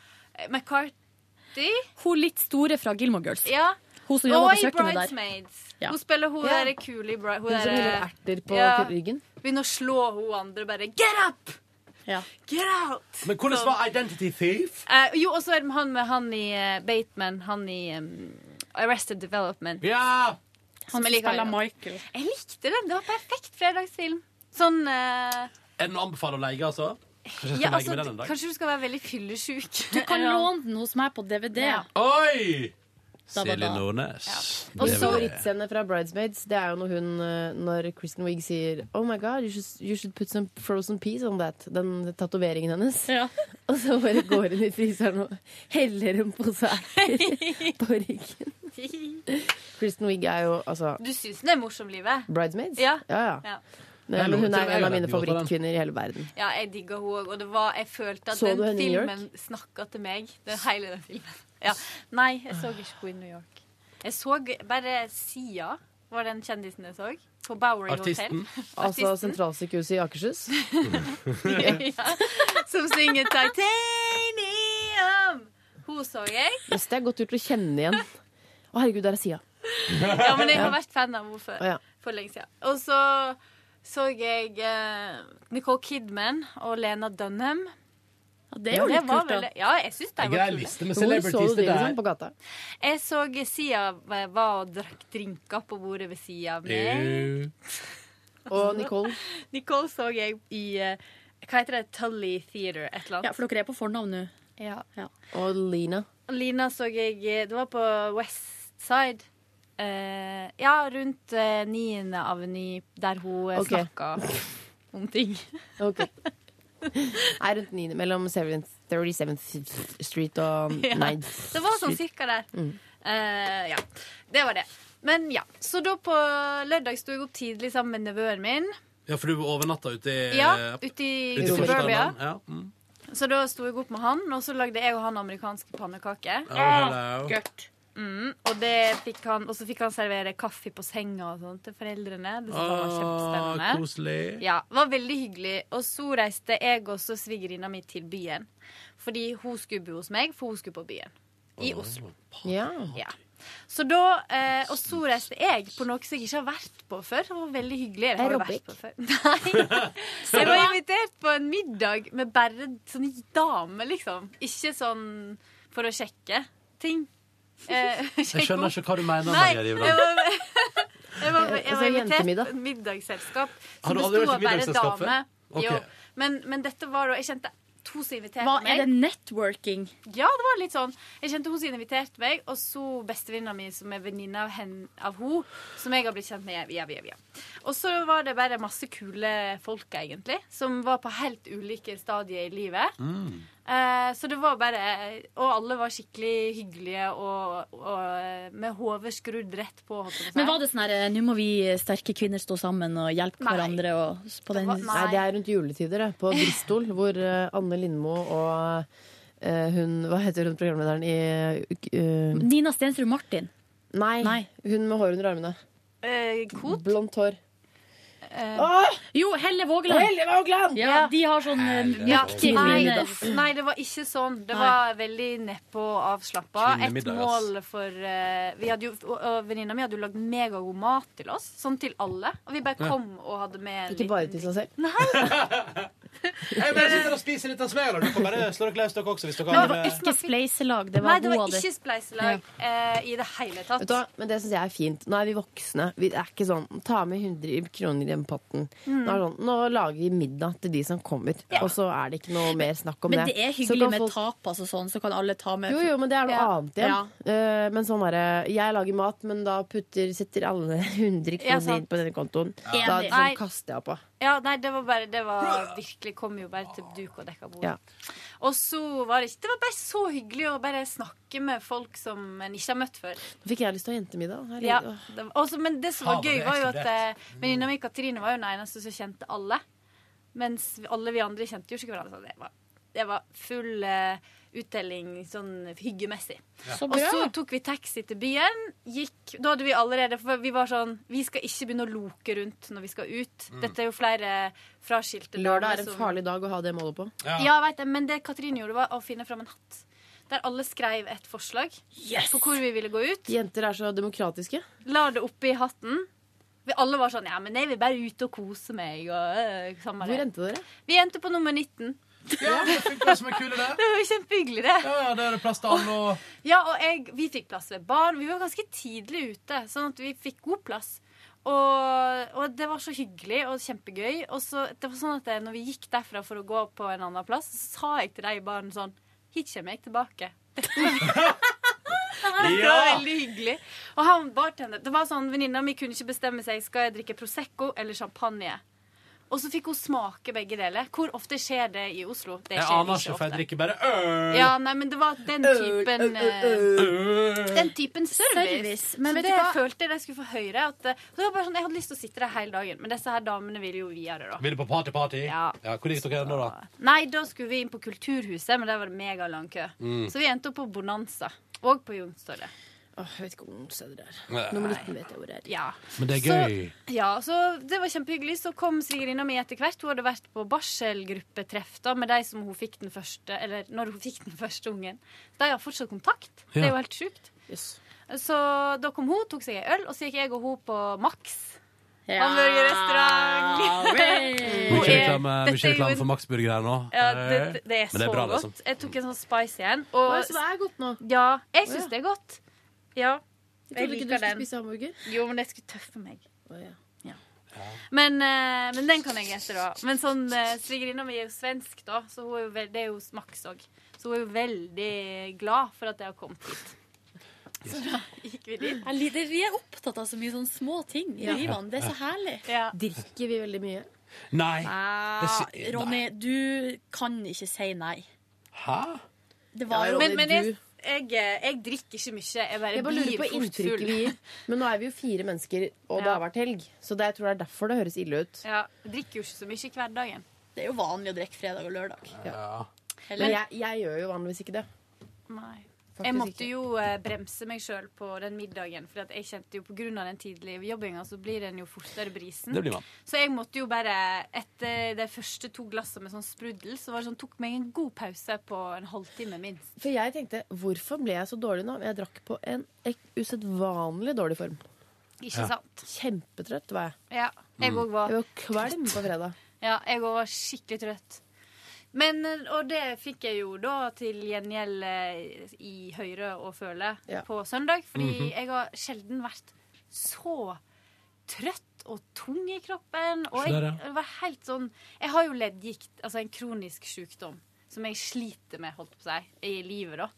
S7: McCarthy.
S3: Hun litt store fra Gilmore Girls.
S7: Ja.
S3: Hun som
S7: og
S3: jobber
S7: i
S3: på kjøkkenet der.
S7: Bridesmaids.
S3: Ja.
S7: Hun spiller hun
S3: Ja.
S7: der kule i Bri-
S5: Hun som
S7: der- eh,
S5: heller erter på ryggen.
S7: Begynner å slå hun andre bare Get up! Get out!
S13: Men hvordan var Identity Thief?
S7: Eh, jo, og så er det han med han i eh, Bateman, han i em, Arrested Development.
S13: Ja!
S7: Som jeg liker veldig godt.
S3: Michael.
S7: Jeg likte den. Det var perfekt fredagsfilm. Sånn eh,
S13: Er den å anbefale å leie, altså? Kanskje jeg skal
S7: ja,
S13: legge
S7: altså,
S13: med den en dag?
S7: Kanskje du skal være veldig fyllesyk.
S3: Du kan låne den hos meg på DVD.
S13: Oi!
S3: Da, da, da.
S13: Silje Nordnes.
S5: Og
S13: Det er vel-
S5: favorittscene fra Bridesmaids, det er jo når hun eh, Når Kristen Wiig sier Oh my god, you should, you should put some frozen peas on that. Den tatoveringen hennes. Og så bare går hun i fryseren og heller en pose erter på ryggen. Kristen Wiig er jo altså
S7: Du syns den er morsom, livet?
S5: Bridesmaids?
S7: Ja.
S5: ja.
S7: Ja.
S5: Nei,
S13: Jeg
S5: men
S13: lover
S5: hun
S13: til
S5: er
S13: deg,
S5: en
S13: jeg
S5: av mine
S13: vet ikke hvorfor
S5: favorittkvinner i hele verden.
S7: Ja, jeg digga hun òg, og det var, jeg følte at
S5: Så du
S7: den
S5: henne i New York?
S7: filmen snakka til meg. Den hele den filmen. Ja. Nei, jeg så ikke henne i New York. Jeg så bare Sia, var den kjendisen jeg så. På Bowery
S5: Artisten.
S7: Hotel.
S5: Altså
S7: Artisten.
S5: sentralsykehuset i Akershus.
S7: ja. Som synger Titanium! Hun så jeg.
S5: Yes, det er godt gjort å kjenne igjen. Å herregud, der er Sia.
S7: Ja, men jeg har
S5: Ja.
S7: vært fan av henne før.
S5: Å, ja.
S7: For lenge siden. Og så så jeg eh, Nicole Kidman og Lena Dunham.
S3: det er jo litt
S7: var
S3: kult, da.
S7: veldig- Ja, jeg syns de
S13: En
S7: var
S13: grei
S7: kule.
S13: liste med celebrities. Det der.
S5: på gata?
S7: Jeg så Sia var og drakk drinker på bordet ved sida av meg.
S13: Au.
S5: Og Nicole.
S7: Nicole så jeg i eh, Hva heter det? Tully Theater? Et eller annet.
S3: Ja, for dere er på fornavn nå.
S7: Ja.
S5: Og Lina.
S7: Lina så jeg eh, Det var på West Side. Eh, ja, rundt eh, 9. aveny, der hun eh,
S5: Ok.
S7: snakka om ting.
S5: Ok. Nei, rundt 9, mellom 7th, 37th Street og
S7: Ja,
S5: 9th
S7: Det var sånn
S5: Street.
S7: cirka der.
S5: Mm.
S7: Eh, ja, det var det. Men ja, Så da på lørdag sto jeg opp tidlig sammen med nevøen min.
S13: Ja, for du overnatta ute i
S7: Ja, ute i
S13: Eh, ute i
S7: Suburbia.
S13: forstaden. Ja. Mm.
S7: Så da sto jeg opp med han, og så lagde jeg og han amerikanske pannekaker.
S13: Oh, hello.
S7: Gørt. Mm, og, det fikk han, og så fikk han servere kaffe på senga og sånn til foreldrene. Det syntes han var kjempespennende.
S13: Ah, koselig.
S7: Ja, det var veldig hyggelig. Og så reiste jeg og så svigerinna mi til byen. Fordi hun skulle bo hos meg, for hun skulle på byen. I Oslo.
S5: Ja.
S7: Ja. Så da, eh, Og så reiste jeg på noe som jeg ikke har vært på før. Det var veldig hyggelig. Jeg har jo vært på før. Nei. Jeg var invitert på en middag med bare sånne damer, liksom. Ikke sånn for å sjekke ting. Eh,
S13: Jeg skjønner ikke hva du mener.
S7: Nei,
S13: Maria
S7: jeg
S13: Rivland.
S7: var, jeg var, jeg var
S5: Altså,
S7: invitert
S5: jentemiddag.
S7: på et middagsselskap
S13: Har
S7: som
S13: du aldri
S7: besto
S13: vært i
S7: av bare
S13: middagsselskap før?
S7: damer.
S13: Ok.
S7: Jo, men, men dette var da Jeg kjente to som inviterte
S15: Hva,
S7: meg.
S15: er det networking?
S7: Ja, det var litt sånn. Jeg kjente hun som inviterte meg, og så bestevenninna mi som er venninne av, hen- av hun, som jeg har blitt kjent med via, via, via. Og så var det bare masse kule folk, egentlig, som var på helt ulike stadier i livet. Eh, så det var bare Og alle var skikkelig hyggelige og, og med hodet skrudd rett på. holdt jeg på å si.
S15: Men var det sånn her eh, Nå må vi sterke kvinner stå sammen og hjelpe
S7: Nei.
S15: hverandre og s- på den
S7: var-
S5: Nei, det er rundt juletider, det. På Bristol, hvor eh, Anne Lindmo og eh, hun Hva heter hun programlederen i eh,
S15: Nina Stensrud Martin.
S5: Nei, hun med hår under armene.
S7: Eh,
S5: Blondt hår. Åh!
S15: Jo, Helle Vågeland.
S5: Helle Vågeland!
S15: Ja, De har sånn eh,
S7: Ja,
S15: aktiv
S7: nei,
S15: minne.
S7: nei, det var ikke sånn. Det
S15: Nei.
S7: var veldig nedpå og avslappa. Et
S15: Kvinnemiddag, ass.
S7: mål for eh, vi hadde jo, og- og Venninna mi hadde jo lagd megagod mat til oss, sånn til alle. Og vi bare
S13: Ja.
S7: kom og hadde med
S5: Ikke bare
S7: sånn.
S5: til seg selv.
S13: Jeg bare sitter og spiser litt av smøret. Dere kan bare slå dere løs, dere også. Hvis dere
S7: Men
S13: har
S7: det var
S13: med.
S7: ikke
S15: spleiselag.
S7: Det var nei, det var ikke spleiselag eh, i det hele
S5: Vet du hva?
S7: tatt.
S5: Men det syns jeg er fint. Nå er vi voksne. Vi er ikke sånn ta med 100 kroner i den potten.
S15: Mm.
S5: Nå, er det sånn, nå lager vi middag til de som kommer, og så er det ikke noe mer snakk om
S15: Men
S5: det.
S15: det er
S5: Så
S15: hyggelig
S5: kan
S15: med
S5: folk-
S15: tapas og sånn, så kan alle ta med
S5: Jo, jo, men det er noe
S15: Ja.
S5: annet igjen.
S15: Ja.
S5: Eh, men sånn er det. Jeg lager mat, men da putter, setter alle 100
S7: Ja,
S5: kroner
S7: sant.
S5: inn på denne kontoen.
S7: Ja.
S5: Da
S7: Enig.
S5: sånn, kaster jeg på.
S7: Ja, nei, det var bare Det var virkelig Kom jo bare til duk og dekka bord.
S5: Ja.
S7: Og så var det ikke Det var bare så hyggelig å bare snakke med folk som en ikke har møtt før.
S5: Nå fikk jeg lyst til å ha jentemiddag. Herregud.
S7: Ja, det var, også, men det som
S5: Faen,
S7: var
S5: det
S7: gøy,
S5: er
S7: var jo at
S5: eksplodert.
S7: eh, venninna mi Katrine var jo den eneste som kjente alle. Mens vi- alle vi andre kjente jo ikke hverandre. Så det var, det var full eh, uttelling sånn hyggemessig.
S15: Ja. Så
S7: Og
S15: bra.
S7: så tok vi taxi til byen. Gikk, da hadde vi allerede For vi var sånn Vi skal ikke begynne å loke rundt når vi skal ut.
S5: Mm.
S7: Dette er jo flere fraskilte
S5: Lørdag
S7: damer
S5: er en
S7: som-
S5: farlig dag å ha det målet på.
S7: ja, jeg vet det. Men det Katrine gjorde, var å finne fram en hatt. Der alle skrev et forslag på hvor vi ville gå ut.
S5: Jenter er så demokratiske.
S7: La det oppi hatten. Vi alle var sånn Ja, men jeg vil bare ut og kose meg. Og, øh, samme
S5: Hvor
S7: det.
S5: endte dere?
S7: Vi endte på nummer 19.
S13: Ja, det funker som en kule, det.
S7: Det var jo kjempehyggelig, det.
S13: Ja, ja, det er det plass til alle og
S7: Ja, og jeg, vi fikk plass ved barn. Vi var ganske tidlig ute, sånn at vi fikk god plass. Og, og det var så hyggelig og kjempegøy. Og så, det var sånn at det, når vi gikk derfra for å gå på en annen plass, så sa jeg til de i baren sånn Hit kommer jeg tilbake. Det var
S14: Ja!
S7: veldig hyggelig. Og han bartender Det var sånn, Venninna mi kunne ikke bestemme seg Skal jeg drikke Prosecco eller champagne. Og så fikk hun smake begge deler. Hvor ofte skjer det i Oslo? Det
S13: Jeg
S7: skjer
S13: aner ikke, for jeg drikker bare øl.
S7: Ja, nei, men det var den typen eh, Den typen service.
S15: Service, men
S7: så
S15: vet
S7: det
S15: du hva?
S7: følte jeg jeg skulle få høre. At, eh, det var bare sånn, jeg hadde lyst til å sitte der hele dagen, men disse her damene ville jo videre, da.
S13: Vil du på party-party?
S7: Ja.
S13: Hvor ligger dere nå, da?
S7: Nei, da skulle vi inn på Kulturhuset, men der var det megalang kø.
S13: Mm.
S7: Så vi endte opp på Bonanza. Og på Youngstorget.
S5: jeg vet ikke hvor stedet det
S13: Nei.
S5: er. Nummer 19 vet jeg hvor det er.
S7: Ja.
S13: Men det er gøy.
S7: Ja, så Det var kjempehyggelig. Så kom svigerinna mi etter hvert. Hun hadde vært på barselgruppetreff da, med de som hun fikk den første, eller når hun fikk den første ungen. De har fortsatt kontakt. Det er jo helt sjukt. Så da kom hun, tok seg en øl, og så gikk jeg og hun på Max.
S15: Ja,
S7: Hamburgerrestaurant.
S15: vel.
S7: Hun
S13: Mye
S7: er-
S13: reklame
S7: Eh, dette
S13: mye
S7: er jo
S13: reklame
S7: en-
S13: eh, for Max Burger her nå.
S7: ja, det, det
S13: Men
S7: er så
S13: det er bra,
S7: godt.
S13: liksom.
S7: Jeg tok en sånn spicy en. Og,
S5: Oi, så det er godt nå?
S7: Ja, jeg
S5: Å,
S7: syns
S5: ja.
S7: det er godt. Ja.
S5: Jeg trodde ikke du skulle spise hamburger.
S7: Jo, men jeg skulle tøffe meg.
S5: Ja.
S7: Men, eh, men den kan jeg ete, da. Men sånn, eh, svigerinna mi er jo svensk, da, så hun er jo veld, det er jo Max òg. Så hun er jo veldig glad for at jeg har kommet hit. Så da gikk vi dit.
S15: Jeg lider- Vi er opptatt av så mye sånne små ting i
S7: Ja.
S15: livene. Det er så herlig.
S5: Drikker vi veldig mye?
S13: Nei.
S15: Ah,
S13: Det sy-
S15: Ronny, du kan ikke si nei.
S13: Hæ?
S15: Det var jo
S7: men, men jeg, jeg, jeg drikker ikke mye. Jeg bare,
S5: Jeg bare lurer
S7: blir
S5: på
S7: fort
S5: inntrykket
S7: full.
S5: vi gir. Men nå er vi jo fire mennesker, og det
S7: Ja.
S5: har vært helg. Så det, jeg tror det er derfor det høres ille ut.
S7: Ja, jeg drikker jo ikke så mye i hverdagen.
S15: Det er jo vanlig å drikke fredag og lørdag.
S5: Men jeg, jeg gjør jo vanligvis ikke det.
S7: Nei.
S5: Faktisk
S7: Jeg måtte jo eh, bremse meg sjøl på den middagen, for jeg kjente jo pga. den tidlige jobbinga, så blir den jo fortere brisen.
S14: Det blir man.
S7: Så jeg måtte jo bare, etter de første to glassene med sånn sprudel, så var det sånn, tok meg en god pause på en halvtime minst.
S5: For jeg tenkte, hvorfor ble jeg så dårlig nå? Jeg drakk på en ek- usedvanlig dårlig form.
S7: Ikke Ja. sant?
S5: Kjempetrøtt var jeg.
S7: Ja, jeg
S14: Mm.
S7: òg var
S5: Jeg var kvalm på fredag.
S7: Ja, jeg òg var skikkelig trøtt. Men, eh, og det fikk jeg jo da til gjengjeld eh, i Høyre og Føle
S5: Ja.
S7: på søndag. Fordi
S5: Mhm.
S7: jeg har sjelden vært så trøtt og tung i kroppen. Og
S2: Se der,
S7: jeg,
S2: ja.
S7: jeg var helt sånn Jeg har jo leddgikt, altså en kronisk sykdom, som jeg sliter med, holdt på å si, i livet, da.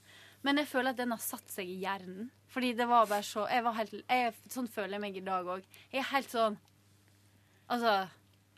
S7: Men jeg føler at den har satt seg i hjernen. Fordi det var bare så jeg var helt, jeg, Sånn føler jeg meg i dag òg. Jeg er helt sånn Altså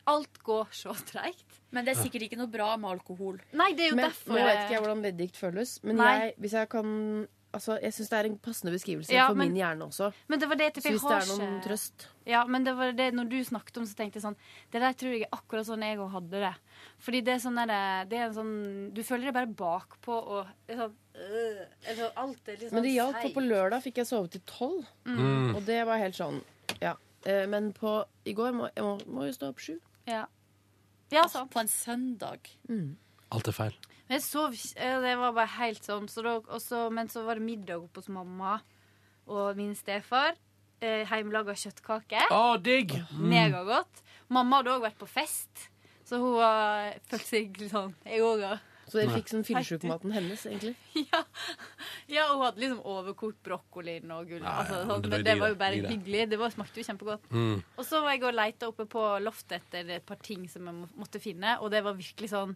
S7: Alt går så treigt.
S3: Men det er sikkert ikke noe bra med alkohol.
S7: Nei, det er jo
S5: Men,
S7: derfor
S5: Nå vet
S7: jeg-
S5: ikke jeg hvordan leddgikt føles, men
S7: Nei.
S5: jeg, hvis jeg kan Altså, jeg syns det er en passende beskrivelse
S7: Ja,
S5: for
S7: men-
S5: min hjerne også.
S7: Men det var det,
S5: så
S7: typ, jeg
S5: hvis det
S7: har
S5: er noen
S7: ikke-
S5: trøst
S7: Ja, men det var det når du snakket om, så tenkte jeg sånn Det der tror jeg er akkurat sånn jeg òg hadde det. Fordi det er sånn der, det er en sånn Du føler deg bare bakpå og det er sånn øh, eller alt er litt sånn
S5: Men det hjalp, for
S7: seigt.
S5: på lørdag fikk jeg sove til tolv.
S7: Mm.
S5: Og det var helt sånn, ja. Eh, Men på i går må jeg må, må jo stå opp sju.
S7: Ja.
S3: På en søndag.
S2: Alt er feil.
S7: Men jeg sov ikke eh, Det var bare helt sånn. Så da, og så- men så var det middag oppe hos mamma og min stefar. Eh, Hjemmelaga kjøttkaker.
S2: Å, digg! Ah. Mm.
S7: Megagodt. Mamma hadde òg vært på fest, så hun var, følte seg litt sånn Jeg òg har
S5: Så dere fikk sånn fyllesykemat hennes, egentlig.
S7: Ja, hun hadde liksom overkokt brokkolien og gull. altså,
S5: ja,
S7: sånn,
S5: det
S7: men
S5: er
S7: det
S5: digg,
S7: var jo
S5: det.
S7: bare
S5: Digg, det.
S7: hyggelig. Det var, smakte jo kjempegodt.
S5: Mm.
S7: Og så var jeg og leita oppe på loftet etter et par ting som jeg må- måtte finne, og det var virkelig sånn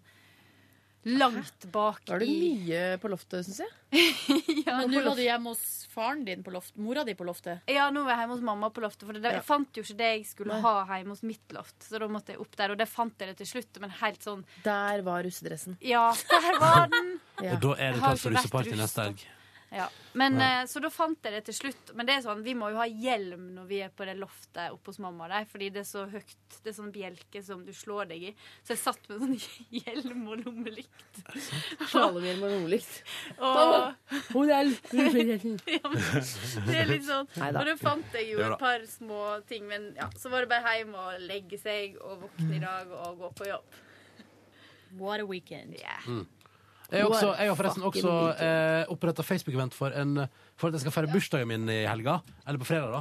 S7: langt bak
S5: Da er det
S7: i
S5: mye på loftet, syns jeg.
S3: Men
S7: på
S3: nå var
S7: loft-
S3: du hjemme hos faren din på loft. Mora di på loftet.
S7: Ja, nå var jeg hjemme hos mamma på loftet, for det,
S3: Ja.
S7: jeg fant jo ikke det jeg skulle ha hjemme hos mitt loft. Så da måtte jeg opp der, og det fant jeg det til slutt, men helt sånn
S5: Der var russedressen.
S7: Ja, der var
S2: Og
S7: den!
S2: da er
S7: Jeg
S2: det
S7: har
S2: klart for
S7: ikke vært
S2: russeparty
S7: russ,
S2: neste helg.
S7: Ja. Men,
S2: Ja.
S7: eh, Så da fant jeg det til slutt. Men det er sånn, vi må jo ha hjelm når vi er på det loftet oppe hos mamma der, fordi det er så høyt. Det er sånn bjelke som du slår deg i. Så jeg satt med sånn hjelm og lommelykt.
S5: Slalåmhjelm og nordlykt.
S7: Og-
S5: Modell!
S7: Ja, men det er litt sånn.
S5: Neida.
S7: Og da fant jeg jo
S5: Ja da.
S7: et par små ting, men ja, så var det bare hjem og legge seg og våkne i dag og gå på jobb.
S3: What a weekend.
S2: Mm. Jeg, også, jeg har forresten
S7: Fucking
S2: også eh, oppretta Facebook-event for, en- for at jeg skal feire bursdagen min i helga. Eller på fredag, da.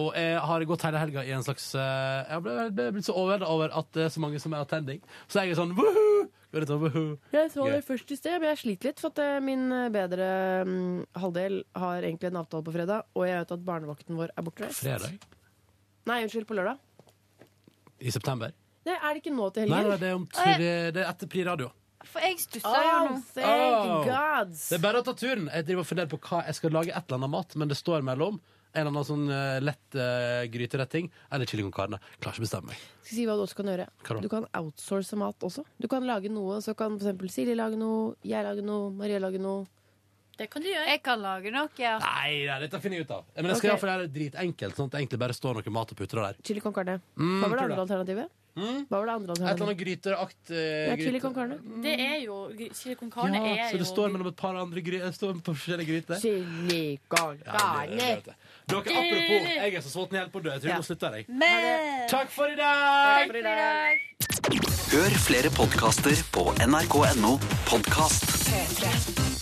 S2: Og jeg har gått hele helga i en slags eh, Jeg ble, ble blitt så overveldet over at det er så mange som er attending. Så jeg er sånn woohoo! Går litt sånn, woohoo.
S5: Jeg så
S2: Gøy.
S5: det først i sted, men jeg sliter litt. For at eh, min bedre mm, halvdel har egentlig en avtale på fredag, og jeg vet at barnevakten vår er bortreist.
S2: Fredag?
S5: Nei, unnskyld, på lørdag.
S2: I september.
S5: Nei, er det ikke nå til
S2: Nei,
S5: helgen?
S2: nei, det er, om, det, det er etter Pri radio.
S7: For jeg stussa
S5: Oh,
S7: jo nå.
S5: thank
S2: Oh.
S5: gods.
S2: Det er bare å ta turen. Jeg driver og funderer på hva jeg skal lage et eller annet mat, men det står mellom en eller annen sånn eh, lett eh, gryteretting eller chili con carne. Klarer ikke å bestemme meg.
S5: Skal jeg si hva du også kan gjøre?
S2: Hva da?
S5: Du kan outsource mat også. Du kan lage noe, så kan for eksempel Silje lage noe, jeg lage noe, Marie lage noe.
S7: Det kan du gjøre. Jeg kan lage noe, ja.
S2: Nei, nei, dette finner jeg ut av. Men jeg skal
S5: Ok.
S2: i hvert fall gjøre det dritenkelt, sånn at det egentlig bare står noe mat og putter der.
S5: Chili con carne.
S2: Mm,
S5: hva var det
S2: tror
S5: andre alternativet? Hva var det andre
S2: Et eller
S5: alternativet?
S2: annet gryteakt eh,
S5: Ja, chili
S2: gryte. Mm.
S5: con carne.
S3: Det er jo Chili con carne
S2: Ja,
S3: er
S2: så
S3: jo
S2: det står mellom et par andre gry det står på forskjellige gryter.
S5: Chili con
S2: Ja, det- det vet jeg. Dere, apropos, jeg er så sulten i hjel på å dø. Jeg tror
S5: Ja. Mm.
S2: nå slutter jeg.
S7: Men
S2: Takk for i dag!
S5: for i dag.
S1: Hør flere podkaster på nrk.no podkast.
S16: P3.